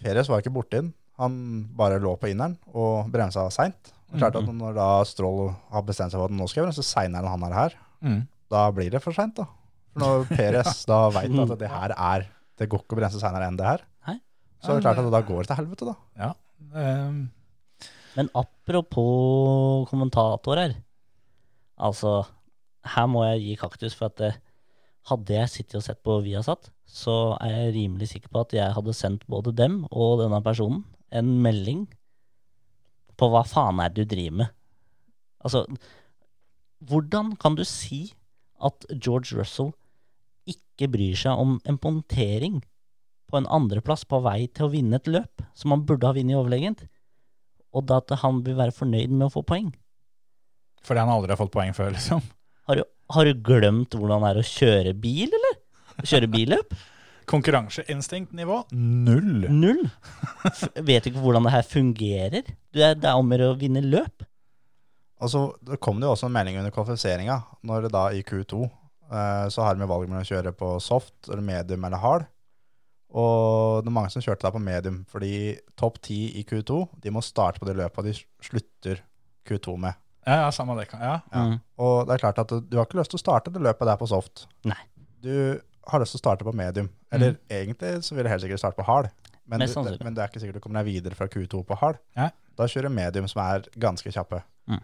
[SPEAKER 5] Perez var ikke borti den. Han bare lå på inneren og bremsa seint. Og Klart
[SPEAKER 4] Mhm.
[SPEAKER 5] at når da Stroll har bestemt seg for at nå skal jeg bremse seinere enn han er her,
[SPEAKER 1] Mm.
[SPEAKER 5] da blir det for seint, da. For
[SPEAKER 4] [LAUGHS]
[SPEAKER 5] når Perez da veit at det her er Det går ikke å bremse seinere enn det her.
[SPEAKER 4] Mm. Nei.
[SPEAKER 5] Så er det klart at da går det til helvete, da.
[SPEAKER 1] Ja. ehm,
[SPEAKER 4] Men apropos kommentatorer Altså, her må jeg gi kaktus, for at eh, hadde jeg sittet og sett på Viasat, så er jeg rimelig sikker på at jeg hadde sendt både dem og denne personen en melding på hva faen er det du driver med. Altså, hvordan kan du si at George Russell ikke bryr seg om en pontering på en andreplass på vei til å vinne et løp som han burde ha vunnet overlegent? og da at han vil være fornøyd med å få poeng.
[SPEAKER 1] fordi han aldri har fått poeng før, liksom.
[SPEAKER 4] Har du, har du glemt hvordan det er å kjøre bil, eller? Kjøre billøp?
[SPEAKER 1] Konkurranseinstinktnivå null.
[SPEAKER 4] Null. F vet du ikke hvordan det her fungerer? Du er, det er om å gjøre å vinne løp.
[SPEAKER 5] Og så Altså, det kom det jo også en melding under kvalifiseringa, når det da i Q2 eh, så har vi valget mellom å kjøre på soft, eller medium eller hard. Og det er mange som kjørte der på medium, fordi topp 10 i Q2, de må starte på det løpet de slutter Q2 med.
[SPEAKER 1] Ja, ja, samme det. kan- Ja.
[SPEAKER 5] Ja.
[SPEAKER 4] Mm.
[SPEAKER 5] Og det er klart at du, du har ikke lyst til å starte det løpet der på soft.
[SPEAKER 4] Nei. Mm.
[SPEAKER 5] Du har lyst til å starte på medium. Eller egentlig så vil du helt sikkert starte på hard. Men,
[SPEAKER 4] Mest
[SPEAKER 5] du,
[SPEAKER 4] sannsynlig.
[SPEAKER 5] men det er ikke sikkert du kommer deg videre fra Q2 på hard.
[SPEAKER 1] Nei.
[SPEAKER 5] Da kjører medium som er ganske kjappe.
[SPEAKER 4] Mm.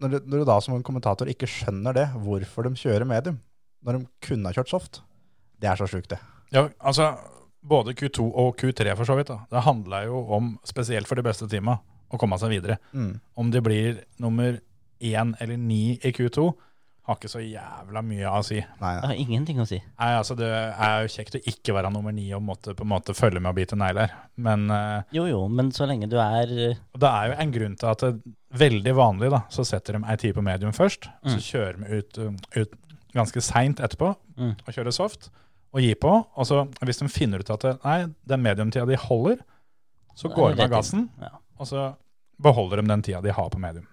[SPEAKER 5] Når, du, når du da som en kommentator ikke skjønner det, hvorfor de kjører medium, når de kunne ha kjørt soft, det er så sjukt det.
[SPEAKER 1] Ja, altså både Q2 og Q3 for så vidt. da. Det handla jo om, spesielt for de beste teama, å komme seg videre.
[SPEAKER 5] Mm.
[SPEAKER 1] Om de blir nummer én eller ni i Q2, har ikke så jævla mye å si.
[SPEAKER 5] Nei,
[SPEAKER 4] Jeg
[SPEAKER 5] nei.
[SPEAKER 4] har ingenting å si.
[SPEAKER 1] Nei, altså Det er jo kjekt å ikke være nummer ni og måtte, på en måte følge med og bite negler. Men eh,
[SPEAKER 4] Jo jo, men så lenge du er eh,
[SPEAKER 1] og det er jo en grunn til at det, veldig vanlig da, så setter de ei tid på medium først. og Så kjører de ut, um, ut ganske seint etterpå
[SPEAKER 4] Mm.
[SPEAKER 1] og kjører soft og gir på. Og så hvis de finner ut at det, nei, den mediumtida de holder, så
[SPEAKER 4] Da er
[SPEAKER 1] går
[SPEAKER 4] det
[SPEAKER 1] de av
[SPEAKER 4] rett inn.
[SPEAKER 1] gassen, og så beholder de den tida de har på medium.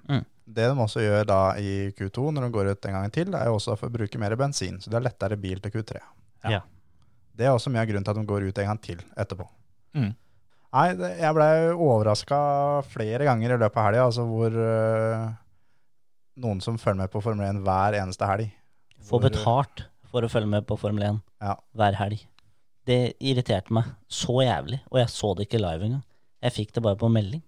[SPEAKER 5] Det de også gjør da i Q2, når de går ut en gang til, er jo også å bruke mer bensin. Så det er lettere bil til Q3.
[SPEAKER 1] Ja.
[SPEAKER 4] Ja.
[SPEAKER 5] Det er også mye av grunnen til at de går ut en gang til etterpå.
[SPEAKER 1] Mm.
[SPEAKER 5] Nei, det, jeg ble overraska flere ganger i løpet av helga, altså hvor øh, noen som følger med på Formel 1 hver eneste helg
[SPEAKER 4] Få
[SPEAKER 5] hvor-
[SPEAKER 4] betalt for å følge med på Formel 1
[SPEAKER 5] Ja.
[SPEAKER 4] hver helg. Det irriterte meg så jævlig, og jeg så det ikke live engang. Jeg fikk det bare på melding.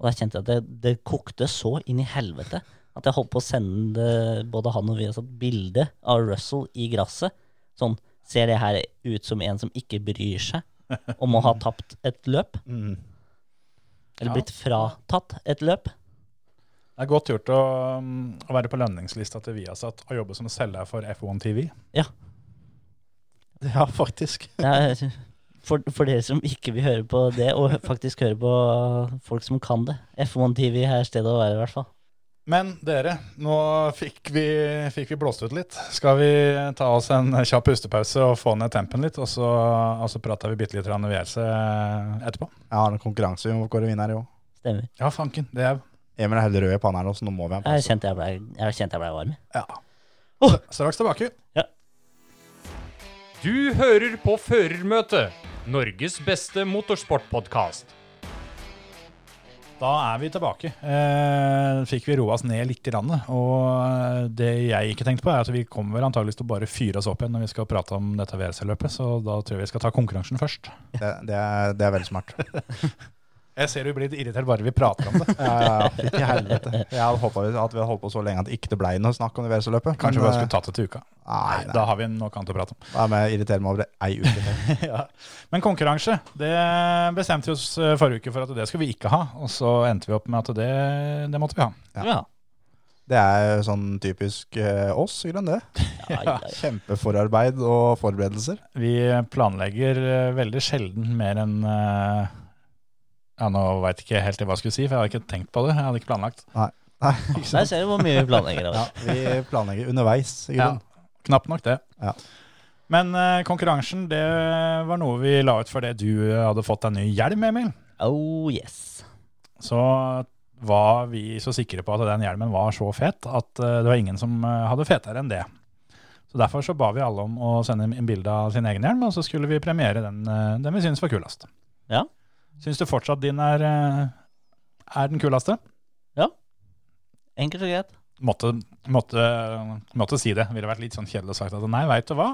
[SPEAKER 4] Og da kjente jeg at det, det kokte så inn i helvete at jeg holdt på å sende både han og vi et bilde av Russell i gresset. Sånn, ser det her ut som en som ikke bryr seg om å ha tapt et løp?
[SPEAKER 5] Mm.
[SPEAKER 1] Ja.
[SPEAKER 4] Eller blitt fratatt et løp?
[SPEAKER 1] Det er godt gjort å, um, å være på lønningslista til Viasat og jobbe som selger for F1 TV.
[SPEAKER 5] Ja, faktisk.
[SPEAKER 4] Det er, for, for dere som ikke vil høre på det, og faktisk høre på folk som kan det. F1 TV er stedet å være, i hvert fall.
[SPEAKER 1] Men dere, nå fikk vi, fikk vi blåst ut litt. Skal vi eh, ta oss en kjapp pustepause og få ned tempen litt, og så, og så prater vi bitte litt grann VRC etterpå?
[SPEAKER 5] Jeg har en konkurranse vi må kåre vinner i òg.
[SPEAKER 4] Stemmer.
[SPEAKER 1] Ja, fanken. Det er
[SPEAKER 5] Emil er helt rød i panna her nå, så nå må vi ha en
[SPEAKER 4] Jeg
[SPEAKER 5] pause.
[SPEAKER 4] kjente jeg ble, jeg kjente jeg ble varm.
[SPEAKER 1] ja. Straks tilbake.
[SPEAKER 6] Du hører på Førermøtet, Norges beste motorsportpodkast.
[SPEAKER 1] Da er vi tilbake. Eh, fikk vi roa oss ned litt. i landet, Og det jeg ikke tenkte på, er at vi kommer vel antageligvis til å bare fyre oss opp igjen når vi skal prate om dette VRC-løpet, så da tror jeg vi skal ta konkurransen først.
[SPEAKER 5] Det, det, er, det er
[SPEAKER 1] [LAUGHS]
[SPEAKER 5] veldig smart.
[SPEAKER 1] Jeg ser du blir litt irritert bare vi prater
[SPEAKER 5] [LAUGHS]
[SPEAKER 1] om det.
[SPEAKER 5] Ja, fytti helvete. Jeg hadde håpa at vi hadde holdt på så lenge at det ikke blei noe snakk om det VRC-løpet.
[SPEAKER 1] Kanskje vi
[SPEAKER 5] Men, eh,
[SPEAKER 1] bare skulle tatt det til uka.
[SPEAKER 5] Nei, nei.
[SPEAKER 1] Da har vi nok annet å prate om.
[SPEAKER 5] [LAUGHS] Da er jeg irriterer meg over det ei
[SPEAKER 1] [LAUGHS]
[SPEAKER 5] uke til.
[SPEAKER 1] ja. Men konkurranse, det bestemte vi oss eh, forrige uke for at det skulle vi ikke ha. Og så endte vi opp med at det, det måtte vi ha.
[SPEAKER 5] Ja.
[SPEAKER 4] Ja.
[SPEAKER 5] Det er jo sånn typisk eh, oss, grønn det.
[SPEAKER 4] Ja, ja, ja.
[SPEAKER 5] Kjempeforarbeid og
[SPEAKER 1] [LAUGHS]
[SPEAKER 5] forberedelser.
[SPEAKER 1] Vi planlegger eh, veldig sjelden mer enn eh, Ja, nå veit ikke jeg helt hva jeg skulle si, for jeg hadde ikke tenkt på det. Jeg hadde ikke planlagt.
[SPEAKER 5] Nei, ikke
[SPEAKER 4] Der
[SPEAKER 5] sant?
[SPEAKER 4] ser du hvor mye vi planlegger.
[SPEAKER 5] Ja,
[SPEAKER 4] Av.
[SPEAKER 5] vi planlegger underveis, i grunnen.
[SPEAKER 1] Knapt nok det.
[SPEAKER 5] Ja.
[SPEAKER 1] Men eh, konkurransen, det var noe vi la ut fordi du eh, hadde fått deg ny hjelm, Emil.
[SPEAKER 4] Oh yes.
[SPEAKER 1] Så var vi så sikre på at den hjelmen var så fet at eh, det var ingen som eh, hadde fetere enn det. Så derfor så ba vi alle om å sende en bilde av sin egen hjelm, og så skulle vi premiere den, eh, den vi syns var kulest.
[SPEAKER 4] Ja.
[SPEAKER 1] Syns du fortsatt din er, eh, er den kuleste?
[SPEAKER 4] Enkelt og greit.
[SPEAKER 1] Måtte, måtte, måtte si det. Ville vært litt sånn kjedelig å sagt at nei, veit du hva.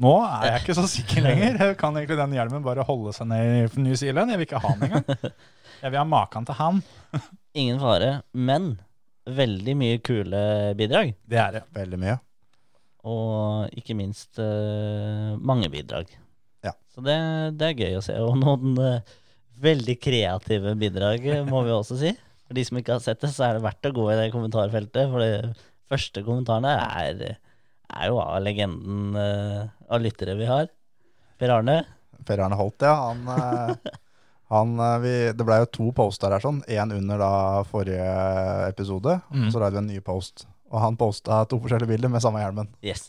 [SPEAKER 1] Nå er jeg ikke så sikker lenger. Jeg Kan egentlig den hjelmen bare holde seg ned i New Zealand? Jeg vil ikke ha den engang. Jeg vil ha maken til han.
[SPEAKER 4] Ingen fare. Men veldig mye kule bidrag.
[SPEAKER 1] Det er det.
[SPEAKER 5] Veldig mye.
[SPEAKER 4] Og ikke minst eh, mange bidrag.
[SPEAKER 5] Ja.
[SPEAKER 4] Så det, det er gøy å se. Og noen eh, veldig kreative bidrag, eh, må vi også si. For de som ikke har sett det, så er det verdt å gå i det kommentarfeltet. For de første kommentarene er, er jo av legenden eh, av lyttere vi har. Per Arne.
[SPEAKER 5] Per Arne Holt, ja. Han, eh, han, eh, vi, det ble jo to poster her, sånn. Én under da forrige episode, og så lagde vi en ny post. Og han posta to forskjellige bilder med samme hjelmen.
[SPEAKER 4] Yes.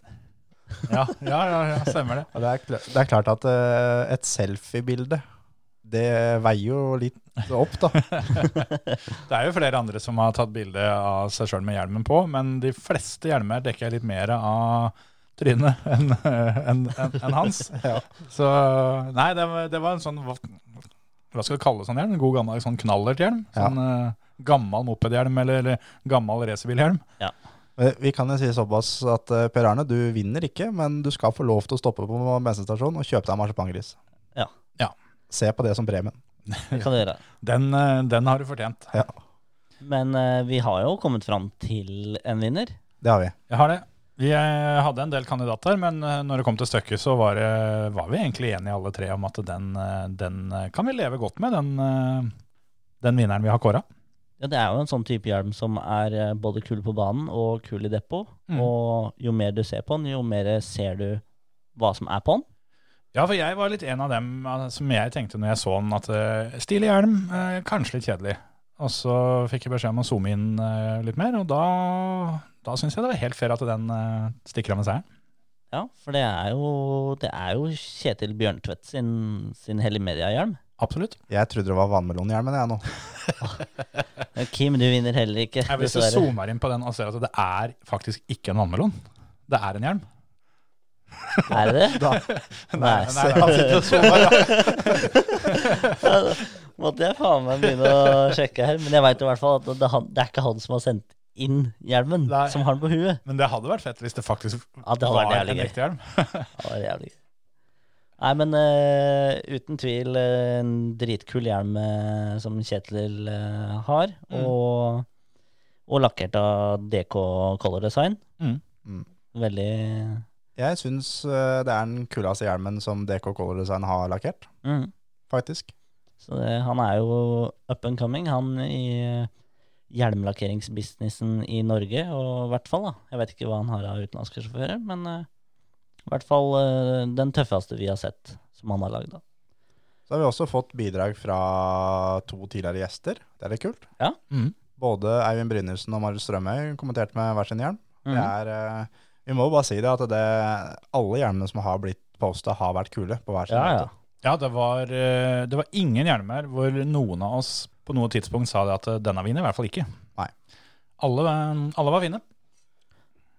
[SPEAKER 1] Ja, ja, ja, ja stemmer det.
[SPEAKER 5] Og det er, kl- det er klart at eh, et selfie-bilde, det veier jo litt opp, da.
[SPEAKER 1] Det er jo flere andre som har tatt bilde av seg sjøl med hjelmen på, men de fleste hjelmer dekker litt mer av trynet [LAUGHS] enn enn- enn- enn hans. Så nei, det var, det var en sånn hva, hva skal vi kalle sånn hjelm? En god gammel sånn knallerthjelm?
[SPEAKER 5] Ja.
[SPEAKER 1] Sånn eh, gammel mopedhjelm eller, eller gammel racerbilhjelm?
[SPEAKER 5] Eh, Vi kan jo si såpass at eh, Per Arne, du vinner ikke, men du skal få lov til å stoppe på bensinstasjonen og kjøpe deg en marsipangris.
[SPEAKER 4] Ja.
[SPEAKER 1] Ja.
[SPEAKER 5] Se på det som premien.
[SPEAKER 4] Det kan du gjøre.
[SPEAKER 1] Den, eh, den har du fortjent.
[SPEAKER 5] Ja,
[SPEAKER 4] Men eh, vi har jo kommet fram til en vinner.
[SPEAKER 5] det har vi.
[SPEAKER 1] Jeg har det. Vi eh, hadde en del kandidater, men eh, når det kom til stykket, så var, det, var vi egentlig enige alle tre om at den, eh, den eh, kan vi leve godt med, den, eh, den vinneren vi har kåra.
[SPEAKER 4] Ja, det er jo en sånn type hjelm som er eh, både kul på banen og kul i depot.
[SPEAKER 1] Mm.
[SPEAKER 4] Og jo mer du ser på den, jo mer ser du hva som er på den.
[SPEAKER 1] Ja, for jeg var litt en av dem eh, som jeg tenkte når jeg så den, at eh, stilig hjelm, eh, kanskje litt kjedelig. Og så fikk jeg beskjed om å zoome inn eh, litt mer, og da, da syns jeg det var helt fair at den eh, stikker av med seieren.
[SPEAKER 4] Ja, for det er jo, det er jo Kjetil Bjørntvedt sin, sin Helimedia-hjelm.
[SPEAKER 1] Absolutt.
[SPEAKER 5] Jeg trodde det var
[SPEAKER 4] [LAUGHS]
[SPEAKER 5] vannmelonhjelmen jeg nå.
[SPEAKER 4] Ja, Kim, du vinner heller ikke.
[SPEAKER 1] Nei, Hvis du
[SPEAKER 4] dessverre.
[SPEAKER 1] zoomer inn på den og ser at det er faktisk ikke en vannmelon, det er en hjelm.
[SPEAKER 4] Er det det?
[SPEAKER 5] Da,
[SPEAKER 4] Nei,
[SPEAKER 1] nei,
[SPEAKER 4] så
[SPEAKER 1] nei, altså,
[SPEAKER 5] han
[SPEAKER 4] [LAUGHS]
[SPEAKER 5] sitter og sover, ja.
[SPEAKER 4] måtte jeg faen meg begynne å sjekke her. Men jeg veit i hvert fall at det, er han- det er ikke han som har sendt inn hjelmen,
[SPEAKER 1] Nei.
[SPEAKER 4] som har den på huet.
[SPEAKER 1] Men det hadde vært fett hvis det faktisk
[SPEAKER 4] Ja, det hadde
[SPEAKER 1] var
[SPEAKER 4] vært jævlig
[SPEAKER 1] en
[SPEAKER 4] gøy.
[SPEAKER 1] ekte hjelm.
[SPEAKER 4] Ja, det var jævlig gøy. Nei, men eh, uten tvil eh, en dritkul hjelm eh, som Kjetil eh, har, og, og lakkert av DK Color Design.
[SPEAKER 1] Mm.
[SPEAKER 5] Mm.
[SPEAKER 4] Veldig
[SPEAKER 5] Jeg syns eh, det er den kuleste hjelmen som DK Color Design har lakkert,
[SPEAKER 4] mm.
[SPEAKER 5] faktisk.
[SPEAKER 4] Så det, han er jo up and coming, han i hjelmlakkeringsbusinessen i Norge, og i hvert fall, da. Jeg vet ikke hva han har av utenlandske sjåfører, men eh, i hvert fall eh, den tøffeste vi har sett som han har lagd, da.
[SPEAKER 5] Så har vi også fått bidrag fra to tidligere gjester. Det er litt kult.
[SPEAKER 4] Ja.
[SPEAKER 1] Mhm.
[SPEAKER 5] Både Eivind Brynildsen og Marius Strømøy kommenterte med hver sin hjelm.
[SPEAKER 4] Mhm.
[SPEAKER 5] Det er, eh, vi må jo bare si det at det, alle hjelmene som har blitt posta, har vært kule på hver sin
[SPEAKER 4] Ja, ja.
[SPEAKER 5] måte.
[SPEAKER 1] Ja, det var, eh, det var ingen hjelmer hvor noen av oss på noe tidspunkt sa det at eh, denne vinner, i hvert fall ikke.
[SPEAKER 5] Nei.
[SPEAKER 1] Alle, var- alle var fine.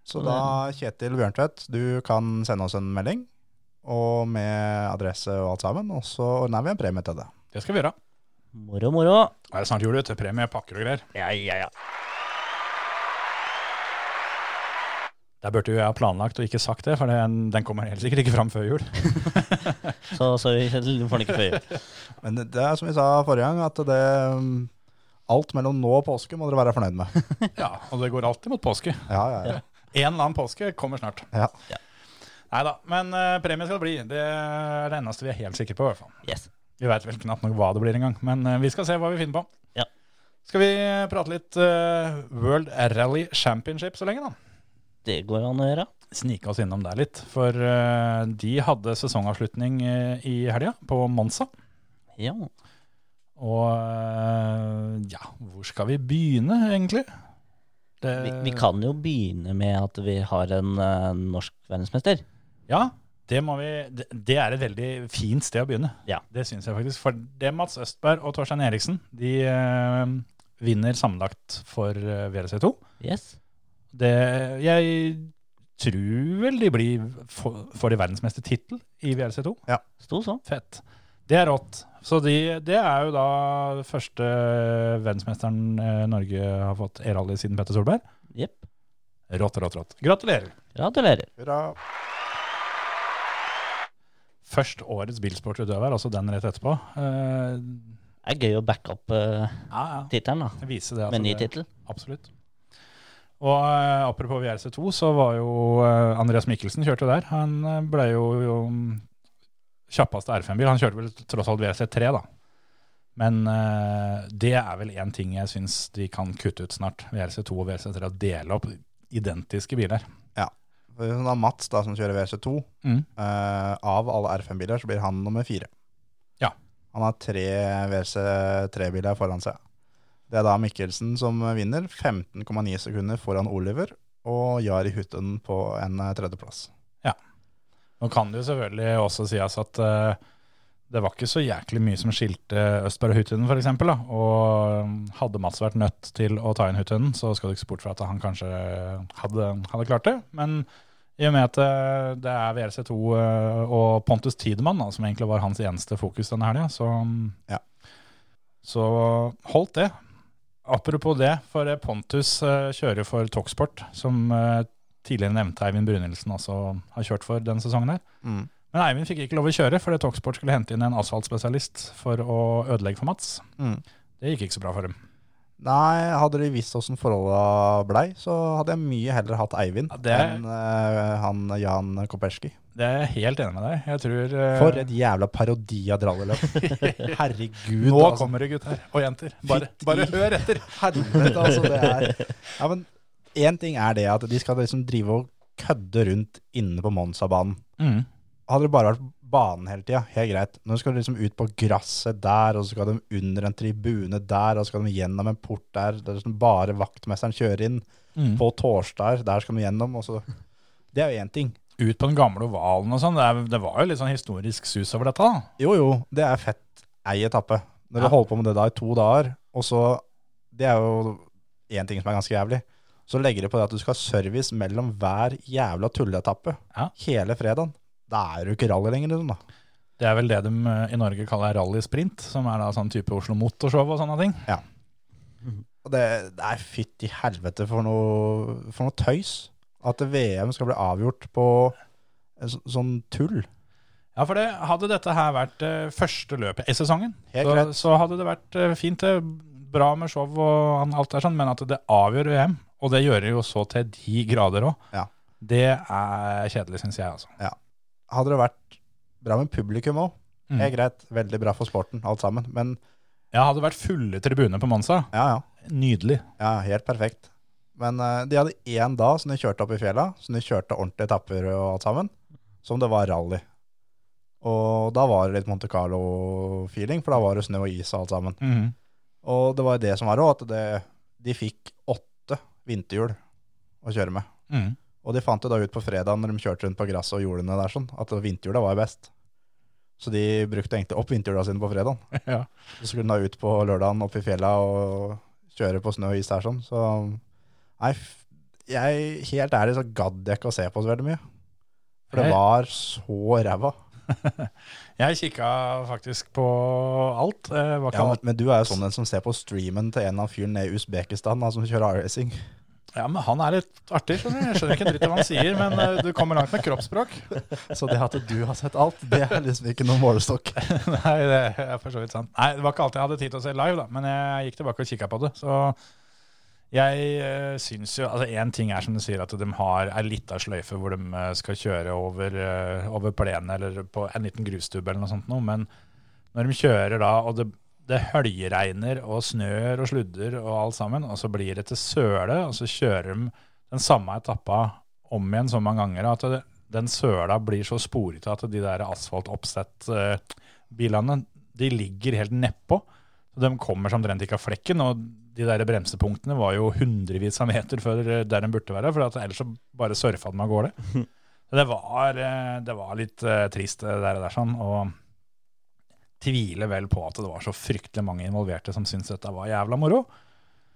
[SPEAKER 5] Så da, Kjetil Bjørntvedt, du kan sende oss en melding, og med adresse og alt sammen, og så ordner vi en premie til det.
[SPEAKER 1] Det skal vi gjøre.
[SPEAKER 4] Moro, moro.
[SPEAKER 1] Nå er det snart jul, vet du. Premie, pakker og greier.
[SPEAKER 4] Ja, ja, ja.
[SPEAKER 1] Der burde jo jeg ha planlagt og ikke sagt det, for den, den kommer helt sikkert ikke fram før jul.
[SPEAKER 4] Så sorry, Kjetil, du får den ikke før jul.
[SPEAKER 5] Men det det er som vi sa forrige gang, at det mm, Alt mellom nå og påske må dere være fornøyd med.
[SPEAKER 1] [LAUGHS]
[SPEAKER 5] [LAUGHS]
[SPEAKER 1] Ja, og det går alltid mot påske.
[SPEAKER 5] Ja, ja, ja.
[SPEAKER 1] En eller annen påske kommer snart.
[SPEAKER 5] Ja.
[SPEAKER 4] Ja.
[SPEAKER 1] Nei da, men eh, premie skal det bli. Det er det eneste vi er helt sikre på, i hvert fall.
[SPEAKER 4] Yes.
[SPEAKER 1] Vi veit vel knapt nok hva det blir engang, men eh, vi skal se hva vi finner på.
[SPEAKER 4] Ja.
[SPEAKER 1] Skal vi eh, prate litt eh, World Rally Championship så lenge, da?
[SPEAKER 4] Det går an å gjøre.
[SPEAKER 1] Snike oss innom der litt. For eh, de hadde sesongavslutning eh, i helga, på Monza.
[SPEAKER 4] Ja.
[SPEAKER 1] Og eh, ja, hvor skal vi begynne, egentlig? Det-
[SPEAKER 4] Vi, vi kan jo begynne med at vi har en eh, norsk verdensmester.
[SPEAKER 1] Ja, det, må vi, det, det er et veldig fint sted å begynne.
[SPEAKER 4] Ja.
[SPEAKER 1] Det syns jeg faktisk. For det er Mats Østberg og Torstein Eriksen. De eh, vinner sammenlagt for eh, VLC2.
[SPEAKER 4] Yes.
[SPEAKER 1] Det, jeg tror vel de blir for, for de verdensmestertittel i VLC2.
[SPEAKER 4] Sto sånn.
[SPEAKER 1] Fett. Det er rått. Så de, det er jo da første verdensmesteren eh, Norge har fått E-rally siden Petter Solberg.
[SPEAKER 4] Jepp.
[SPEAKER 1] Rått, rått, rått. Gratulerer.
[SPEAKER 4] Gratulerer.
[SPEAKER 5] Hurra.
[SPEAKER 1] Først årets bilsportutøver, altså den rett etterpå. Eh,
[SPEAKER 4] Det er gøy å backe opp uh,
[SPEAKER 1] ja, ja.
[SPEAKER 4] tittelen, da.
[SPEAKER 1] Vise det. at
[SPEAKER 4] Med en ny
[SPEAKER 1] det-
[SPEAKER 4] tittel.
[SPEAKER 1] Absolutt. Og eh, apropos VRC2, så var jo eh, Andreas Mikkelsen kjørte der. Han eh, ble jo, jo mm, kjappeste R5-bil. Han kjørte vel tross alt VRC3, da. Men eh, det er vel én ting jeg syns de kan kutte ut snart. VRC2 og VRC3. og Dele opp identiske biler.
[SPEAKER 5] For sånn da Mats, da, som kjører VC2,
[SPEAKER 1] Mm.
[SPEAKER 5] eh, av alle R5-biler, så blir han nummer fire.
[SPEAKER 1] Ja.
[SPEAKER 5] Han har tre VC3-biler foran seg. Det er da Mikkelsen som vinner, 15,9 sekunder foran Oliver, og Jari Hutten på en eh, tredjeplass.
[SPEAKER 1] Nå kan det jo selvfølgelig også sies at eh, det var ikke så jæklig mye som skilte Østberg og Huttunen f.eks. Og mm, hadde Mats vært nødt til å ta inn Huttunen, så skal du ikke se bort fra at han kanskje hadde, hadde klart det. Men I og med at eh, det er VRC2 eh, og Pontus Tidemann, da, som egentlig var hans eneste fokus denne helga, så, mm,
[SPEAKER 5] Ja.
[SPEAKER 1] så holdt det. Apropos det, for eh, Pontus eh, kjører for Toksport, som eh, tidligere nevnte Eivind Brunhildsen også har kjørt for denne sesongen. her.
[SPEAKER 5] Mm.
[SPEAKER 1] Men Eivind fikk ikke lov å kjøre, fordi Toksport skulle hente inn en asfaltspesialist for å ødelegge for Mats.
[SPEAKER 5] Mm.
[SPEAKER 1] Det gikk ikke så bra for dem.
[SPEAKER 5] Nei, hadde de visst åssen forholda blei, så hadde jeg mye heller hatt Eivind
[SPEAKER 1] Ja, det er-
[SPEAKER 5] enn eh, han Jan Kopeski.
[SPEAKER 1] Det er jeg helt enig med deg. Jeg tror eh,
[SPEAKER 5] For et jævla parodi av
[SPEAKER 1] [LAUGHS]
[SPEAKER 5] dralleløp. Herregud.
[SPEAKER 1] Nå
[SPEAKER 5] altså.
[SPEAKER 1] kommer det gutter og jenter. Bare, bare hør etter!
[SPEAKER 5] Helvete, altså. Det er Ja, men én ting er det at de skal liksom drive og kødde rundt inne på Monsa-banen.
[SPEAKER 1] Mm.
[SPEAKER 5] Hadde det bare vært banen hele tida, helt greit. Nå skal de liksom ut på gresset der, og så skal de under en tribune der, og så skal de gjennom en port der. Det er liksom bare vaktmesteren kjører inn.
[SPEAKER 1] Mm.
[SPEAKER 5] På torsdager, der skal de gjennom, og så Det er jo én ting.
[SPEAKER 1] ut på den gamle ovalen og sånn. Det, er- det var jo litt sånn historisk sus over dette, da.
[SPEAKER 5] Jo, jo, det er fett ei etappe. Når du
[SPEAKER 1] Ja.
[SPEAKER 5] holder på med det da i to dager, og så Det er jo én ting som er ganske jævlig. Så legger de på det at du skal ha service mellom hver jævla tulleetappe
[SPEAKER 1] Ja.
[SPEAKER 5] hele fredagen. Da er du ikke rally lenger, liksom, da.
[SPEAKER 1] Det er vel det de eh, i Norge kaller rallysprint, som er da sånn type Oslo Motorshow og sånne ting.
[SPEAKER 5] Og det, det er fytti helvete for noe, for noe tøys. At VM skal bli avgjort på en så, sånn tull.
[SPEAKER 1] Ja, for det, hadde dette her vært eh, første løpet i sesongen,
[SPEAKER 5] Helt
[SPEAKER 1] så,
[SPEAKER 5] greit.
[SPEAKER 1] så hadde det vært eh, fint. Det, bra med show og alt der sånn, men at det avgjør VM, og det gjør det jo så til de grader òg,
[SPEAKER 5] Ja.
[SPEAKER 1] det er kjedelig, syns jeg, altså.
[SPEAKER 5] Hadde det vært bra med publikum òg,
[SPEAKER 1] Mm.
[SPEAKER 5] helt greit. Veldig bra for sporten, alt sammen. Men
[SPEAKER 1] Ja, hadde det vært fulle tribuner på Monsa,
[SPEAKER 5] ja, ja.
[SPEAKER 1] nydelig.
[SPEAKER 5] Ja, helt perfekt. Men eh, de hadde én dag som de kjørte opp i fjella, som de kjørte ordentlige etapper og alt sammen, som det var rally. Og da var det litt Monte Carlo-feeling, for da var det snø og is og alt sammen.
[SPEAKER 1] Mhm.
[SPEAKER 5] Og det var det som var òg, at det, de fikk åtte vinterhjul å kjøre med.
[SPEAKER 1] Mhm.
[SPEAKER 5] Og de fant det da ut på fredag når de kjørte rundt på gresset og hjulene der sånn, at vinterhjula var best. Så de brukte egentlig opp vinterhjula sine på fredagen.
[SPEAKER 1] [LAUGHS] Ja.
[SPEAKER 5] Så skulle den da ut på lørdagen opp i fjella og kjøre på snø og is der sånn. Så nei, f- jeg, helt ærlig så gadd jeg ikke å se på så veldig mye. For
[SPEAKER 1] Nei.
[SPEAKER 5] det var så ræva.
[SPEAKER 1] Jeg kikka faktisk på alt. eh, Var ikke
[SPEAKER 5] Ja,
[SPEAKER 1] alle-
[SPEAKER 5] men, men du er jo sånn en som ser på streamen til en av fyren nede i Usbekistan da, som kjører iRacing.
[SPEAKER 1] Ja, men han er litt artig, skjønner du. Jeg skjønner ikke en dritt av hva han sier, men eh, du kommer langt med kroppsspråk.
[SPEAKER 5] Så det at du har sett alt, det er liksom ikke noen målestokk.
[SPEAKER 1] [LAUGHS] Nei, det er for så vidt sant. Nei, det var ikke alt jeg hadde tid til å se live, da, men jeg gikk tilbake og kikka på det. Så jeg uh, syns jo Altså, én ting er som du sier, at de har ei lita sløyfe hvor de eh, skal kjøre over, eh, over plenen eller på en liten grustubbe eller noe sånt noe, men når de kjører da, og det det høljeregner og snør og sludder og alt sammen, og så blir det til søle, og så kjører de den samme etappa om igjen så mange ganger at det, den søla blir så sporete at de der eh, asfaltoppsett-bilene de ligger helt nedpå. Så de kommer som omtrent ikke av flekken, og de der bremsepunktene var jo hundrevis av meter før eh, der de burde være, for at ellers så bare surfa de av gårde. Så Det var, eh, det var litt eh, trist, det der, der sånn, og tviler vel på at det var så fryktelig mange involverte som syntes dette var jævla moro.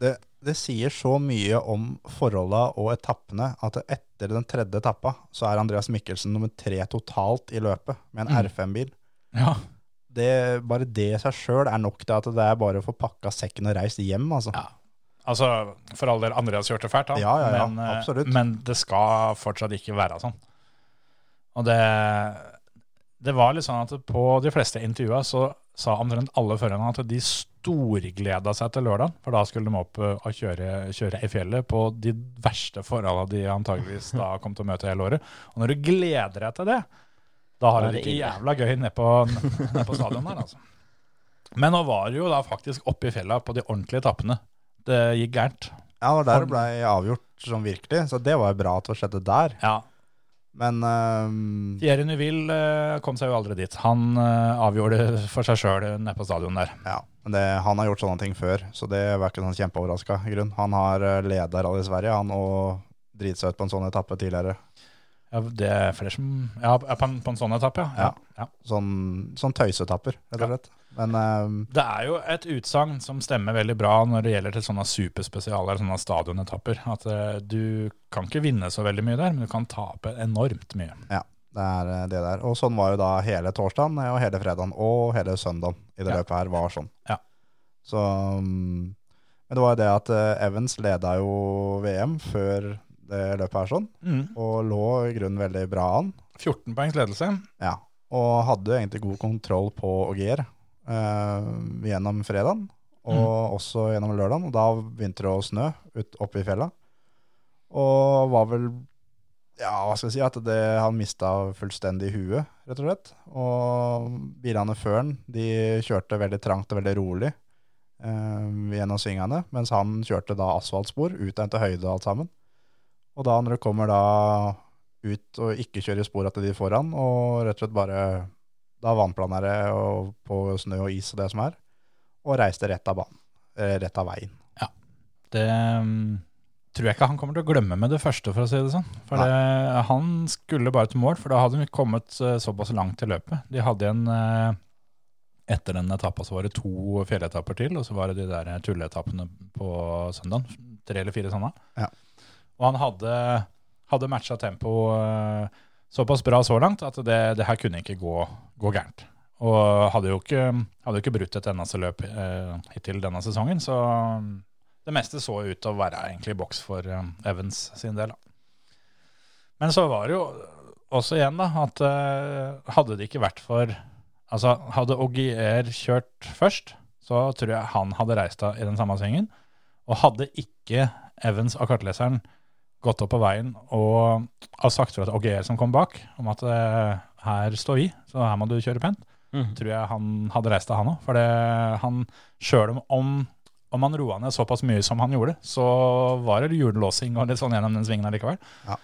[SPEAKER 5] det, det sier så mye om forholda og etappene at etter den tredje etappa så er Andreas Mikkelsen nummer tre totalt i løpet med en
[SPEAKER 1] Mm.
[SPEAKER 5] R5-bil.
[SPEAKER 1] Ja,
[SPEAKER 5] Det, bare det i seg sjøl er nok til at det er bare å få pakka sekken og reist hjem, altså.
[SPEAKER 1] Ja. Altså, for all del, Andreas kjørte fælt, han.
[SPEAKER 5] Ja, ja, ja,
[SPEAKER 1] men, eh,
[SPEAKER 5] absolutt.
[SPEAKER 1] Men det skal fortsatt ikke være sånn. Og det, det var litt sånn at på de fleste intervjua så sa omtrent alle førerne at de storgleda seg til lørdag, for da skulle de opp eh, og kjøre, kjøre i fjellet på de verste forholda de antageligvis da kom til å møte hele året. Og når du gleder deg til det, da har du
[SPEAKER 4] Da er
[SPEAKER 1] det
[SPEAKER 4] det
[SPEAKER 1] ikke
[SPEAKER 4] ille.
[SPEAKER 1] jævla gøy nede på, ned på stadion der, altså. Men nå var det jo da faktisk oppe i fjella på de ordentlige etappene. Det gikk gærent.
[SPEAKER 5] Ja, det var der det blei avgjort som virkelig, så det var jo bra at det skjedde der.
[SPEAKER 1] Ja.
[SPEAKER 5] Men ehm, øhm,
[SPEAKER 1] Thierry Neuville eh, kom seg jo aldri dit. Han eh, avgjorde for seg sjøl nede på stadion der.
[SPEAKER 5] ja, men det, han har gjort sånne ting før, så det var ikke sånn eh, kjempeoverraska i grunn. Han har leda Rally Sverige, han, og driti seg ut på en sånn etappe tidligere.
[SPEAKER 1] Ja, det er flere som Ja, på en, på en sånn etappe, ja. ja. ja.
[SPEAKER 5] Sånn, sånn tøysetapper, rett og
[SPEAKER 1] Ja.
[SPEAKER 5] slett. Men eh,
[SPEAKER 1] Det er jo et utsagn som stemmer veldig bra når det gjelder til sånne superspesialer, sånne stadionetapper. At eh, du kan ikke vinne så veldig mye der, men du kan tape enormt mye.
[SPEAKER 5] ja, det er eh, det der. Og sånn var jo da hele torsdagen eh, og hele fredagen og hele søndagen i det
[SPEAKER 1] Ja.
[SPEAKER 5] løpet her var sånn.
[SPEAKER 1] Ja.
[SPEAKER 5] Så mm, Men det var jo det at eh, Evans leda jo VM før det løpet her sånn, og lå i grunnen veldig bra an.
[SPEAKER 1] 14 poengs ledelse.
[SPEAKER 5] Ja, og hadde jo egentlig god kontroll på Ogier eh, gjennom fredagen, og også gjennom lørdagen, og da begynte det å snø ut, oppe i fjellet. Og var vel, ja, hva skal jeg si, at det, han mistet fullstendig huet, rett og slett. Og bilene før han, de kjørte veldig trangt og veldig rolig eh, gjennom svingene, mens han kjørte da asfaltspor ut til høyde og alt sammen. Og da når det kommer da ut og ikke kjøre i sporet til de foran, og rett og slett bare da vannplanere eh, og på snø og is og det som er, og reiste rett av banen, eh, rett av veien.
[SPEAKER 1] Det mm, tror jeg ikke han kommer til å glemme med det første, for å si det sånn. For det, han skulle bare til mål, for da hadde de kommet eh, såpass langt i løpet. De hadde en eh, Etter den etappa så var det to fjelletapper til, og så var det de der tulleetappene på søndagen. Tre eller fire sånne.
[SPEAKER 5] Ja.
[SPEAKER 1] Og han hadde, hadde matcha tempo eh, såpass bra så langt at det, det her kunne ikke gå, gå gærent. Og hadde jo ikke, hadde jo ikke brutt et eneste løp eh, hittil denne sesongen, så mm, det meste så ut til å være egentlig i boks for eh, Evans sin del. Da. Men så var det jo også igjen da, at eh, hadde det ikke vært for Altså, hadde Ogier kjørt først, så tror jeg han hadde reist av i den samme svingen. Og hadde ikke Evans av kartleseren gått opp på veien og har sagt fra til Ogier som kom bak, om at eh, her står vi, så her må du kjøre pent,
[SPEAKER 4] Mhm.
[SPEAKER 1] tror jeg han hadde reist av han òg. For det, han, sjøl om, om om han roa ned såpass mye som han gjorde, så var det hjullåsing og litt sånn gjennom den svingen allikevel.
[SPEAKER 5] Ja.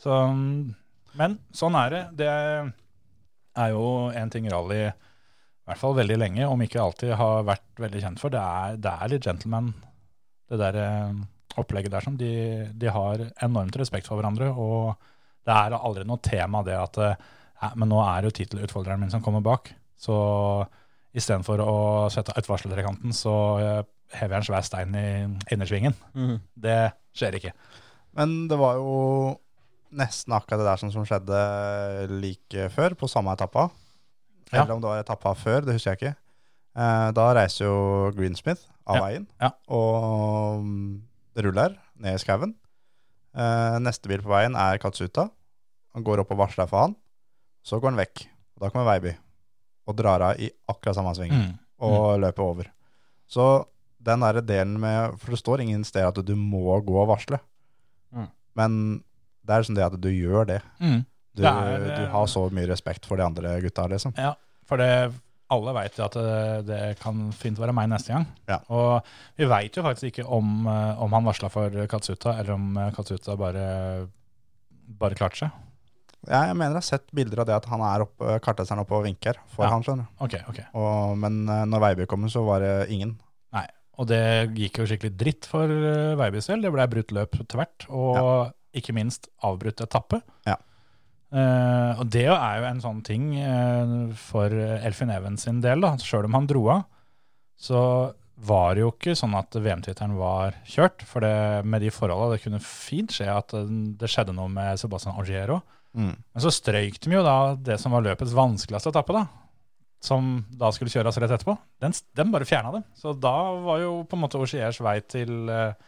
[SPEAKER 1] Så, mm, men sånn er det. Det er jo en ting rally i hvert fall veldig lenge, om ikke alltid har vært veldig kjent for. Det er, det er litt gentleman, det der eh, opplegget der som de, de har enormt respekt for hverandre, og det er aldri noe tema det at eh, «Nei, men nå er det jo titelutfordreren min som kommer bak, så istedenfor å sette ut varseltrekanten, så eh, hever jeg en svær stein i innersvingen.
[SPEAKER 4] Mhm.
[SPEAKER 1] Det skjer ikke.
[SPEAKER 5] Men det var jo nesten akkurat det der som, som skjedde like før, på samme etappa.
[SPEAKER 1] Ja.
[SPEAKER 5] Eller om det var etappa før, det husker jeg ikke. Eh, da reiser jo Greensmith av
[SPEAKER 1] Ja,
[SPEAKER 5] veien,
[SPEAKER 1] ja.
[SPEAKER 5] og mm, det ruller ned i skauen. Eh, neste bil på veien er Katsuta. Han går opp og varsler for han. Så går han vekk. Da kommer Veiby og drar av i akkurat samme sving og løper over. Så den der delen med For det står ingen steder at du må gå og varsle.
[SPEAKER 4] Mm.
[SPEAKER 5] Men det er sånn det at du gjør det.
[SPEAKER 1] Mm.
[SPEAKER 5] Du,
[SPEAKER 1] Det er, eh,
[SPEAKER 5] du har så mye respekt for de andre gutta, liksom.
[SPEAKER 1] Ja, for det, alle vet jo at det, det kan fint være meg neste gang.
[SPEAKER 5] Ja.
[SPEAKER 1] Og vi vet jo faktisk ikke om, eh, om han varsla for Katsuta, eller om eh, Katsuta bare, bare klarte seg.
[SPEAKER 5] Ja, jeg mener jeg har sett bilder av det at han er eh, oppe, kartleseren oppe og vinker for
[SPEAKER 1] Ja.
[SPEAKER 5] han, skjønner du.
[SPEAKER 1] Ok, ok.
[SPEAKER 5] Og, men eh, når Veiby kommer, så var det ingen.
[SPEAKER 1] Nei. Og det gikk jo skikkelig dritt for eh, Veibys del. Det ble brutt løp tvert, og ikke minst avbrutt etappe.
[SPEAKER 5] Ja.
[SPEAKER 1] Eh, og det er jo en sånn ting eh, for Elfin Evans sin del, da. Sjøl om han dro av, så var det jo ikke sånn at VM-tittelen var kjørt. For det, med de forholda, det kunne fint skje at eh, det skjedde noe med Sebastian Augiero.
[SPEAKER 5] Mm.
[SPEAKER 1] Men så strøyk de jo da det som var løpets vanskeligste etappe, da. Som da skulle kjøres rett etterpå. Den, den bare fjerna dem. Så da var jo på en måte Ogiers vei til eh,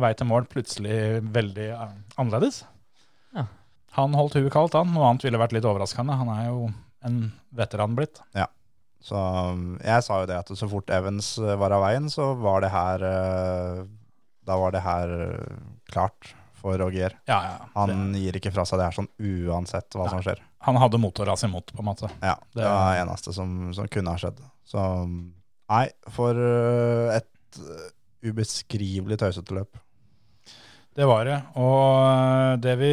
[SPEAKER 1] vei til mål plutselig veldig eh, annerledes.
[SPEAKER 4] Ja.
[SPEAKER 1] Han holdt huet kaldt, han. Noe annet ville vært litt overraskende. Han er jo en veteran blitt.
[SPEAKER 5] Så um, jeg sa jo det at så fort Evans eh, var av veien, så var det her eh, Da var det her eh, klart for Rogier.
[SPEAKER 1] Ja, ja.
[SPEAKER 5] Han gir ikke fra seg det her sånn uansett hva som skjer.
[SPEAKER 1] han hadde motorras imot, på en måte.
[SPEAKER 5] Ja, det
[SPEAKER 1] Det-
[SPEAKER 5] var det eneste som, som kunne ha skjedd. Så nei, for øh, et øh, ubeskrivelig tøysete løp.
[SPEAKER 1] Det var det. Og det vi,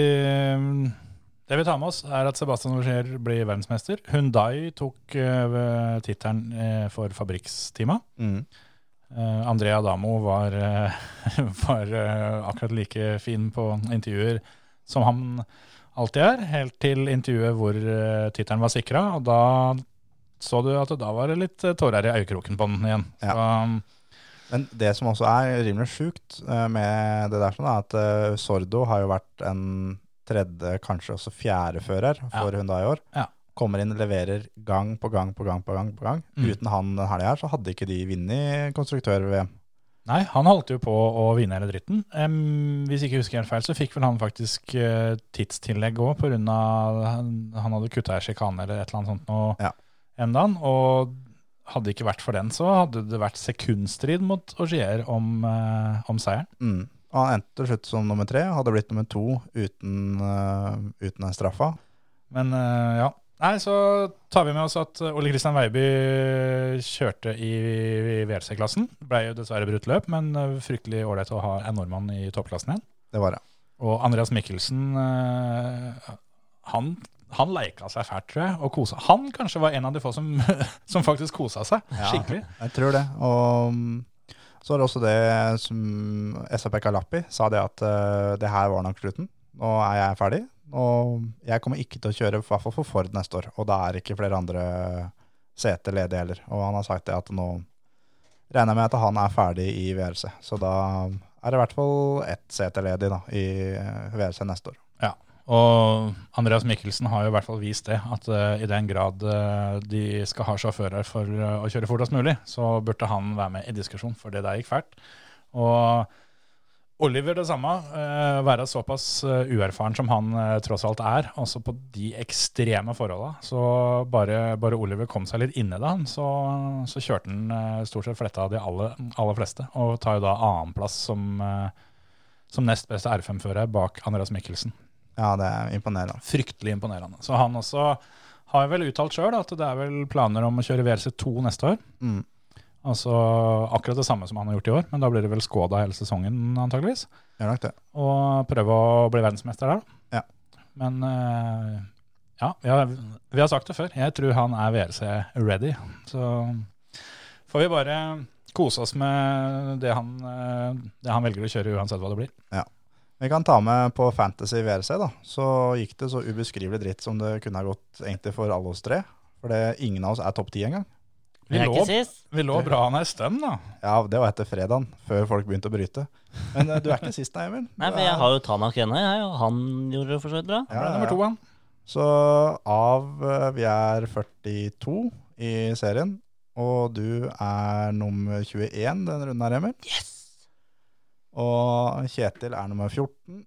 [SPEAKER 1] det vi tar med oss, er at Sebastian Ogier blir verdensmester. Hundai tok uh, tittelen eh, for fabrikksteamet. Eh, Andrea Damo var, [LAUGHS] eh, var eh, akkurat like fin på intervjuer som han alt de er, helt til intervjuet hvor eh, tittelen var sikra. Og da så du at da var det litt eh, tårer i øyekroken på den igjen.
[SPEAKER 5] Ja.
[SPEAKER 1] Så,
[SPEAKER 5] Men det som også er rimelig sjukt eh, med det der, sånn, er at eh, Sordo har jo vært en tredje, kanskje også fjerde fører for Hyundai i år.
[SPEAKER 1] Ja.
[SPEAKER 5] Kommer inn, leverer gang på gang på gang på gang. på gang.
[SPEAKER 1] Mm.
[SPEAKER 5] Uten han den helga her, så hadde ikke de vunnet konstruktør-VM.
[SPEAKER 1] nei, han holdt jo på å vinne hele dritten. Em, hvis ikke jeg husker helt feil, så fikk vel han faktisk eh, tidstillegg òg, pga. han, han hadde kutta ei sjikane eller et eller annet sånt nå
[SPEAKER 5] Ja.
[SPEAKER 1] endaen. Og hadde det ikke vært for den, så hadde det vært sekundstrid mot Augier om, eh, om seieren.
[SPEAKER 5] Mm. Og han endte til slutt som nummer tre, hadde blitt nummer to uten, eh, uten den straffa.
[SPEAKER 1] Men eh, ja. Nei, så tar vi med oss at eh, Ole Kristian Weiby kjørte i, i VRC-klassen. Ble jo dessverre brutt løp, men eh, fryktelig ålreit å ha en nordmann i toppklassen igjen.
[SPEAKER 5] Det var det.
[SPEAKER 1] Og Andreas Mikkelsen, eh, han, han leika seg fælt, tror jeg, og kosa. Han kanskje var en av de få som, [LAUGHS] som faktisk kosa seg skikkelig.
[SPEAKER 5] Jeg tror det. Og mm, så er det også det som SAPK Lappi sa det at eh, det her var nok slutten. Nå er jeg ferdig, og jeg kommer ikke til å kjøre i hvert fall for Ford neste år. Og da er ikke flere andre seter ledige heller. Og han har sagt det at nå regner jeg med at han er ferdig i VRC. Så da er det i hvert fall ett sete ledig da, i eh, VRC neste år.
[SPEAKER 1] Og Andreas Mikkelsen har jo i hvert fall vist det, at eh, i den grad eh, de skal ha sjåfører for eh, å kjøre fortest mulig, så burde han være med i diskusjon, for det der gikk fælt. Og Oliver det samme, eh, være såpass eh, uerfaren som han eh, tross alt er, altså på de ekstreme forholda. Så bare, bare Oliver kom seg litt inne da, han, så, så kjørte han eh, stort sett fletta av de aller, aller fleste, og tar jo da annenplass som, eh, som nest beste R5-fører bak Andreas Mikkelsen
[SPEAKER 5] Ja, det er imponerende.
[SPEAKER 1] fryktelig imponerende. Så han også har vel uttalt sjøl at det er vel planer om å kjøre VLC2 neste år.
[SPEAKER 5] Mm.
[SPEAKER 1] Altså akkurat det samme som han har gjort i år, men da blir det vel Skoda hele sesongen antageligvis.
[SPEAKER 5] Gjør nok det.
[SPEAKER 1] Og prøve å bli verdensmester der, da.
[SPEAKER 5] Ja.
[SPEAKER 1] Men eh, ja, vi har, vi har sagt det før. Jeg tror han er VLC-ready. Så får vi bare kose oss med det han, eh, det han velger å kjøre, uansett hva det blir.
[SPEAKER 5] Vi kan ta med på Fantasy VRC, da. Så gikk det så ubeskrivelig dritt som det kunne ha gått egentlig for alle oss tre. For det, ingen av oss er topp ti engang.
[SPEAKER 1] Vi
[SPEAKER 4] Jeg er
[SPEAKER 1] lå,
[SPEAKER 4] ikke sist.
[SPEAKER 1] vi lå bra an ei stund, da.
[SPEAKER 5] Ja, det var etter fredagen, før folk begynte å bryte. Men eh, du er ikke sist, nei, Emil.
[SPEAKER 4] Nei, for jeg har jo Tanak ennå, jeg, og han gjorde det for så vidt bra.
[SPEAKER 5] Ja,
[SPEAKER 1] Ble
[SPEAKER 5] ja,
[SPEAKER 1] nummer
[SPEAKER 5] ja.
[SPEAKER 1] to, han.
[SPEAKER 5] Så av eh, Vi er 42 i serien, og du er nummer 21 denne runden her, Emil. Yes! Og Kjetil er nummer 14.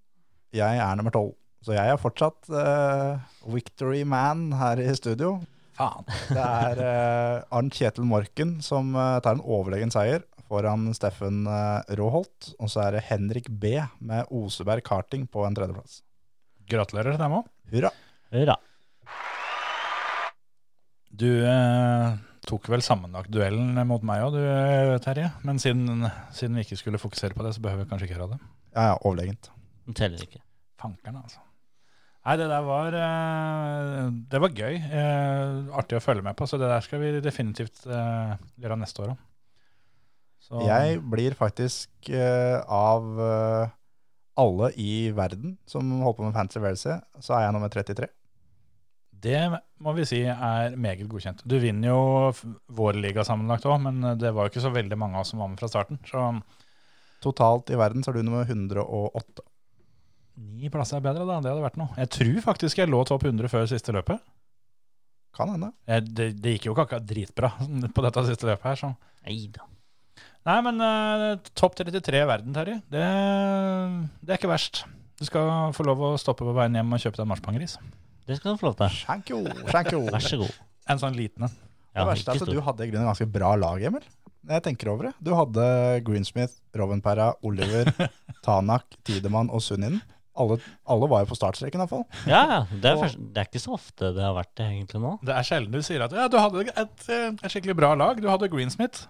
[SPEAKER 5] Jeg er nummer 12. Så jeg er fortsatt eh, victory man her i studio.
[SPEAKER 1] Faen.
[SPEAKER 5] Det er eh, Arnt Kjetil Morken som eh, tar en overlegen seier foran Steffen eh, Råholt. Og så er det Henrik B. med Oseberg karting på en tredjeplass.
[SPEAKER 1] Gratulerer til dem òg.
[SPEAKER 5] Hurra!
[SPEAKER 4] Hurra.
[SPEAKER 1] Du eh, tok vel sammenlagtduellen mot meg òg, du eh, Terje. Men siden, siden vi ikke skulle fokusere på det, så behøver vi kanskje ikke gjøre det.
[SPEAKER 5] Ja, ja, overlegent.
[SPEAKER 4] Den teller ikke.
[SPEAKER 1] Fankeren, altså. Nei, det der var eh, Det var gøy. Eh, artig å følge med på. Så det der skal vi definitivt eh, gjøre neste år òg. Så-
[SPEAKER 5] Jeg blir faktisk eh, av eh, alle i verden som holder på med fancy verelse, så er jeg nummer 33.
[SPEAKER 1] Det må vi si er meget godkjent. Du vinner jo f- vår liga sammenlagt òg, men eh, det var jo ikke så veldig mange av oss som var med fra starten. Så
[SPEAKER 5] Totalt i verden så er du nummer 108.
[SPEAKER 1] Ni plasser er bedre, da. Det hadde vært noe. Jeg tror faktisk jeg lå topp 100 før siste løpet.
[SPEAKER 5] Kan hende.
[SPEAKER 1] Jeg, Eh, det, det gikk jo ikke akkurat dritbra [LAUGHS] på dette siste løpet her, så
[SPEAKER 4] Nei da.
[SPEAKER 1] Nei, men eh, topp 33 i verden, Terje, det, det er ikke verst. Du skal få lov å stoppe på veien hjem og kjøpe deg en marspangris.
[SPEAKER 4] Det skal du få lov til.
[SPEAKER 5] Thank you, thank
[SPEAKER 4] [LAUGHS]
[SPEAKER 5] you.
[SPEAKER 4] Vær så god.
[SPEAKER 1] En sånn liten en.
[SPEAKER 4] Ja,
[SPEAKER 5] det verste
[SPEAKER 4] ikke
[SPEAKER 5] er at du
[SPEAKER 4] stor.
[SPEAKER 5] hadde i grunnen ganske bra lag, Emil. Når jeg tenker over det. Du hadde Greensmith, Rovenpera,
[SPEAKER 4] [LAUGHS]
[SPEAKER 5] Oliver, Tanak, Tidemann og Sunninen. Alle, alle var jo på
[SPEAKER 4] [LAUGHS]
[SPEAKER 5] startstreken iallfall.
[SPEAKER 4] Ja, ja. Det er, først, det er ikke så ofte det har vært det, egentlig, nå.
[SPEAKER 1] Det er sjelden du sier at ja, du hadde et, eh, et skikkelig bra lag. Du hadde Greensmith.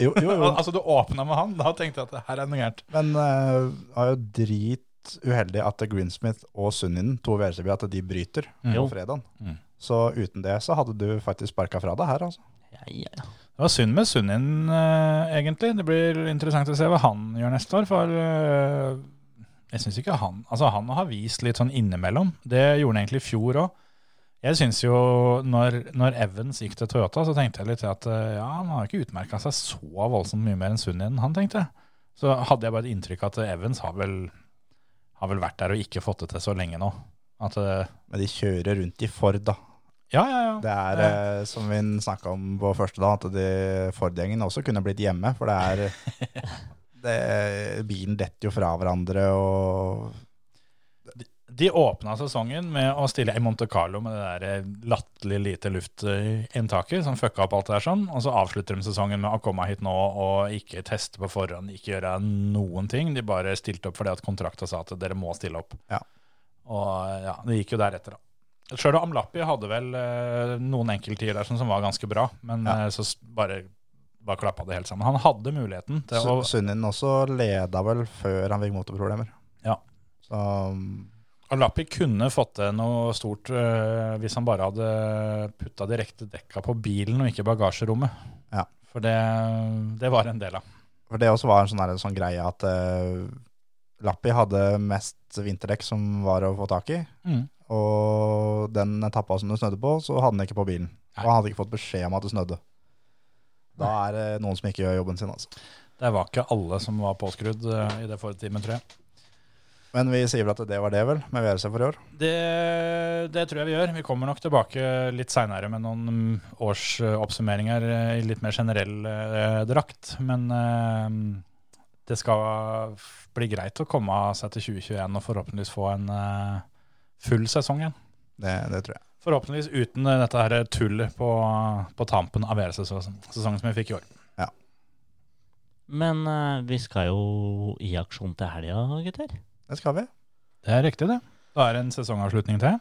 [SPEAKER 5] Jo, jo, jo.
[SPEAKER 1] Altså, du åpna med han. Da tenkte jeg at her er det noe gærent.
[SPEAKER 5] Men eh, det var jo drituheldig at Greensmith og Sunninen, to VRCB, at de bryter på
[SPEAKER 4] Jo.
[SPEAKER 5] fredagen.
[SPEAKER 1] Mm.
[SPEAKER 5] Så uten det så hadde du faktisk sparka fra deg her, altså.
[SPEAKER 4] Ja, ja, ja.
[SPEAKER 1] Det var synd med Sunnin, eh, egentlig. Det blir interessant å se hva han gjør neste år. For eh, Jeg synes ikke han Altså, han har vist litt sånn innimellom. Det gjorde han egentlig i fjor òg. Jeg synes jo, når, når Evans gikk til Toyota, så tenkte jeg litt at eh, ja, han har ikke utmerka seg så voldsomt mye mer enn Sunnien, han tenkte. Så hadde jeg bare et inntrykk at Evans har vel, har vel vært der og ikke fått det til så lenge nå. At eh, Ja,
[SPEAKER 5] Men de kjører rundt i Ford, da.
[SPEAKER 1] ja, ja.
[SPEAKER 5] Det er, eh, som vi snakka om på første dag, at de Ford-gjengen også kunne blitt hjemme. For
[SPEAKER 1] [LAUGHS]
[SPEAKER 5] det er det, Bilen detter jo fra hverandre, og
[SPEAKER 1] De åpna sesongen med å stille i Monte Carlo med det der eh, latterlig lite luftinntaket som fucka opp alt det der sånn, og så avslutter de sesongen med å komme hit nå og ikke teste på forhånd, ikke gjøre noen ting. De bare stilte opp fordi at kontrakta sa at dere må stille opp.
[SPEAKER 5] Ja.
[SPEAKER 1] Og ja, det gikk jo deretter, da. Sjøl Amlappi hadde vel eh, noen enkelttider der som, som var ganske bra, men
[SPEAKER 5] Ja.
[SPEAKER 1] eh, så s- bare, bare klappa det helt sammen. Han hadde muligheten til å
[SPEAKER 5] Su- Sunnien også leda vel før han fikk motorproblemer.
[SPEAKER 1] Ja.
[SPEAKER 5] Så um,
[SPEAKER 1] Og Lappi kunne fått til noe stort øh, hvis han bare hadde putta de rekte dekka på bilen og ikke bagasjerommet.
[SPEAKER 5] Ja.
[SPEAKER 1] For det, det var en del av.
[SPEAKER 5] For det også var en sånn, der- en sånn greie at eh, Lappi hadde mest vinterdekk som var å få tak i.
[SPEAKER 1] Mm.
[SPEAKER 5] Og den etappa som det snødde på, så hadde han ikke på bilen. Og han hadde ikke fått beskjed om at det snødde. Da er det noen som ikke gjør jobben sin, altså.
[SPEAKER 1] Det var ikke alle som var påskrudd øh, i det forrige timen, tror jeg.
[SPEAKER 5] Men vi sier vel at det var det, vel, med VRC for i år.
[SPEAKER 1] Det, det tror jeg vi gjør. Vi kommer nok tilbake litt seinere med noen mm, årsoppsummeringer eh, i litt mer generell øh, drakt. Men øh, det skal bli greit å komme seg til 2021 og forhåpentligvis få en øh, full sesong igjen.
[SPEAKER 5] Det, det tror jeg.
[SPEAKER 1] Forhåpentligvis uten eh, dette her tullet på, på tampen av VR-sesongen som vi fikk i år.
[SPEAKER 4] Men eh, vi skal jo i aksjon til helga, gutter.
[SPEAKER 5] Det skal vi.
[SPEAKER 1] Det er riktig, det. Da er det en sesongavslutning til.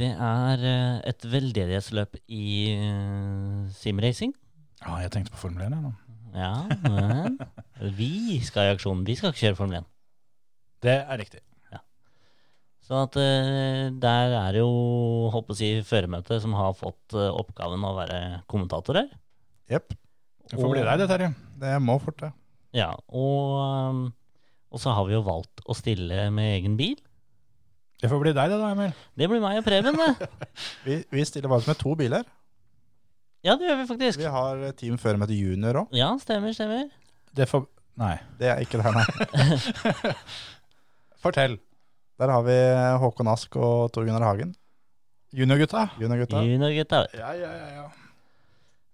[SPEAKER 4] Det er eh, et veldedighetsløp i eh, simracing.
[SPEAKER 1] Ja, jeg tenkte på Formel 1. Jeg, nå.
[SPEAKER 4] Ja, men vi skal i aksjon. Vi skal ikke kjøre Formel 1.
[SPEAKER 1] det er riktig.
[SPEAKER 4] Så at eh, der er det jo håper å si, føremøtet som har fått eh, oppgaven å være kommentatorer.
[SPEAKER 5] Jepp.
[SPEAKER 1] Det får bli deg, det, Terje.
[SPEAKER 5] Det må fort, det.
[SPEAKER 4] Ja, og, um, og så har vi jo valgt å stille med egen bil.
[SPEAKER 1] Det får bli deg, det da, Emil.
[SPEAKER 4] Det blir meg og Preben, det.
[SPEAKER 5] Vi, vi stiller faktisk med to biler.
[SPEAKER 4] Ja, det gjør vi faktisk.
[SPEAKER 5] Vi har team før med til junior òg.
[SPEAKER 4] Ja, stemmer, stemmer.
[SPEAKER 1] Det får Nei.
[SPEAKER 5] Det er ikke der, nei.
[SPEAKER 1] Fortell.
[SPEAKER 5] Der har vi Håkon Ask og Tor Gunnar Hagen.
[SPEAKER 1] Juniorgutta.
[SPEAKER 5] Juniorgutta.
[SPEAKER 4] Juniorgutta.
[SPEAKER 1] Ja, ja, ja, ja.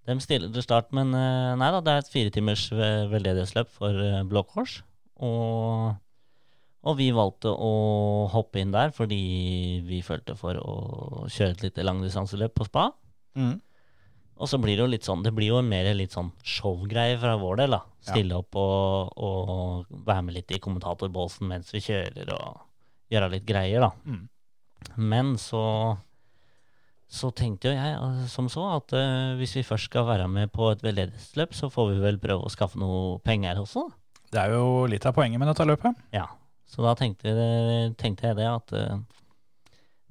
[SPEAKER 4] De stiller til start, men eh, nei da, det er et firetimers ve- veldedighetsløp for eh, Blå Kors. Og, og vi valgte å hoppe inn der fordi vi følte for å kjøre et lite langdistanseløp på spa.
[SPEAKER 5] Mm.
[SPEAKER 4] Og så blir det jo litt sånn, det blir jo mer litt sånn showgreie fra vår del, da. Stille opp og, og være med litt i kommentatorbåsen mens vi kjører, og gjøre litt greier, da.
[SPEAKER 1] Mm.
[SPEAKER 4] Men så, så tenkte jo jeg eh, som så at eh, hvis vi først skal være med på et veldedighetsløp, så får vi vel prøve å skaffe noe penger også, da.
[SPEAKER 1] Det er jo litt av poenget med dette løpet.
[SPEAKER 4] Ja, så da tenkte, tenkte jeg det at eh,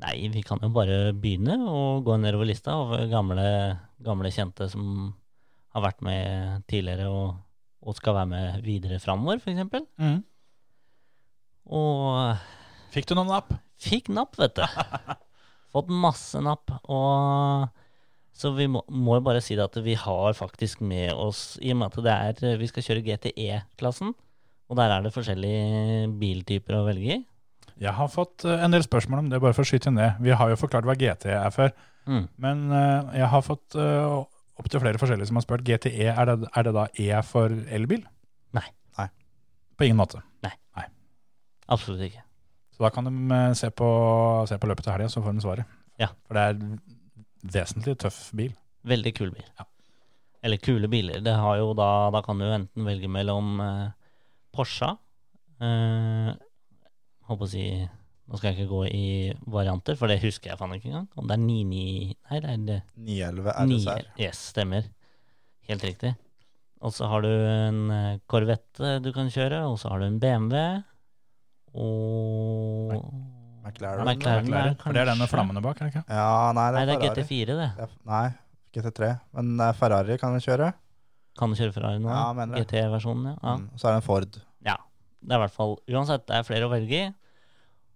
[SPEAKER 4] nei, vi kan jo bare begynne å gå nedover lista over gamle, gamle kjente som har vært med tidligere og, og skal være med videre framover, f.eks. Og
[SPEAKER 1] Mm. Fikk du noen napp?
[SPEAKER 4] fikk napp, vet du. Fått masse napp. Og så vi må, må jo bare si det at vi har faktisk med oss I og med at det er, vi skal kjøre GTE-klassen, og der er det forskjellige biltyper å velge i.
[SPEAKER 1] Jeg har fått eh, en del spørsmål om det, bare for å skyte inn det. Vi har jo forklart hva GT er før,
[SPEAKER 4] Mm.
[SPEAKER 1] men eh, jeg har fått uh, opptil flere forskjellige som har spurt GTE. Er det, er det da E for elbil?
[SPEAKER 4] Nei.
[SPEAKER 5] Nei.
[SPEAKER 1] På ingen måte.
[SPEAKER 4] Absolutt ikke.
[SPEAKER 1] Så da kan de eh, se på, se på løpet til helga, så får de svaret.
[SPEAKER 4] Ja.
[SPEAKER 1] For det er en vesentlig tøff bil.
[SPEAKER 4] Veldig kul bil.
[SPEAKER 1] Ja.
[SPEAKER 4] Eller kule biler. Det har jo da, da kan du jo enten velge mellom eh, Porsche eh, Håper å si Nå skal jeg ikke gå i varianter, for det husker jeg faen ikke engang. Om det er 99 Nei, det er det.
[SPEAKER 5] 911
[SPEAKER 4] Nier.
[SPEAKER 5] RSR.
[SPEAKER 4] Yes, stemmer. Helt riktig. Og så har du en eh, Corvette du kan kjøre, og så har du en BMW. Og McLaren
[SPEAKER 5] McLaren.
[SPEAKER 4] er
[SPEAKER 1] Klarer.
[SPEAKER 4] det
[SPEAKER 1] For det er den med
[SPEAKER 4] kanskje.
[SPEAKER 1] flammene bak, er det ikke?
[SPEAKER 5] Ja, nei, det
[SPEAKER 4] Nei,
[SPEAKER 5] er
[SPEAKER 4] det er
[SPEAKER 5] Ferrari.
[SPEAKER 4] GT4, det.
[SPEAKER 5] Det er- Nei, GT3. Men det er Ferrari kan vi kjøre.
[SPEAKER 4] Kan du kjøre Ferrari nå?
[SPEAKER 5] Ja, mener det.
[SPEAKER 4] GT-versjonen, ja. ja.
[SPEAKER 5] Mm, Så er det en Ford.
[SPEAKER 4] Ja. Det er i hvert fall Uansett, det er flere å velge i.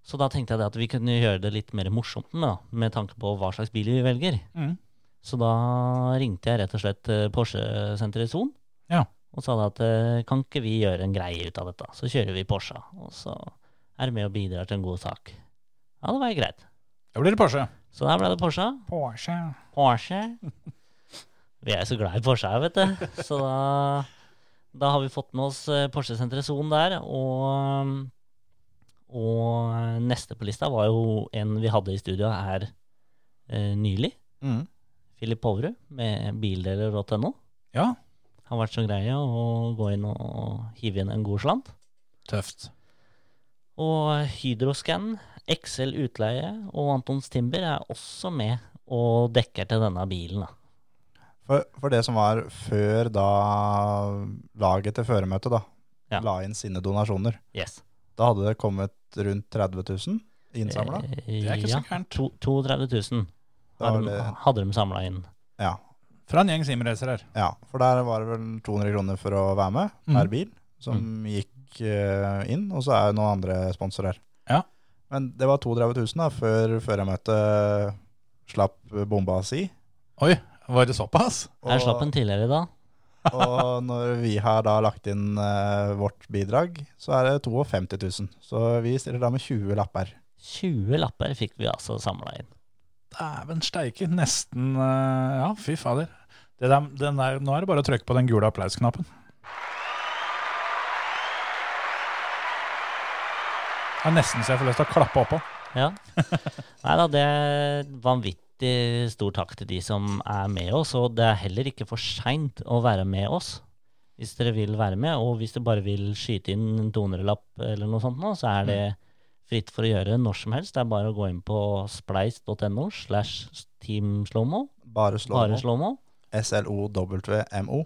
[SPEAKER 4] Så da tenkte jeg det at vi kunne gjøre det litt mer morsomt med, da, med tanke på hva slags bil vi velger.
[SPEAKER 1] Mhm.
[SPEAKER 4] Så da ringte jeg rett og slett eh, Porsche-senteret Son
[SPEAKER 1] Ja.
[SPEAKER 4] og sa da at eh, kan ikke vi gjøre en greie ut av dette? Så kjører vi Porsche, og så er det med og bidrar til en god sak. Ja, det var jo greit.
[SPEAKER 1] Da blir det Porsche.
[SPEAKER 4] Så der ble det Porsche.
[SPEAKER 1] Porsche.
[SPEAKER 4] Porsche. Vi er så glad i Porsche her, vet du. Så da, da har vi fått med oss eh, Porsche-senteret Son der. Og, og neste på lista var jo en vi hadde i studio her eh, nylig.
[SPEAKER 5] Mm.
[SPEAKER 4] Philip Poverud med bildeler.no.
[SPEAKER 1] Ja,
[SPEAKER 4] Han har vært så grei å gå inn og hive inn en god slant.
[SPEAKER 1] tøft.
[SPEAKER 4] Og Hydroscan, XL Utleie og Antons Timber er også med og dekker til denne bilen. da.
[SPEAKER 5] For, for det som var før da laget til føremøtet da,
[SPEAKER 4] Ja.
[SPEAKER 5] la inn sine donasjoner,
[SPEAKER 4] Yes.
[SPEAKER 5] da hadde det kommet rundt 30 000 innsamla.
[SPEAKER 1] Det er ikke
[SPEAKER 4] Eh, ja.
[SPEAKER 1] så gærent.
[SPEAKER 4] To- 32 000
[SPEAKER 5] Da
[SPEAKER 4] hadde,
[SPEAKER 5] var det-
[SPEAKER 4] hadde de samla inn.
[SPEAKER 5] Ja,
[SPEAKER 1] Fra en gjeng simracer her.
[SPEAKER 5] ja, for der var det vel 200 kroner for å være med,
[SPEAKER 1] Mhm.
[SPEAKER 5] per bil, som gikk eh, inn, og så er det noen andre sponsorer.
[SPEAKER 1] Ja.
[SPEAKER 5] Men det var 32 000 da, før føremøtet slapp bomba si.
[SPEAKER 1] Oi, var det såpass?
[SPEAKER 4] Jeg slapp en tidligere i dag.
[SPEAKER 5] Og når vi har da lagt inn eh, vårt bidrag, så er det 52 000. Så vi stiller da med 20 lapper.
[SPEAKER 4] 20 lapper fikk vi altså samla inn.
[SPEAKER 1] Dæven steike. Nesten eh, Ja, fy fader. Det der, den der, nå er det bare å trykke på den gule applausknappen. Det er nesten så jeg får lyst til å klappe oppå.
[SPEAKER 4] Ja. Nei da, det er vanvittig stor takk til de som er med oss. Og det er heller ikke for seint å være med oss hvis dere vil være med. Og hvis dere bare vil skyte inn en 200-lapp eller noe sånt nå, så er det fritt for å gjøre når som helst. Det er bare å gå inn på spleis.no slash Team Slowmo.
[SPEAKER 5] Bare slå
[SPEAKER 4] Bare
[SPEAKER 5] nå.
[SPEAKER 4] Slowmo.
[SPEAKER 5] SLOWMO.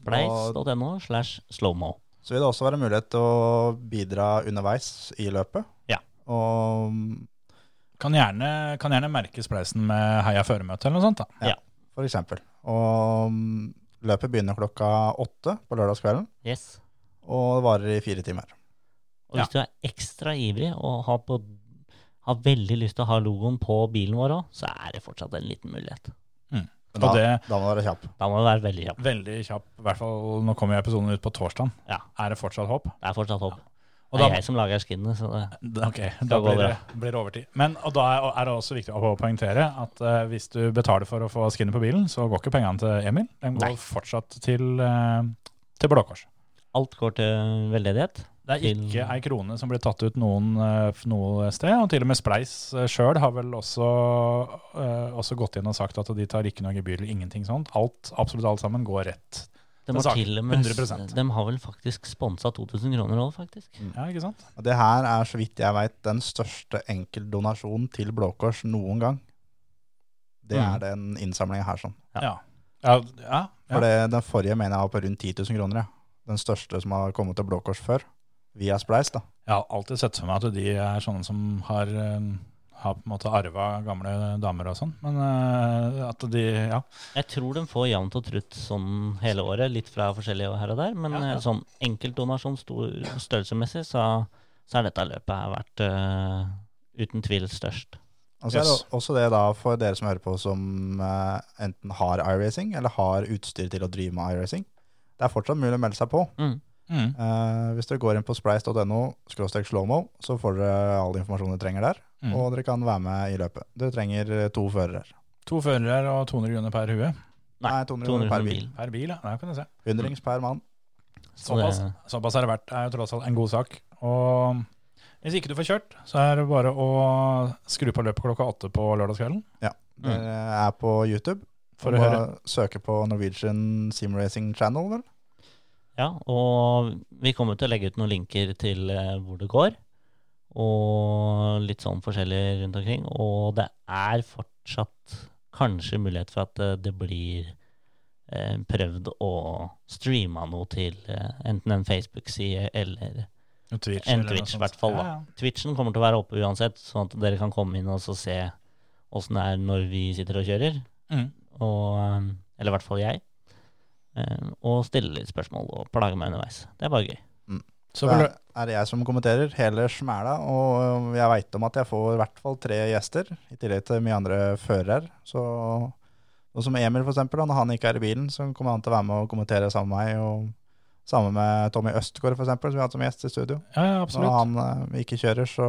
[SPEAKER 4] Spleis.no slash Slowmo.
[SPEAKER 5] Så vil det også være mulighet til å bidra underveis i løpet.
[SPEAKER 4] Ja.
[SPEAKER 5] Og
[SPEAKER 1] Kan gjerne, kan gjerne merke spleisen med Heia føremøte eller noe sånt. da.
[SPEAKER 5] for eksempel. Og mm, løpet begynner klokka åtte på lørdagskvelden,
[SPEAKER 4] Yes.
[SPEAKER 5] og det varer i fire timer.
[SPEAKER 4] Og hvis du er ekstra ivrig og har, på, har veldig lyst til å ha logoen på bilen vår òg, så er det fortsatt en liten mulighet.
[SPEAKER 5] Men
[SPEAKER 1] Og
[SPEAKER 5] da,
[SPEAKER 1] det
[SPEAKER 5] da må du være kjapp.
[SPEAKER 4] Da må du være veldig kjapp.
[SPEAKER 1] veldig kjapp, i hvert fall nå kommer jo episoden ut på torsdag.
[SPEAKER 4] Ja.
[SPEAKER 1] Er det fortsatt håp?
[SPEAKER 4] Det er fortsatt håp.
[SPEAKER 1] Og
[SPEAKER 4] Det
[SPEAKER 1] da-
[SPEAKER 4] er jeg som lager skinnet, så det,
[SPEAKER 1] Ok, da
[SPEAKER 4] går
[SPEAKER 1] blir det,
[SPEAKER 4] bra.
[SPEAKER 1] blir det overtid. Men, og da er- er det også viktig å poengtere at eh, hvis du betaler for å få skinnet på bilen, så går ikke pengene til Emil. De går
[SPEAKER 4] Nei.
[SPEAKER 1] fortsatt til, eh, til Blå Kors.
[SPEAKER 4] alt går til veldedighet.
[SPEAKER 1] Det er
[SPEAKER 4] Til-
[SPEAKER 1] ikke ei krone som blir tatt ut noen, eh, f- noe sted. Og til og med Spleis eh, sjøl har vel også, eh, også gått inn og sagt at de tar ikke noe gebyr eller ingenting sånt. Alt, absolutt alt sammen går rett.
[SPEAKER 4] De,
[SPEAKER 1] Det er
[SPEAKER 4] har
[SPEAKER 1] sak,
[SPEAKER 4] til og med,
[SPEAKER 1] 100%.
[SPEAKER 4] de har vel faktisk sponsa 2000 kroner òg, faktisk.
[SPEAKER 1] Ja, ikke sant?
[SPEAKER 5] Og det her er, så vidt jeg veit, den største enkeltdonasjonen til Blå Kors noen gang. Det
[SPEAKER 4] Mm.
[SPEAKER 5] er den innsamlinga her, sånn.
[SPEAKER 1] Ja. ja. ja,
[SPEAKER 5] For det, den forrige mener jeg var på rundt 10 000 kroner, ja. Den største som har kommet til Blå Kors før. Via Spleis, da.
[SPEAKER 1] Jeg har alltid sett for meg at de er sånne som har, eh, har på en måte arva gamle damer og sånn. Men eh, at de Ja.
[SPEAKER 4] Jeg tror de får jevnt og trutt sånn hele året, litt fra forskjellige her og der. Men
[SPEAKER 1] Ja, ja.
[SPEAKER 4] eh, sånn enkeltdonasjon stor, størrelsesmessig, så, så er dette løpet her vært eh, uten tvil størst.
[SPEAKER 5] Og så er
[SPEAKER 1] Yes.
[SPEAKER 5] det også det da for dere som hører på som eh, enten har iRacing, eller har utstyr til å drive med iRacing. Det er fortsatt mulig å melde seg på.
[SPEAKER 4] Mm.
[SPEAKER 1] Mm.
[SPEAKER 5] Eh, hvis dere går inn på spleis.no skråstrek slowmo, så får dere all informasjon dere trenger der.
[SPEAKER 1] Mm.
[SPEAKER 5] Og dere kan være med i løpet. Dere trenger eh, to førere.
[SPEAKER 1] To førere og 200 kroner per hue.
[SPEAKER 4] Nei,
[SPEAKER 5] Nei, 200 kroner per bil.
[SPEAKER 1] Per bil, ja. Der kan du se.
[SPEAKER 5] Hundrings per mann.
[SPEAKER 4] Så
[SPEAKER 1] Såpass,
[SPEAKER 4] det-
[SPEAKER 1] såpass er det verdt. Det er jo tross alt en god sak. Og hvis ikke du får kjørt, så er det bare å skru på løpet klokka åtte på lørdagskvelden.
[SPEAKER 5] Dere er på YouTube.
[SPEAKER 1] Mm. For
[SPEAKER 5] og
[SPEAKER 1] å
[SPEAKER 5] må
[SPEAKER 1] høre.
[SPEAKER 5] Søke på Norwegian Sim Racing Channel, vel?
[SPEAKER 4] Ja, og vi kommer til å legge ut noen linker til eh, hvor det går, og litt sånn forskjellig rundt omkring. Og det er fortsatt kanskje mulighet for at eh, det blir eh, prøvd å streame noe til eh, enten en Facebook-side eller
[SPEAKER 1] En Twitch,
[SPEAKER 4] en
[SPEAKER 1] eller noe
[SPEAKER 4] Twitch, i
[SPEAKER 1] sånt.
[SPEAKER 4] hvert fall. da.
[SPEAKER 1] Ja, ja.
[SPEAKER 4] Twitchen kommer til å være oppe uansett, sånn at dere kan komme inn og så se åssen det er når vi sitter og kjører.
[SPEAKER 1] Mm.
[SPEAKER 4] Og, eh, eller i hvert fall jeg. Eh, Og stille litt spørsmål og plage meg underveis. Det er bare gøy.
[SPEAKER 1] Så
[SPEAKER 5] det
[SPEAKER 1] for,
[SPEAKER 5] er- er det jeg som kommenterer hele smæla, og um, jeg veit om at jeg får i hvert fall tre gjester, i tillegg til mye andre førere. Så og som Emil, for eksempel, da, når han ikke er i bilen, så kommer han til å være med og kommentere sammen med meg. og Sammen med Tommy Østgaard, for eksempel, som vi har hatt som gjest i studio.
[SPEAKER 1] ja, ja,
[SPEAKER 5] Når
[SPEAKER 1] absolutt.
[SPEAKER 5] han eh, ikke kjører, så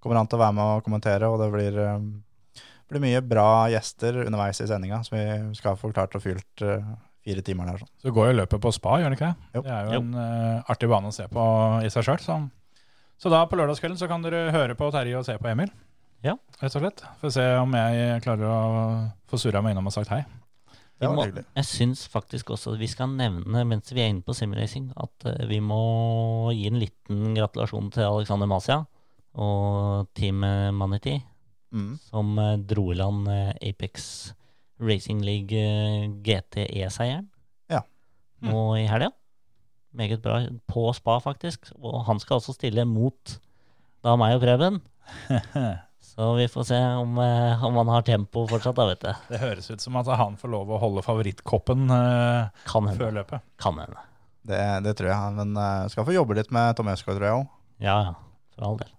[SPEAKER 5] kommer han til å være med og kommentere, og det blir, eh, blir mye bra gjester underveis i sendinga, som vi skal få forklart og fylt eh, fire timer der. Sånn.
[SPEAKER 1] Så går jo løpet på spa, gjør det ikke det?
[SPEAKER 5] Jo.
[SPEAKER 1] Det er jo
[SPEAKER 4] Jo.
[SPEAKER 1] en eh, artig bane å se på i seg sjøl. Så. så da på lørdagskvelden så kan dere høre på Terje og se på Emil.
[SPEAKER 4] Ja.
[SPEAKER 1] Rett og slett. Får se om jeg klarer å få surra meg innom og sagt hei.
[SPEAKER 4] Vi
[SPEAKER 5] Det var
[SPEAKER 4] må,
[SPEAKER 5] hyggelig.
[SPEAKER 4] jeg syns faktisk også vi skal nevne mens vi er inne på simracing, at eh, vi må gi en liten gratulasjon til Alexander Masia og Team eh, Manatee,
[SPEAKER 5] Mm.
[SPEAKER 4] som eh, dro i land eh, Apex Racing League eh, GTE-seieren
[SPEAKER 5] Ja.
[SPEAKER 4] nå i helga. Meget bra. På spa, faktisk. Og han skal altså stille mot da meg og
[SPEAKER 5] [LAUGHS]
[SPEAKER 4] Preben. Så vi får se om, eh, om han har tempo fortsatt, da, vet du.
[SPEAKER 1] Det høres ut som at han får lov å holde favorittkoppen eh,
[SPEAKER 4] Kan hende.
[SPEAKER 1] før løpet.
[SPEAKER 4] Kan hende.
[SPEAKER 5] Det, det tror jeg. Men eh, skal få jobbe litt med Tom Øsgaard, tror jeg òg.
[SPEAKER 4] Ja, ja. For all
[SPEAKER 1] [LAUGHS]
[SPEAKER 4] del.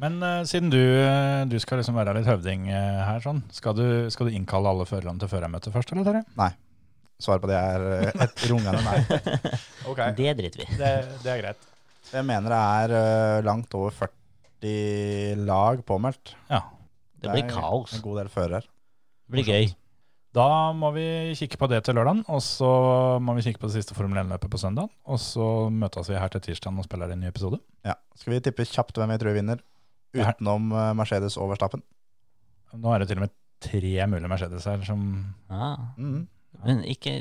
[SPEAKER 1] Men eh, siden du, eh, du skal liksom være litt høvding eh, her, sånn, skal du, skal du innkalle alle førerne til førermøte først, eller Terje?
[SPEAKER 5] Svaret på det er eh, et [LAUGHS] rungende nei.
[SPEAKER 4] Det driter vi i.
[SPEAKER 1] Det, er greit.
[SPEAKER 5] Jeg mener det er eh, langt over 40 lag påmeldt.
[SPEAKER 1] Ja.
[SPEAKER 4] Det blir
[SPEAKER 5] er
[SPEAKER 4] kaos.
[SPEAKER 5] En god del fører.
[SPEAKER 4] Det blir gøy.
[SPEAKER 1] Da må vi kikke på det til lørdagen, og så må vi kikke på det siste Formel 1-løpet på søndag. Og så møtes vi her til tirsdag og spiller en ny episode.
[SPEAKER 5] Ja. Skal vi tippe kjapt hvem vi tror vinner?
[SPEAKER 1] Ja.
[SPEAKER 5] Utenom eh, Mercedes og Verstappen.
[SPEAKER 1] Nå er det til og med tre mulige Mercedes her som
[SPEAKER 4] Ja.
[SPEAKER 5] Mm.
[SPEAKER 4] Men ikke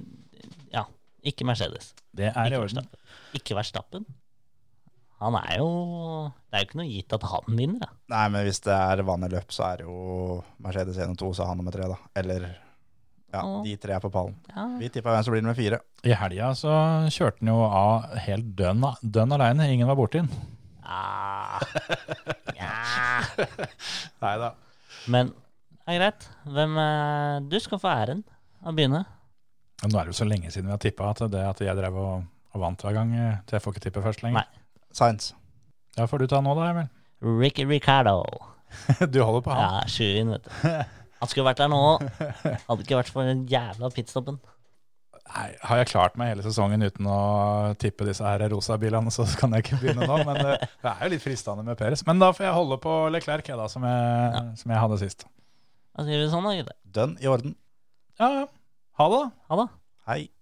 [SPEAKER 4] Ja, ikke Mercedes.
[SPEAKER 1] Det er i
[SPEAKER 4] Ikke
[SPEAKER 1] orden.
[SPEAKER 4] Verstappen. Ikke Verstappen. Han er jo Det er jo ikke noe gitt at han vinner, da.
[SPEAKER 5] Nei, men hvis det er vanlig løp, så er det jo Mercedes 1 og 2, så er han nummer 3, da. Eller ja,
[SPEAKER 4] Ja.
[SPEAKER 5] de tre er på pallen.
[SPEAKER 4] Ja.
[SPEAKER 5] Vi tippa hvem som blir nummer fire.
[SPEAKER 1] I helga så kjørte han jo av helt dønn, dønn aleine. Ingen var borti han.
[SPEAKER 4] Ah. Ja.
[SPEAKER 1] [LAUGHS] Nei da.
[SPEAKER 4] Men det er greit. Hvem eh, Du skal få æren av å begynne.
[SPEAKER 1] Men nå er det jo så lenge siden vi har tippa at det at jeg drev og, og vant hver gang, eh, så jeg får ikke tippe først lenger.
[SPEAKER 4] Nei.
[SPEAKER 5] Sainz.
[SPEAKER 1] Ja, får du ta nå da,
[SPEAKER 4] [LAUGHS]
[SPEAKER 1] Emil?
[SPEAKER 4] Ricky Ricardo.
[SPEAKER 1] Du holder på han.
[SPEAKER 4] Ja, sjuen, vet du. Han skulle vært der nå
[SPEAKER 1] [LAUGHS]
[SPEAKER 4] Hadde ikke vært for den jævla pitstoppen.
[SPEAKER 1] Nei, har jeg klart meg hele sesongen uten å tippe disse her rosa bilene, så kan jeg ikke begynne nå. Men det, det er jo litt fristende med Peres. Men da får jeg holde på Leclerc, jeg da, som jeg, som jeg hadde sist.
[SPEAKER 4] Da sier vi sånn, da, gutter.
[SPEAKER 5] Dønn i orden.
[SPEAKER 1] Ja, ja. Ha det, da.
[SPEAKER 4] Ha det.
[SPEAKER 5] Hei.